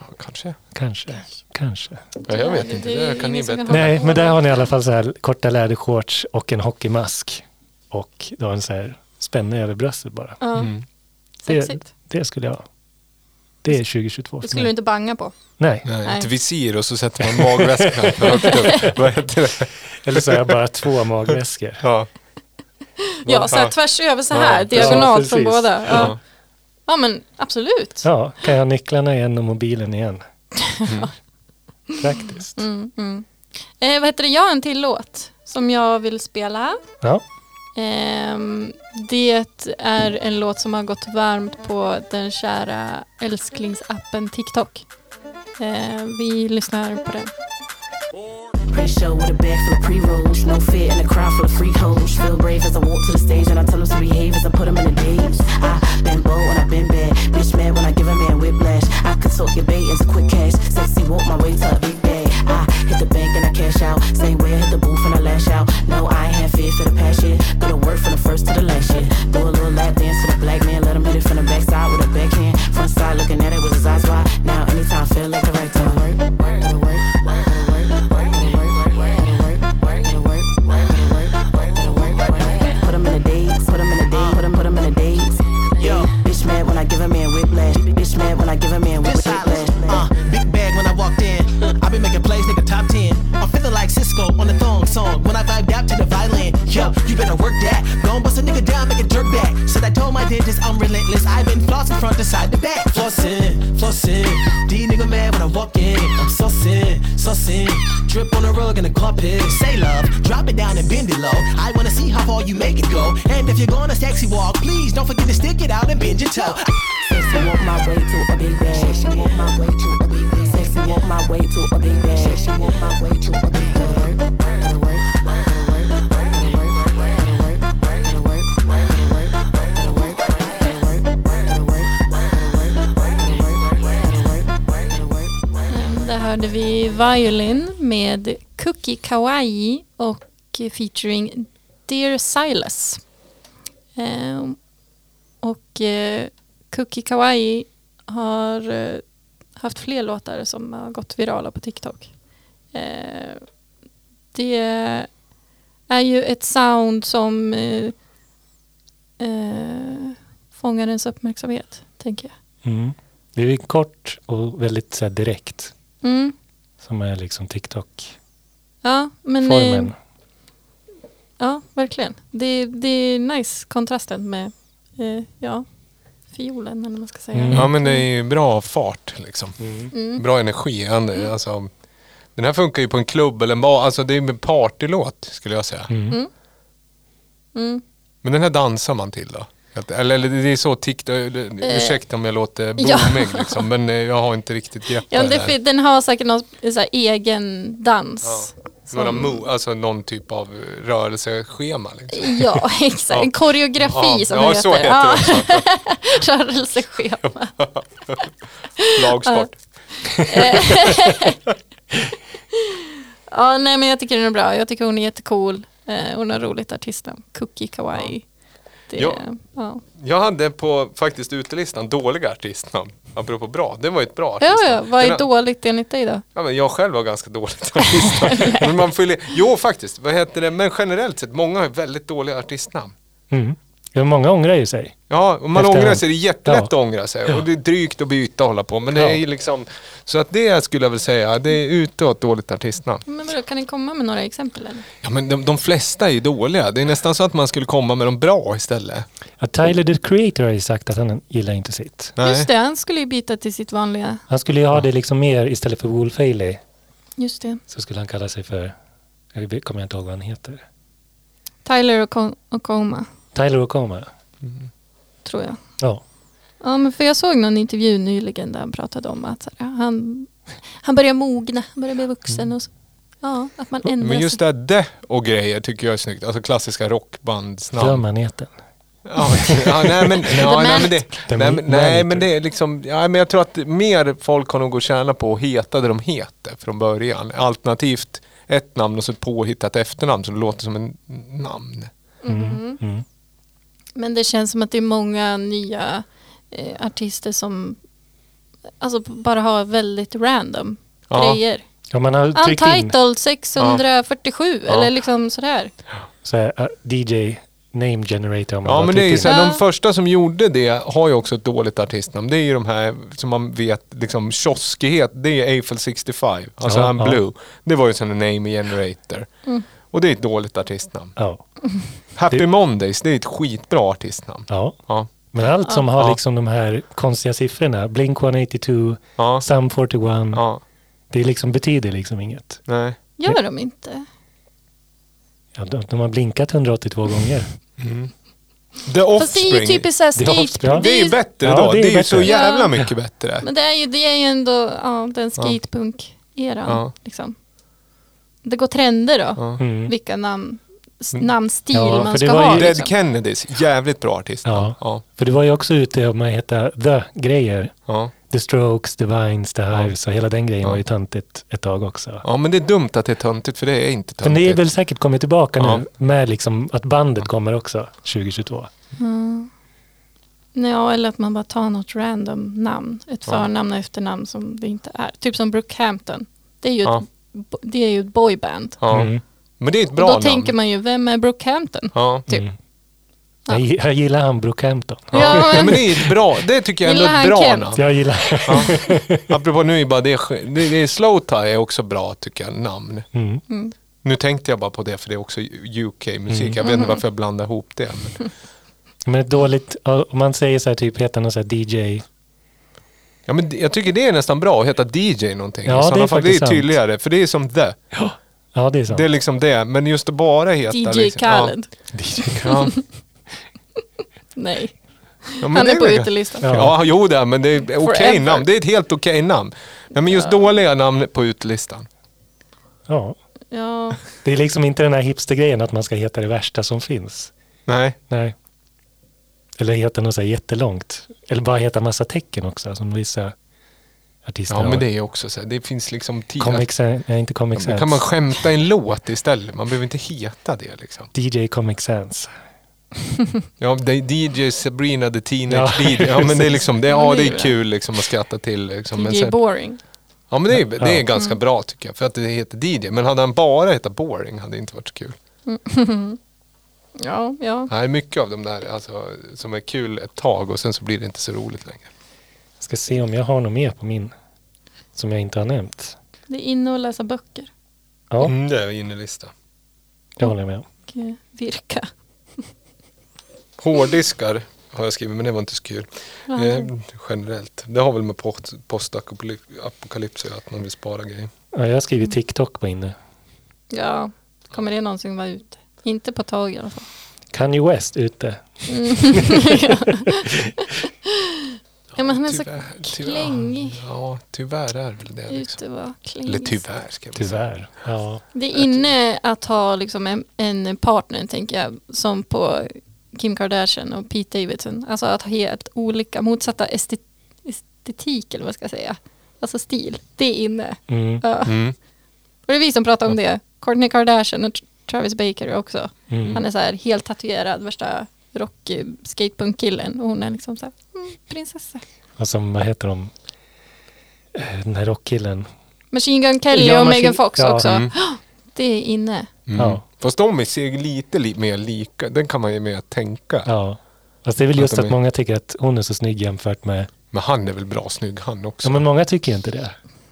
Speaker 3: Ja, kanske.
Speaker 2: Kanske, kanske.
Speaker 3: Ja, jag vet
Speaker 1: Det-
Speaker 3: inte,
Speaker 1: det är
Speaker 3: det kan ni
Speaker 1: ingen som
Speaker 3: bättre.
Speaker 1: kan
Speaker 2: Nej, men där har ni i alla fall så här korta lädershorts och en hockeymask. Och du har en så här spänne över bröstet bara.
Speaker 1: Ja,
Speaker 2: Det,
Speaker 1: sexigt.
Speaker 2: Mm. det skulle jag ha. Det är 2022
Speaker 1: Det
Speaker 2: för
Speaker 1: skulle du
Speaker 2: mig.
Speaker 1: inte banga på.
Speaker 2: Nej,
Speaker 3: Nej,
Speaker 1: Nej.
Speaker 3: ett visir och så sätter man magväskan för högt upp. Vad heter det?
Speaker 2: eller så har jag bara två magväskor.
Speaker 3: Ja,
Speaker 1: Ja, så här,
Speaker 3: Ja.
Speaker 1: tvärs över så här,
Speaker 3: Ja,
Speaker 1: diagonalt
Speaker 2: precis.
Speaker 1: från båda.
Speaker 3: Ja.
Speaker 1: Ja. ja, men absolut.
Speaker 2: Ja, kan jag ha nycklarna igen och mobilen igen? Praktiskt.
Speaker 1: Mm. Eh, vad heter det? Jag har en till låt som jag vill spela.
Speaker 2: Ja,
Speaker 1: Ehm, det är en låt som har gått varmt på den kära älsklingsappen TikTok. Ehm, vi lyssnar på den.
Speaker 8: Pressure with a bag full of pre-rolls. No fear in a crowd full of freak hoes. Feel brave as I walk to the stage and I tell them to behave as I put them in the daze. I been bold when I've been bad. Bitch mad when I give a man whiplash. I could talk your bait into quick cash. Sexy walk my way to a big bag. I hit the bank and I cash out. Same way I hit the booth and I lash out. No, I ain't had fear for the past shit. Go to work from the first to the last shit. Do a little lap dance to the black man. Let him hit it from the backside with a backhand. Front side looking at it with his eyes wide. Now anytime I feel like the right time. Work, work, gotta work, work, gotta work. Work, gotta work, work, gotta work, work, gotta work, work, gotta work, work, gotta work, work. Put 'em in a daze, put 'em in a daze, put 'em- put 'em in a daze. Bitch mad when I give a man whiplash. Bitch mad when I give a man
Speaker 9: This silence,
Speaker 8: whiplash.
Speaker 9: uh, big bag when I walked in. I've been making plays, nigga, top 10. I'm feeling like Cisco on the thong song. When I vibed out to the violin, yo, you better work that. Gon' bust a nigga down, make a jerk back. Said I told my dentist I'm relentless. I've been flossing front to side to back. Flossin', flossin'. D nigga mad when I walk in. I'm sussin', sussin'. Drip on the rug in the carpet. Say love, drop it down and bend it low. I wanna see how far you make it go. And if you're gonna sexy walk, please don't forget to stick it out and bend your toe.
Speaker 8: Sexy walk my way to a big bag. Sexy walk my way to a big bag. Sexy walk my way to a big bag. Sexy walk my way to a big bag. Gotta work, gotta work, gotta work, gotta work, gotta work, gotta work, gotta work, gotta work, gotta work, gotta work, gotta work.
Speaker 1: Ehm, Där hörde vi Violin med Cookie Kawaii och featuring Dear Silas. Ehm, Och eh, Cookie Kawaii har eh, haft fler låtar som har gått virala på TikTok. Eh, Det är ju ett sound som eh, eh, fångar ens uppmärksamhet, tänker jag.
Speaker 2: Mm. Det är kort och väldigt så här, direkt.
Speaker 1: Mm.
Speaker 2: Som är liksom TikTok-formen.
Speaker 1: Ja, men, eh, Ja, verkligen. Det, det är nice kontrasten med eh, ja, fiolen eller vad man ska säga.
Speaker 2: Mm.
Speaker 3: Ja men det är ju bra fart liksom.
Speaker 1: Mm.
Speaker 3: Bra energi. Han- Alltså, den här funkar ju på en klubb eller en bar. Alltså det är en partylåt skulle jag säga.
Speaker 1: Mm.
Speaker 3: Men den här dansar man till då? Att- Eller, eller det är så TikTok,
Speaker 1: Eh.
Speaker 3: ursäkta om jag låter blommig liksom, men eh, jag har inte riktigt grepp
Speaker 1: Ja,
Speaker 3: på
Speaker 1: det,
Speaker 3: här.
Speaker 1: fin- den har säkert någon så här, egen dans.
Speaker 3: Några
Speaker 1: som-
Speaker 3: mo, alltså någon typ av rörelseschema. Liksom.
Speaker 1: Ja, exakt. En koreografi
Speaker 3: Ja,
Speaker 1: som
Speaker 3: ja,
Speaker 1: det heter.
Speaker 3: så heter det också.
Speaker 1: Rörelseschema.
Speaker 3: Lagsport.
Speaker 1: Ja, nej men jag tycker den är bra. Jag tycker hon är jättecool. Eh, hon har roligt artistnamn. Cookie Kawaii. Det,
Speaker 3: Ja.
Speaker 1: ja.
Speaker 3: Jag hade på faktiskt utelistan dåliga artistnamn. Apropå bra, det var ju ett bra
Speaker 1: Ja,
Speaker 3: artistnamn.
Speaker 1: ja, vad
Speaker 3: Den-
Speaker 1: är dåligt enligt dig då?
Speaker 3: Ja, men jag själv var ganska dåligt artistnamn. men man fyller, jo faktiskt, vad heter det, men generellt sett, många har ju väldigt dåliga artistnamn.
Speaker 2: Mm. Ja, många ångrar ju sig.
Speaker 3: Ja, och man
Speaker 2: Efterhand.
Speaker 3: ångrar sig, det är jättelätt
Speaker 2: Ja.
Speaker 3: att ångra sig och det är drygt att byta och hålla på. Men det
Speaker 2: Ja.
Speaker 3: är ju liksom, så att det skulle jag väl säga, det är ute och ett dåligt artistnamn.
Speaker 1: Men vadå, kan ni komma med några exempel eller?
Speaker 3: Ja men de, de flesta är ju dåliga, det är nästan så att man skulle komma med de bra istället.
Speaker 2: Ja, Tyler the Creator har ju sagt att han gillar inte sitt.
Speaker 3: Nej.
Speaker 1: Just det, han skulle ju byta till sitt vanliga.
Speaker 2: Han skulle ju ha det liksom mer istället för Wolf Haley
Speaker 1: Just det. så
Speaker 2: så skulle han kalla sig för, jag kommer inte ihåg vad han heter,
Speaker 1: Tyler och Ko- och Koma,
Speaker 2: Tyler Okoma.
Speaker 1: tror jag.
Speaker 2: Ja.
Speaker 1: Ja, men för jag såg någon intervju nyligen där han pratade om att så här, han, han börjar mogna, han börjar bli vuxen och så. Ja, att man ändrar
Speaker 3: Mm. Men just
Speaker 1: sig.
Speaker 3: det här de och grejer tycker jag är snyggt, alltså klassiska rockbandsnamn.
Speaker 2: Drömmaneten.
Speaker 3: Ja, ja, nej, men, ja, nej, men, det,
Speaker 2: The
Speaker 3: nej, men, nej
Speaker 2: Manager.
Speaker 3: men det är liksom, ja, men jag tror att mer folk har nog att tjäna på att heta det de heter från början. Alternativt ett namn och så ett påhittat efternamn som låter som en namn.
Speaker 1: Men det känns som att det är många nya eh, artister som alltså, bara har väldigt random
Speaker 3: Ja.
Speaker 1: grejer.
Speaker 2: Ja, man har tryckt in
Speaker 1: Untitled 647 eller liksom sådär.
Speaker 2: så här, äh, DJ name generator. har Man
Speaker 3: Ja
Speaker 2: bara
Speaker 3: men det är ju
Speaker 2: tryckt
Speaker 3: så
Speaker 2: in.
Speaker 3: här,
Speaker 1: Ja.
Speaker 3: de första som gjorde det har ju också ett dåligt artistnamn. Det är ju de här som man vet, liksom kioskighet, det är Eiffel 65, alltså
Speaker 2: Ja,
Speaker 3: I'm
Speaker 2: ja.
Speaker 3: Blue. Det var ju som en name generator. Och det är ett dåligt artistnamn.
Speaker 2: Ja.
Speaker 3: Happy
Speaker 2: Det-
Speaker 3: Mondays, det är ett skitbra artistnamn.
Speaker 2: ja.
Speaker 3: Ja.
Speaker 2: Men allt som har
Speaker 3: Ja.
Speaker 2: liksom de här konstiga siffrorna, Blink 182,
Speaker 3: Ja.
Speaker 2: Sum 41,
Speaker 3: Ja,
Speaker 2: det liksom betyder liksom inget.
Speaker 3: nej.
Speaker 1: Gör de inte?
Speaker 2: Ja, de, de har blinkat 182 gånger.
Speaker 3: The
Speaker 1: Fast det är ju
Speaker 3: Offspring.
Speaker 1: typiskt såhär
Speaker 2: Det är
Speaker 1: skate...
Speaker 2: Offspring.
Speaker 3: det är ju bättre
Speaker 2: Ja,
Speaker 3: då.
Speaker 2: det
Speaker 3: Det
Speaker 2: är
Speaker 3: är,
Speaker 2: ju
Speaker 3: ju så
Speaker 2: bättre.
Speaker 3: jävla
Speaker 1: Ja.
Speaker 3: mycket bättre.
Speaker 1: Men det är ju, det är ju ändå ja, den skatepunk-eran.
Speaker 3: Ja.
Speaker 1: Liksom. Det går trender då.
Speaker 2: Mm.
Speaker 1: Vilka namn, s- namnstil
Speaker 2: Ja,
Speaker 1: man
Speaker 2: för det
Speaker 1: ska
Speaker 2: var
Speaker 1: ha.
Speaker 2: ju-
Speaker 3: Dead
Speaker 1: Liksom.
Speaker 3: Kennedys, jävligt bra artist.
Speaker 2: Ja.
Speaker 3: Ja.
Speaker 2: För du var ju också ute om man heter The-grejer.
Speaker 3: Ja.
Speaker 2: The Strokes, The Vines, The Hives och hela den grejen var ju töntigt ett tag också.
Speaker 3: ja, men det är dumt att det är töntigt för det är inte
Speaker 2: Men det är
Speaker 3: töntigt.
Speaker 2: väl säkert kommit tillbaka
Speaker 3: Ja.
Speaker 2: nu med liksom att bandet kommer också 2022.
Speaker 1: Ja, eller att man bara tar något random namn. Ett förnamn och efternamn som det inte är. Typ som Brookhampton. Det är ju,
Speaker 3: Ja.
Speaker 1: ett, bo- det är ju ett boyband.
Speaker 3: Ja.
Speaker 2: Mm.
Speaker 3: Men det är ett
Speaker 1: Då
Speaker 3: bra namn.
Speaker 1: tänker man ju, vem är Brookhampton?
Speaker 3: ja.
Speaker 1: Typ.
Speaker 2: Mm. Jag, gi- jag gillar han Brookhampton.
Speaker 1: Ja,
Speaker 3: Ja,
Speaker 1: men,
Speaker 3: men det är ett bra, det tycker jag ändå
Speaker 1: Gillar
Speaker 3: är
Speaker 1: han
Speaker 3: ett bra
Speaker 1: Kent?
Speaker 3: namn.
Speaker 2: Jag gillar...
Speaker 3: Apropå nu är bara det, det är slow tie är också bra tycker jag, namn.
Speaker 2: Mm.
Speaker 3: Nu tänkte jag bara på det för det är också UK-musik. Jag vet inte
Speaker 1: Mm.
Speaker 3: varför jag blandar ihop det. Men,
Speaker 2: Men ett dåligt... Om man säger så här typ, heter någon så här DJ?
Speaker 3: ja, men jag tycker det är nästan bra att heta DJ någonting.
Speaker 2: Ja,
Speaker 3: I
Speaker 2: det
Speaker 3: sådana
Speaker 2: är
Speaker 3: fall, det
Speaker 2: faktiskt
Speaker 3: är
Speaker 2: sant.
Speaker 3: tydligare, för det är som the.
Speaker 2: Ja, det är sant.
Speaker 3: Det är liksom det, men just att bara heta...
Speaker 1: DJ
Speaker 3: liksom,
Speaker 1: Khaled.
Speaker 3: Ja, DJ Khaled.
Speaker 1: Nej,
Speaker 3: Ja, men
Speaker 1: han
Speaker 3: det
Speaker 1: är på
Speaker 3: väl-
Speaker 1: utelistan.
Speaker 2: Ja.
Speaker 3: Ja, jo det, är- men det är okej
Speaker 1: Forever.
Speaker 3: namn. Det är ett helt okej namn. Nej, men just dåliga namn på utelistan.
Speaker 2: Ja.
Speaker 1: Ja,
Speaker 2: Det är liksom inte den här hipstergrejen att man ska heta det värsta som finns.
Speaker 3: Nej.
Speaker 2: Nej. Eller heta något så här jättelångt. Eller bara heta massa tecken också, som vissa artister
Speaker 3: Ja,
Speaker 2: har.
Speaker 3: men det är också så här, det finns liksom... tio-
Speaker 2: Comic Sans, nej inte Comic
Speaker 3: Då
Speaker 2: Sans.
Speaker 3: kan man skämta i en låt istället. Man behöver inte heta det liksom.
Speaker 2: DJ Comic Sans.
Speaker 3: Ja, det är DJ Sabrina the Teenage
Speaker 2: Ja,
Speaker 3: ja, DJ. Ja, men det är liksom, det, ja,
Speaker 1: Men det
Speaker 3: det
Speaker 1: är
Speaker 3: är
Speaker 1: ju
Speaker 3: kul liksom att skratta till. Liksom. Men
Speaker 1: DJ
Speaker 3: sen,
Speaker 1: Boring.
Speaker 3: ja, men det är, det
Speaker 2: Ja.
Speaker 3: är ganska
Speaker 1: Mm.
Speaker 3: bra tycker jag. För att det heter DJ. Men hade han bara hetat Boring hade det inte varit så kul.
Speaker 1: Ja, ja.
Speaker 3: Nej, mycket av de där alltså, som är kul ett tag och sen så blir det inte så roligt längre.
Speaker 2: Ska se om jag har något mer på min. Som jag inte har nämnt.
Speaker 1: Det är inne och läsa böcker
Speaker 2: Ja,
Speaker 3: Mm, det är innerlista.
Speaker 2: det håller jag med om.
Speaker 1: och eh, virka.
Speaker 3: Hårddiskar har jag skrivit, men det var inte så kul.
Speaker 1: Ja.
Speaker 3: Eh, generellt. Det har väl med post- postapokalyps att göra, att man vill spara grejer.
Speaker 2: Ja, jag har
Speaker 3: Mm.
Speaker 2: skrivit TikTok på inne.
Speaker 1: Ja, kommer det någonsin vara ute? Inte på tag i alla fall.
Speaker 2: Kanye West ute.
Speaker 3: Mm.
Speaker 1: Ja, men han är så
Speaker 3: Tyvärr, tyvärr.
Speaker 1: klängig.
Speaker 3: Ja, tyvärr är väl det liksom.
Speaker 1: Ute var klängig.
Speaker 3: Eller tyvärr ska jag väl säga.
Speaker 2: Tyvärr. Ja.
Speaker 1: Det är inne att ha liksom en, en partner, tänker jag, som på Kim Kardashian och Pete Davidson. Alltså att ha helt olika, motsatta esti- estetik, eller vad ska jag säga? Alltså stil, det är inne.
Speaker 2: Mm.
Speaker 1: Ja.
Speaker 3: Mm.
Speaker 1: Och det är vi som pratar om det. Kourtney Kardashian och Tr- Travis Baker också.
Speaker 2: Mm.
Speaker 1: Han är så här helt tatuerad, värsta rock eh, skatepunk-killen. Och hon är liksom så här, mm, prinsessa.
Speaker 2: Och som, Alltså, vad heter de? Eh, Den här rockkillen.
Speaker 1: Machine Gun Kelly
Speaker 2: Ja,
Speaker 1: och
Speaker 2: Machine-
Speaker 1: Megan Fox
Speaker 2: ja.
Speaker 1: också.
Speaker 3: Mm.
Speaker 1: Det är inne.
Speaker 2: Ja.
Speaker 3: Fast de ser lite li mer lika, den kan man ju mer tänka.
Speaker 2: Ja. Fast det är väl
Speaker 3: Att
Speaker 2: just
Speaker 3: de
Speaker 2: att
Speaker 3: är-
Speaker 2: många tycker att hon är så snygg jämfört med...
Speaker 3: Men han är väl bra snygg han också.
Speaker 2: Ja, men många tycker inte det.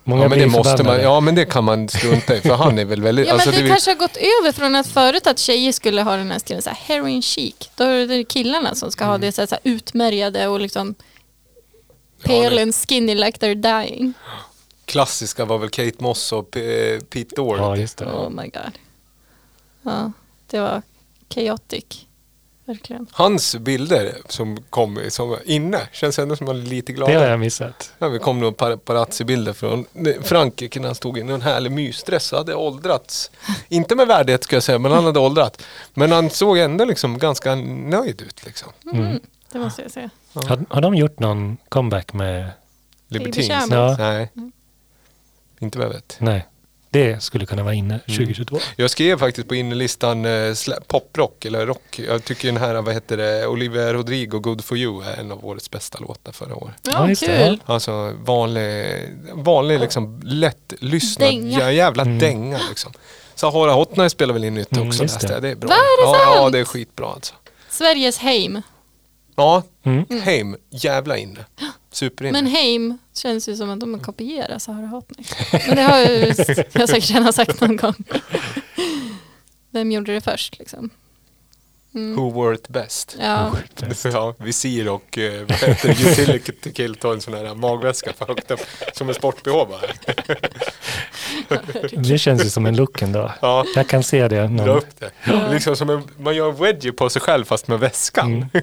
Speaker 2: Många
Speaker 3: Ja men det
Speaker 2: blir
Speaker 3: måste man,
Speaker 2: förbannade.
Speaker 3: ja men det kan man strunta i för han är väl väldigt,
Speaker 1: Ja,
Speaker 3: alltså,
Speaker 1: men det,
Speaker 3: det är-
Speaker 1: kanske har gått över från att förut att tjejer skulle ha den här stilen, så här heroin chic. Då är det killarna som ska
Speaker 2: Mm.
Speaker 1: ha det så här, så här utmärgade och liksom
Speaker 3: Ja,
Speaker 1: pale
Speaker 3: det-
Speaker 1: and skinny like they're dying.
Speaker 3: klassiska var väl Kate Moss och P- eh, Pete Doherty.
Speaker 2: Ja, just det.
Speaker 1: Oh my god. Ja, det var chaotic. Verkligen.
Speaker 3: Hans bilder som kom som var inne, känns ändå som att han är lite glad.
Speaker 2: Det har jag missat.
Speaker 3: Ja, vi kom några paparazzi-bilder från Frankrike när han stod i en härlig mysdress och hade åldrats. Inte med värdighet ska jag säga, men han hade åldrat. Men han såg ändå liksom ganska nöjd ut. Liksom.
Speaker 1: Mm,
Speaker 2: Mm.
Speaker 1: Det måste jag säga.
Speaker 2: Har, har de gjort någon comeback med...
Speaker 3: Libertins.
Speaker 1: Baby
Speaker 2: Shambles.
Speaker 3: Nej. Inte vad jag vet.
Speaker 2: Nej. Det skulle kunna vara inne
Speaker 3: Mm.
Speaker 2: 2022.
Speaker 3: Jag skrev faktiskt på innerlistan eh, sla- poprock eller rock. Jag tycker den här, vad heter det, Olivia Rodrigo, Good for you är en av årets bästa låtar förra året.
Speaker 1: Ja,
Speaker 2: just det.
Speaker 1: kul.
Speaker 3: Alltså vanlig, vanlig liksom lättlyssnad
Speaker 1: Dänga.
Speaker 3: jä- jävla dänga liksom. Sahara Hotline spelar väl in nytt
Speaker 2: Mm,
Speaker 3: också
Speaker 2: just
Speaker 3: nästa.
Speaker 2: det.
Speaker 3: Det. det är bra.
Speaker 1: Va, är det
Speaker 3: ja, ja,
Speaker 1: sant?
Speaker 3: det är skitbra alltså.
Speaker 1: Sveriges Heim.
Speaker 3: Ja,
Speaker 2: Mm.
Speaker 3: Heim, jävla inne. Superinne.
Speaker 1: Men Heim känns ju som att de kopierar Sahara Hotnick. Men det har ju jag säkert redan sagt någon gång. Vem gjorde det först liksom?
Speaker 3: Who were it best?
Speaker 1: Ja,
Speaker 3: Ja, visir och eh, vad heter det, utility kill tar en sån här magväska för högt upp. Som en sport-bh bara.
Speaker 2: Det känns ju som en look ändå.
Speaker 3: Ja.
Speaker 2: Jag kan se det.
Speaker 3: Dra
Speaker 2: Någon,
Speaker 3: upp det. Liksom som en, man gör en wedgie på sig själv fast med väskan.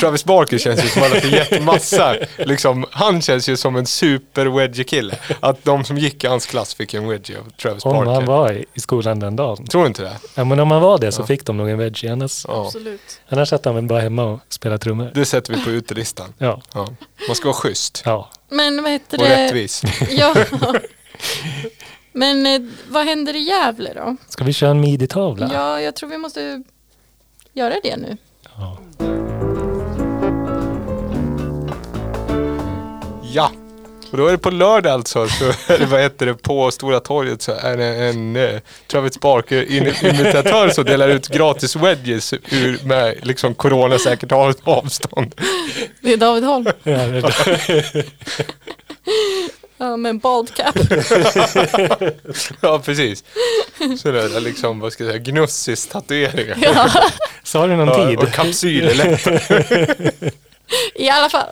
Speaker 3: Travis Barker känns ju som att han har gett massa, liksom, han känns ju som en super wedgie kille. Att de som gick i hans klass fick en wedgie av Travis
Speaker 2: om
Speaker 3: Barker.
Speaker 2: han var i- i skolan den dagen.
Speaker 3: Tror du inte det?
Speaker 2: Ja, men om han var det så fick de nog en wedgie. Annars,
Speaker 3: Ja.
Speaker 1: Absolut.
Speaker 2: annars satt han väl bara hemma och spelade trummor.
Speaker 3: Det sätter vi på utelistan.
Speaker 2: Ja.
Speaker 3: Ja. Man ska vara schysst
Speaker 2: ja.
Speaker 1: Men vad heter
Speaker 3: och
Speaker 1: det?
Speaker 3: rättvis.
Speaker 1: Ja. Men eh, vad händer i Gävle då?
Speaker 2: Ska vi köra en midi-tavla?
Speaker 1: Ja, jag tror vi måste göra det nu.
Speaker 3: Ja, och då är det på lördag alltså. Så, eller vad heter det, på Stora torget så är det en eh, Travis Barker-imitatör som delar ut gratis wedges ur, med liksom coronasäkert av- avstånd.
Speaker 1: Det är David Holm.
Speaker 2: Ja, det-
Speaker 1: Ja, med en bald cap.
Speaker 3: Ja, precis. Sådär liksom, vad ska jag säga, gnussis tatueringar.
Speaker 1: Ja,
Speaker 2: Sa du någon
Speaker 3: Ja,
Speaker 2: tid?
Speaker 3: och kapsyler, lätt.
Speaker 1: i alla fall.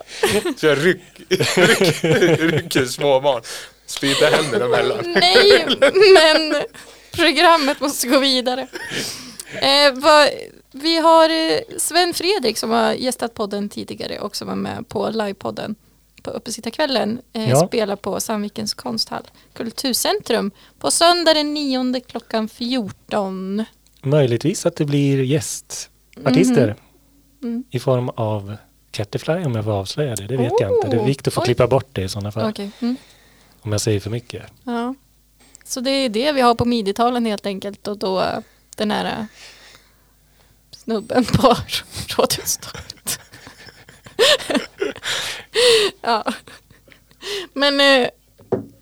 Speaker 3: Så jag ryck, ryck, rycker småbarn. Sprider händerna mellan.
Speaker 1: Nej, men programmet måste gå vidare. Eh, vad, vi har eh, Sven Fredrik som har gästat podden tidigare och som var med på livepodden på Uppesittarkvällen. Eh,
Speaker 2: Ja.
Speaker 1: Spelar på Sandvikens konsthall, Kulturcentrum, på söndag den 9 klockan 14.
Speaker 2: Möjligtvis att det blir gästartister
Speaker 1: Mm.
Speaker 2: i form av Catterfly om jag får avslöja det. Det vet jag inte. Det är
Speaker 1: Oh,
Speaker 2: Viktor får
Speaker 1: oj.
Speaker 2: klippa bort det i sådana fall.
Speaker 1: Okej. Mm.
Speaker 2: Om jag säger för mycket.
Speaker 1: Ja. Så det är det vi har på midjetalen helt enkelt och då eh, den här eh, snubben på Rådhustorget. ja. Men eh,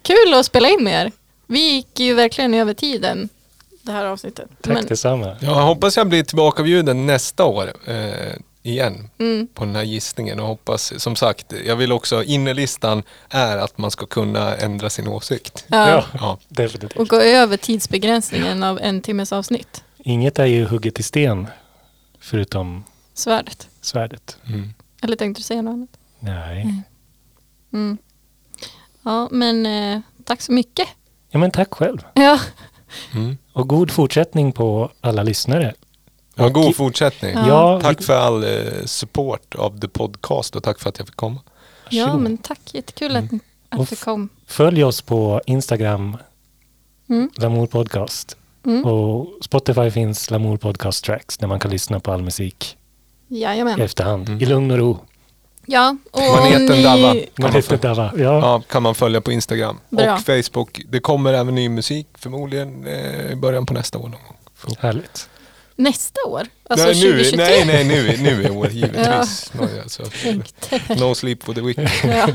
Speaker 1: kul att spela in med er. Vi gick ju verkligen över tiden det här avsnittet.
Speaker 2: Tack
Speaker 1: Men,
Speaker 2: detsamma.
Speaker 3: Ja, jag hoppas jag blir tillbaka bjuden nästa år eh, igen
Speaker 1: Mm.
Speaker 3: på den här gissningen och hoppas, som sagt, jag vill också, innerlistan är att man ska kunna ändra sin åsikt.
Speaker 1: ja.
Speaker 2: Ja,
Speaker 3: Ja,
Speaker 2: definitivt.
Speaker 1: Och gå över tidsbegränsningen av en timmes avsnitt.
Speaker 2: Inget är ju hugget i sten förutom
Speaker 1: Svärdet.
Speaker 2: svärdet.
Speaker 1: Mm. Eller tänkte du säga något annat? Mm.
Speaker 2: Nej.
Speaker 1: Ja, men eh, tack så mycket.
Speaker 2: Ja, men tack själv.
Speaker 1: Ja.
Speaker 2: Och god fortsättning på alla lyssnare.
Speaker 3: ja god fortsättning.
Speaker 2: Ja,
Speaker 3: Tack för all eh, support av the podcast och tack för att jag fick komma.
Speaker 1: Ja,
Speaker 2: Varsågod. Mm.
Speaker 1: men tack. Jättekul att,
Speaker 2: Och
Speaker 1: att du
Speaker 2: f-
Speaker 1: kom.
Speaker 2: Följ oss på Instagram,
Speaker 1: Mm.
Speaker 2: Lamour Podcast. Och Spotify finns Lamour Podcast Tracks där man kan lyssna på all musik i
Speaker 1: Jajamän.
Speaker 2: efterhand. I lugn och ro.
Speaker 1: Ja, och om
Speaker 3: Maneten Dava
Speaker 1: ni...
Speaker 3: kan
Speaker 2: Man
Speaker 3: man,
Speaker 2: heter
Speaker 3: följa.
Speaker 2: Dava. Ja.
Speaker 3: Ja, kan man följa på Instagram
Speaker 1: Bra.
Speaker 3: och Facebook. Det kommer även ny musik förmodligen eh, i början på nästa år någon gång.
Speaker 2: Härligt.
Speaker 1: Nästa år? Alltså
Speaker 3: nej, nu,
Speaker 1: 2023?
Speaker 3: nej, nej, nu, nu i år givetvis. Nå, alltså.
Speaker 1: Tänkte.
Speaker 3: No sleep for the wicked.
Speaker 1: Ja.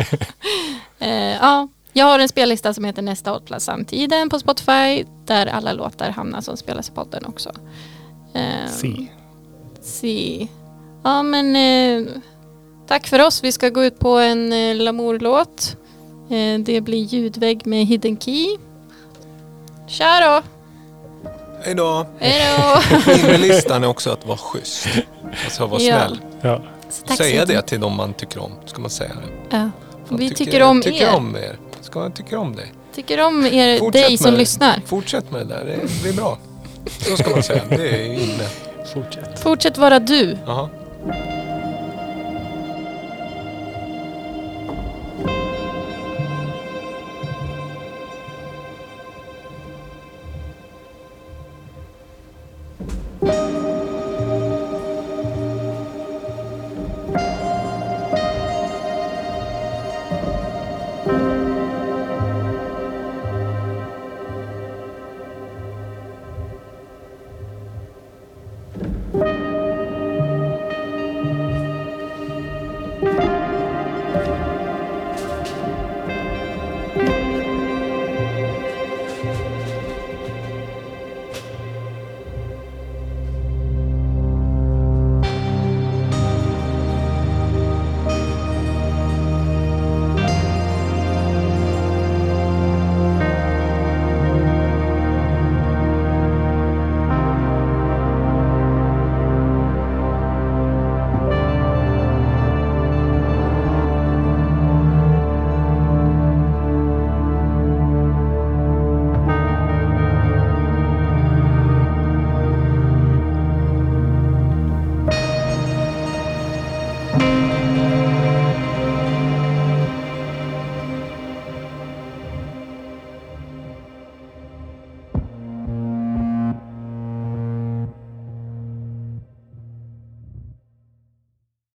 Speaker 1: Eh, ja. Jag har en spellista som heter Nästa hållplats samtiden på Spotify där alla låtar hamnar som spelas i podden också. Eh,
Speaker 2: Si.
Speaker 1: si. Ja, men eh, tack för oss. Vi ska gå ut på en eh, Lamour-låt. Eh, det blir ljudvägg med Hidden Key. Tja då!
Speaker 3: Hej då!
Speaker 1: Hej då!
Speaker 3: Innerlistan är också att vara schysst. Alltså vara
Speaker 1: Ja.
Speaker 3: snäll.
Speaker 2: Ja.
Speaker 1: Tack så
Speaker 3: Säga
Speaker 1: mycket.
Speaker 3: det till de man tycker om. Ska man säga det?
Speaker 1: Ja.
Speaker 3: Fan,
Speaker 1: Vi tycker om
Speaker 3: tycker
Speaker 1: er.
Speaker 3: Om er. Ska man tycker om dig.
Speaker 1: Tycker om er,
Speaker 3: Fortsätt
Speaker 1: dig
Speaker 3: med
Speaker 1: som
Speaker 3: det.
Speaker 1: lyssnar.
Speaker 3: Fortsätt med det där. Det blir bra. Så ska man säga. Det är inne.
Speaker 2: Fortsätt.
Speaker 1: Fortsätt vara du.
Speaker 3: Jaha.